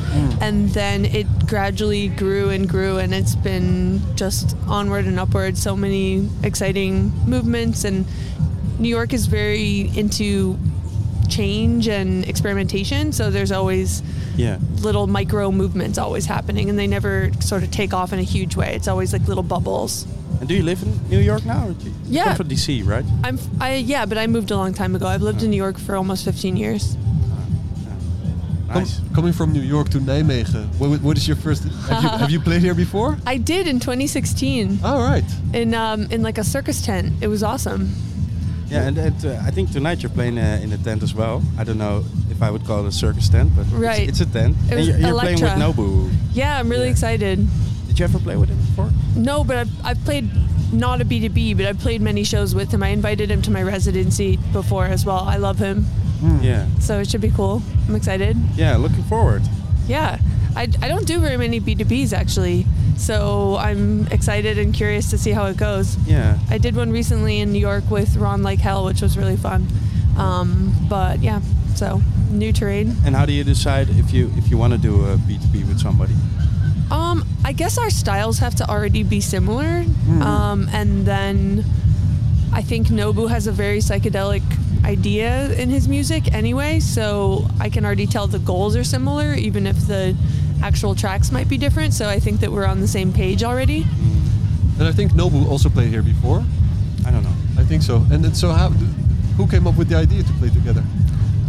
Speaker 13: and then it gradually grew and grew, and it's been just onward and upward. So many exciting movements, and New York is very into change and experimentation. So there's always
Speaker 1: Yeah.
Speaker 13: little micro movements always happening and they never sort of take off in a huge way it's always like little bubbles
Speaker 1: And do you live in New York now? Or do you you
Speaker 13: Yeah.
Speaker 1: Come from DC, right?
Speaker 13: i'm i yeah but i moved a long time ago i've lived in new york for almost 15 years
Speaker 2: Com-
Speaker 1: Nice.
Speaker 2: coming from New York to Nijmegen, what, what is your first? Have you, have you played here before?
Speaker 13: i did in 2016
Speaker 2: All right.
Speaker 13: in um in like a circus tent it was awesome
Speaker 1: Yeah, and it, uh, I think tonight you're playing uh, in a tent as well. I don't know if I would call it a circus tent, but it's-
Speaker 13: Right.
Speaker 1: it's, a tent.
Speaker 13: It
Speaker 1: and
Speaker 13: was
Speaker 1: you're, you're playing with
Speaker 13: Elektra.
Speaker 1: Nobu.
Speaker 13: yeah i'm really excited
Speaker 1: Did you ever play with him before?
Speaker 13: no but I've, I've played not a b2b but i've played many shows with him i invited him to my residency before as well i love him
Speaker 1: Yeah.
Speaker 13: so it should be cool i'm excited
Speaker 1: Yeah, looking forward.
Speaker 13: Yeah, I, I don't do very many B2Bs actually, so I'm excited and curious to see how it goes.
Speaker 1: Yeah.
Speaker 13: I did one recently in New York with Ron Like Hell, which was really fun. Um, but yeah, so new terrain.
Speaker 1: And how do you decide if you if you want to do a B2B with somebody?
Speaker 13: Um, I guess our styles have to already be similar.
Speaker 2: Hmm.
Speaker 12: Mhm.
Speaker 13: Um, and then I think Nobu has a very psychedelic idea in his music anyway, so I can already tell the goals are similar, even if the actual tracks might be different. So I think that we're on the same page already.
Speaker 2: Hmm. And I think Nobu also played here before.
Speaker 1: I don't know.
Speaker 2: I think so. And then, so how? Who came up with the idea to play together?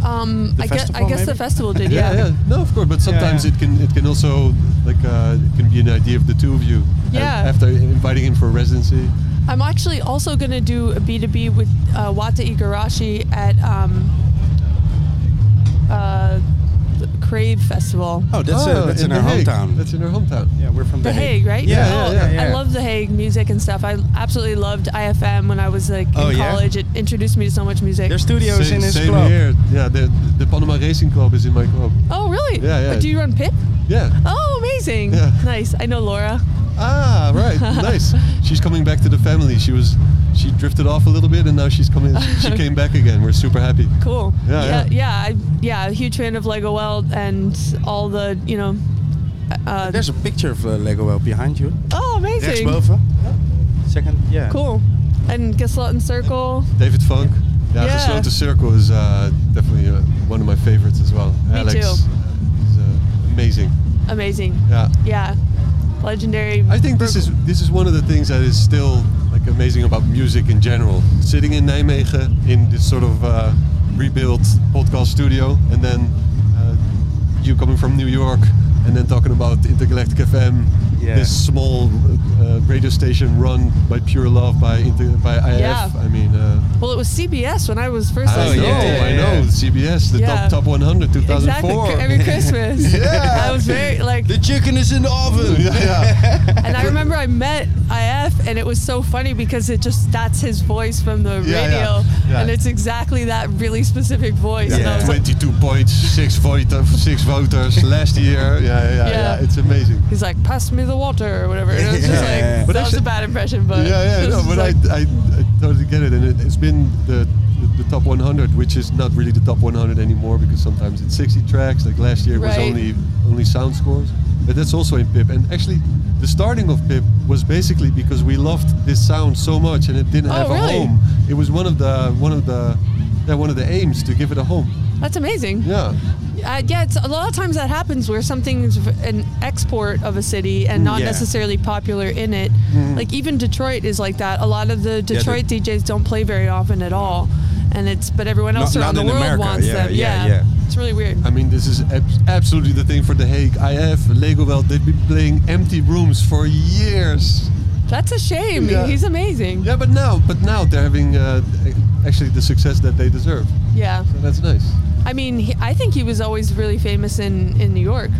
Speaker 13: Um,
Speaker 2: The
Speaker 13: I guess, I
Speaker 2: festival,
Speaker 13: guess the
Speaker 2: maybe?
Speaker 13: festival did,
Speaker 2: yeah,
Speaker 13: yeah.
Speaker 2: No, of course. But sometimes
Speaker 13: yeah.
Speaker 2: it can it can also like uh, it can be an idea of the two of you. And
Speaker 13: Yeah.
Speaker 2: After inviting him for residency.
Speaker 13: I'm actually also going to do a B2B with uh, Wata Igarashi at um, uh, the Crave Festival.
Speaker 1: Oh, that's uh, that's in,
Speaker 2: Ah, The
Speaker 1: our
Speaker 2: Hague.
Speaker 1: hometown.
Speaker 2: That's in our hometown.
Speaker 1: Yeah, we're from
Speaker 13: The Hague, right?
Speaker 1: Yeah,
Speaker 13: Oh,
Speaker 1: yeah, yeah,
Speaker 13: I
Speaker 1: yeah.
Speaker 13: love The Hague music and stuff. I absolutely loved IFM when I was like in
Speaker 2: Oh, yeah?
Speaker 13: college. It introduced me to so much music.
Speaker 2: Same- same Here. Yeah, the the Panama Racing Club is in my club.
Speaker 13: Oh, really?
Speaker 2: Yeah, yeah.
Speaker 13: Do you run pit?
Speaker 2: Yeah.
Speaker 13: Oh, amazing.
Speaker 2: Yeah.
Speaker 13: Nice. I know Laura.
Speaker 2: Ah, right. nice. She's coming back to the family. She was she drifted off a little bit and now she's coming she came back again. We're super happy.
Speaker 13: Cool.
Speaker 2: Yeah,
Speaker 13: Yeah.
Speaker 2: yeah.
Speaker 13: Yeah. I, yeah a huge fan of Lego Weld and all the you know. Uh,
Speaker 1: There's a picture of uh, Lego Well behind you.
Speaker 13: oh, amazing.
Speaker 1: Rechtsboven. Second, yeah.
Speaker 13: Cool. And Gesloten Circle.
Speaker 2: David Funk. Yeah,
Speaker 13: Yeah.
Speaker 2: Gesloten Circle is uh, definitely uh, one of my favorites as well.
Speaker 13: Me
Speaker 2: Alex
Speaker 13: too.
Speaker 2: is uh, amazing.
Speaker 13: Amazing.
Speaker 2: Yeah.
Speaker 13: Yeah. Legendary.
Speaker 2: I think this is this is one of the things that is still like amazing about music in general. Sitting in Nijmegen in this sort of uh, rebuilt podcast studio, and then uh, you coming from New York, and then talking about Intergalactic FM,
Speaker 1: Yeah.
Speaker 2: this small uh, radio station run by pure love by Inter- by IF.
Speaker 13: Yeah.
Speaker 2: I mean. Uh,
Speaker 13: Well, it was CBS when I was first.
Speaker 2: I know,
Speaker 13: listening to it.
Speaker 2: I know. CBS, the
Speaker 13: Yeah.
Speaker 2: top top 100, 2004.
Speaker 13: Exactly. Every Christmas.
Speaker 2: yeah.
Speaker 13: I was very like.
Speaker 2: The chicken is in the oven.
Speaker 13: And I remember I met IF, and it was so funny because it just that's his voice from the
Speaker 2: Yeah,
Speaker 13: radio,
Speaker 2: yeah, yeah.
Speaker 13: and it's exactly that really specific voice. And I
Speaker 2: Yeah.
Speaker 13: was like,
Speaker 2: 22 points, six, vote, six voters last year. Yeah, yeah, yeah,
Speaker 13: Yeah.
Speaker 2: It's amazing.
Speaker 13: he's like, pass me the water or whatever. And it was just like
Speaker 2: Yeah.
Speaker 13: that
Speaker 2: But
Speaker 13: was a
Speaker 2: actually-
Speaker 13: bad impression, but
Speaker 2: yeah, yeah.
Speaker 13: it was
Speaker 2: No,
Speaker 13: just
Speaker 2: but
Speaker 13: like,
Speaker 2: I, I, I totally get it, and it, it's been the, the the top 100, which is not really the top 100 anymore because sometimes it's 60 tracks. Like last year, it was
Speaker 13: Right.
Speaker 2: only only sound scores, but that's also in PIP. And actually, the starting of PIP was basically because we loved this sound so much, and it didn't
Speaker 13: Oh,
Speaker 2: have
Speaker 13: really?
Speaker 2: a home. It was one of the one of the yeah, one of the aims to give it a home.
Speaker 13: that's amazing.
Speaker 2: Yeah.
Speaker 13: Uh, yeah, it's, a lot of times that happens where something's v- an export of a city and
Speaker 12: Mm.
Speaker 13: not
Speaker 12: Yeah.
Speaker 13: necessarily popular in it.
Speaker 2: Mm-hmm.
Speaker 12: Mm.
Speaker 13: Like even Detroit is like that. A lot of the
Speaker 12: the-
Speaker 13: Detroit DJs don't play very often at all, and it's but everyone else
Speaker 2: Not-
Speaker 13: around
Speaker 2: not
Speaker 13: the
Speaker 2: in
Speaker 13: world
Speaker 2: America.
Speaker 13: wants
Speaker 2: Yeah,
Speaker 13: them.
Speaker 2: yeah,
Speaker 13: yeah,
Speaker 2: yeah.
Speaker 13: it's really weird.
Speaker 2: I mean, this is ab- absolutely the thing for The Hague. IF, Lego Well, they've been playing empty rooms for years.
Speaker 13: That's a shame.
Speaker 2: Yeah.
Speaker 13: He's amazing.
Speaker 2: Yeah, but now, but now they're having uh, actually the success that they deserve.
Speaker 13: Yeah.
Speaker 2: So that's nice.
Speaker 13: I mean, he, I think he was always really famous in, in New York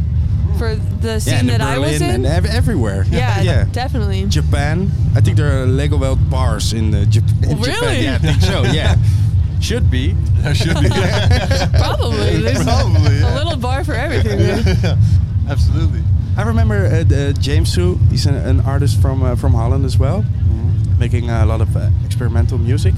Speaker 13: for the
Speaker 1: Yeah,
Speaker 13: scene
Speaker 1: and
Speaker 13: that I was in.
Speaker 1: and ev- everywhere.
Speaker 13: Yeah, definitely.
Speaker 1: Japan. I think there are Lego Weld bars in, the Jap- in Japan.
Speaker 13: Oh, Really?
Speaker 1: Yeah, I think so. Yeah, should be.
Speaker 2: There should be.
Speaker 13: Probably. There's
Speaker 2: Probably,
Speaker 13: a
Speaker 2: yeah.
Speaker 13: little bar for everything.
Speaker 2: Absolutely.
Speaker 1: I remember uh, the- James Hu. He's an, an artist from uh, from Holland as well, Mm. making a lot of uh, experimental music.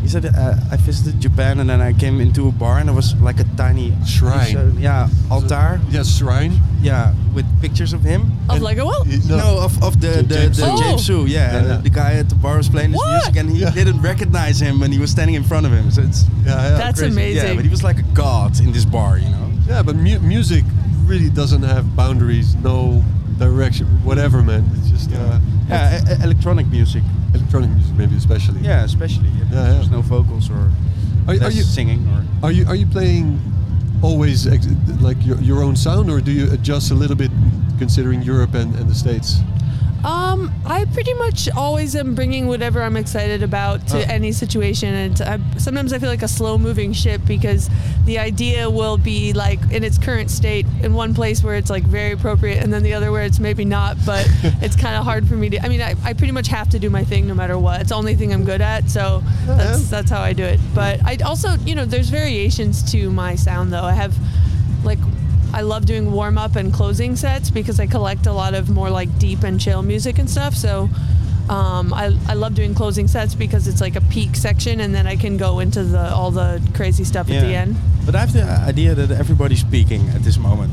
Speaker 1: He said, uh, "I visited Japan and then I came into a bar and there was like a tiny
Speaker 2: Shrine.
Speaker 1: uh, yeah, altar.
Speaker 2: Yeah, shrine.
Speaker 1: Yeah, with pictures of him.
Speaker 13: Of Lego Well?
Speaker 1: No, of, of the, the,
Speaker 2: James
Speaker 1: the
Speaker 2: Hu.
Speaker 1: James Hu, yeah.
Speaker 2: Yeah, yeah.
Speaker 1: The guy at the bar was playing his music and he didn't recognize him when he was standing in front of him. So it's
Speaker 2: Yeah, yeah.
Speaker 1: That's Crazy. amazing. Yeah, but he was like a god in this bar, you know.
Speaker 2: Yeah, but mu- music really doesn't have boundaries, no direction, whatever, man. It's just uh,
Speaker 1: Yeah, e- e- electronic music.
Speaker 2: Electronic music, maybe especially.
Speaker 1: Yeah, especially. if
Speaker 2: Yeah,
Speaker 1: There's
Speaker 2: yeah.
Speaker 1: no vocals or
Speaker 2: Are, you- are
Speaker 1: less
Speaker 2: you
Speaker 1: singing or
Speaker 2: Are you are you playing always ex- like your, your own sound, or do you adjust a little bit considering Europe and, and the States?
Speaker 13: Um, I pretty much always am bringing whatever I'm excited about to
Speaker 2: Oh.
Speaker 13: any situation, and I, sometimes I feel like a slow-moving ship because the idea will be like in its current state in one place where it's like very appropriate, and then the other where it's maybe not. But it's kind of hard for me to. I mean, I, I pretty much have to do my thing no matter what. It's the only thing I'm good at, so that's that's how I do it. But I also, you know, there's variations to my sound though. I have like I love doing warm up and closing sets because I collect a lot of more like deep and chill music and stuff. So um, I, I love doing closing sets because it's like a peak section and then I can go into the all the crazy stuff at the end.
Speaker 1: But I have the idea that everybody's speaking at this moment.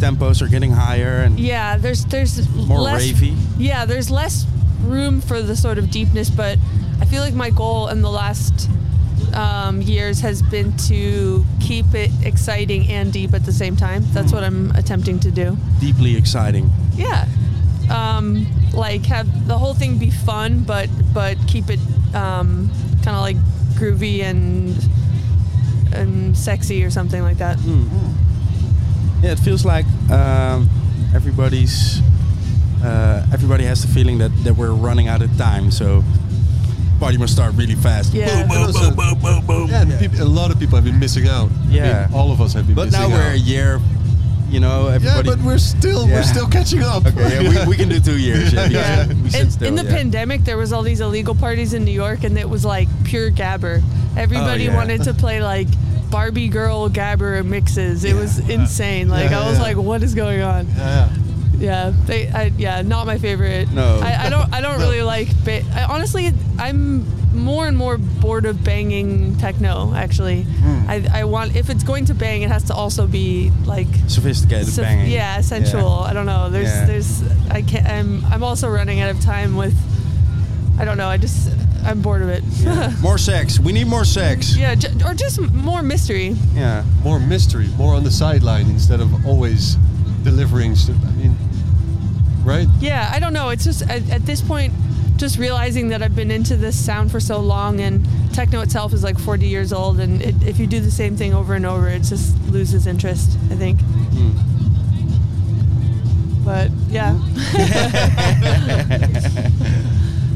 Speaker 1: tempos are getting higher and
Speaker 13: Yeah, there's there's
Speaker 1: More
Speaker 13: less,
Speaker 1: ravey.
Speaker 13: Yeah, there's less room for the sort of deepness, but I feel like my goal in the last um, years has been to keep it exciting and deep at the same time. That's
Speaker 1: Hmm.
Speaker 13: what I'm attempting to do.
Speaker 1: deeply exciting.
Speaker 13: Yeah, um, like have the whole thing be fun, but but keep it um, kind of like groovy and and sexy or something like that.
Speaker 1: Hmm. Yeah, it feels like um, everybody's uh, everybody has the feeling that, that we're running out of time, so party must start really fast.
Speaker 13: Yeah.
Speaker 1: Boom, boom, boom, boom, boom, boom.
Speaker 2: Yeah, and peop- a lot of people have been missing out. I mean,
Speaker 1: Yeah.
Speaker 2: all of us have been
Speaker 1: But
Speaker 2: missing
Speaker 1: now
Speaker 2: out.
Speaker 1: we're a year, you know, everybody.
Speaker 2: but we're still- we're still catching up.
Speaker 1: Okay, yeah, we, we can do two years. Yeah,
Speaker 2: Yeah.
Speaker 1: We sit
Speaker 13: in,
Speaker 1: still,
Speaker 13: in the
Speaker 1: yeah.
Speaker 13: pandemic, there was all these illegal parties in New York, and it was like pure gabber. Everybody
Speaker 1: yeah.
Speaker 13: wanted to play like Barbie girl gabber mixes. It was insane. Like
Speaker 1: Yeah,
Speaker 13: I was
Speaker 1: yeah.
Speaker 13: like, what is going on?
Speaker 2: Yeah,
Speaker 13: yeah. They, I, yeah, not my favorite.
Speaker 1: No.
Speaker 13: I, I don't. I don't really like. Ba- I, honestly, I'm more and more bored of banging techno. Actually,
Speaker 1: Hmm.
Speaker 13: I, I want if it's going to bang, it has to also be like
Speaker 1: Sophisticated
Speaker 13: Soph-
Speaker 1: banging.
Speaker 13: Yeah, sensual. I don't know. There's
Speaker 1: Yeah.
Speaker 13: there's I can't. I'm I'm also running out of time with. I don't know. I just I'm bored of it. Yeah,
Speaker 1: More sex. We need more sex.
Speaker 13: ju- or just more mystery.
Speaker 1: Yeah.
Speaker 2: More mystery, more on the sideline instead of always delivering. St- I mean, right?
Speaker 13: Yeah, I don't know. It's just at, at this point, just realizing that I've been into this sound for so long, and techno itself is like 40 years old, and it, if you do the same thing over and over, it just loses interest. I think. But yeah.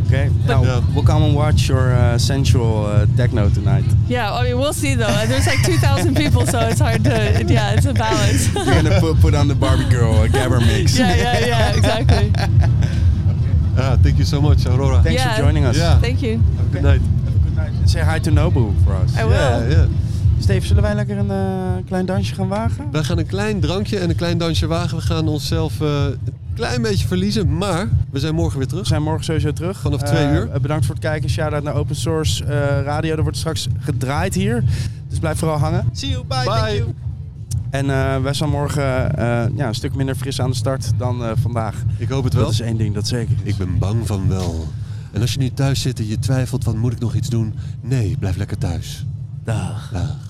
Speaker 1: okay. Now, we'll come and watch your uh, sensual uh, techno tonight.
Speaker 13: Yeah, I mean, we'll see though. There's like 2,000 people, so it's hard to. Yeah, it's a balance.
Speaker 1: You're gonna put put on the Barbie girl uh, gabber mix.
Speaker 13: yeah, yeah, yeah, exactly.
Speaker 2: Ah, thank you so much, Aurora.
Speaker 1: Thanks for joining us.
Speaker 2: Yeah.
Speaker 13: Thank you.
Speaker 2: Good night.
Speaker 1: Say hi to Nobu for us.
Speaker 13: I will.
Speaker 2: Yeah, yeah.
Speaker 1: Steve, zullen wij lekker een eh, klein dansje gaan wagen?
Speaker 2: Wij gaan een klein drankje en een klein dansje wagen. We gaan onszelf eh, een klein beetje verliezen, maar we zijn morgen weer terug. We
Speaker 1: zijn morgen sowieso terug.
Speaker 2: Vanaf twee
Speaker 1: Eh,
Speaker 2: uur.
Speaker 1: eh, bedankt voor het kijken. Shout-out naar Open Source eh, Radio. Er wordt straks gedraaid hier. Dus blijf vooral hangen. See you, bye, thank you. En eh, wij zijn morgen eh, ja, een stuk minder fris aan de start dan eh, vandaag.
Speaker 2: Ik hoop het wel.
Speaker 1: Dat is één ding, dat dus. zeker is.
Speaker 2: Ik ben bang van wel. En als je nu thuis zit en je twijfelt van moet ik nog iets doen? Nee, blijf lekker thuis.
Speaker 1: Dag.
Speaker 2: Dag.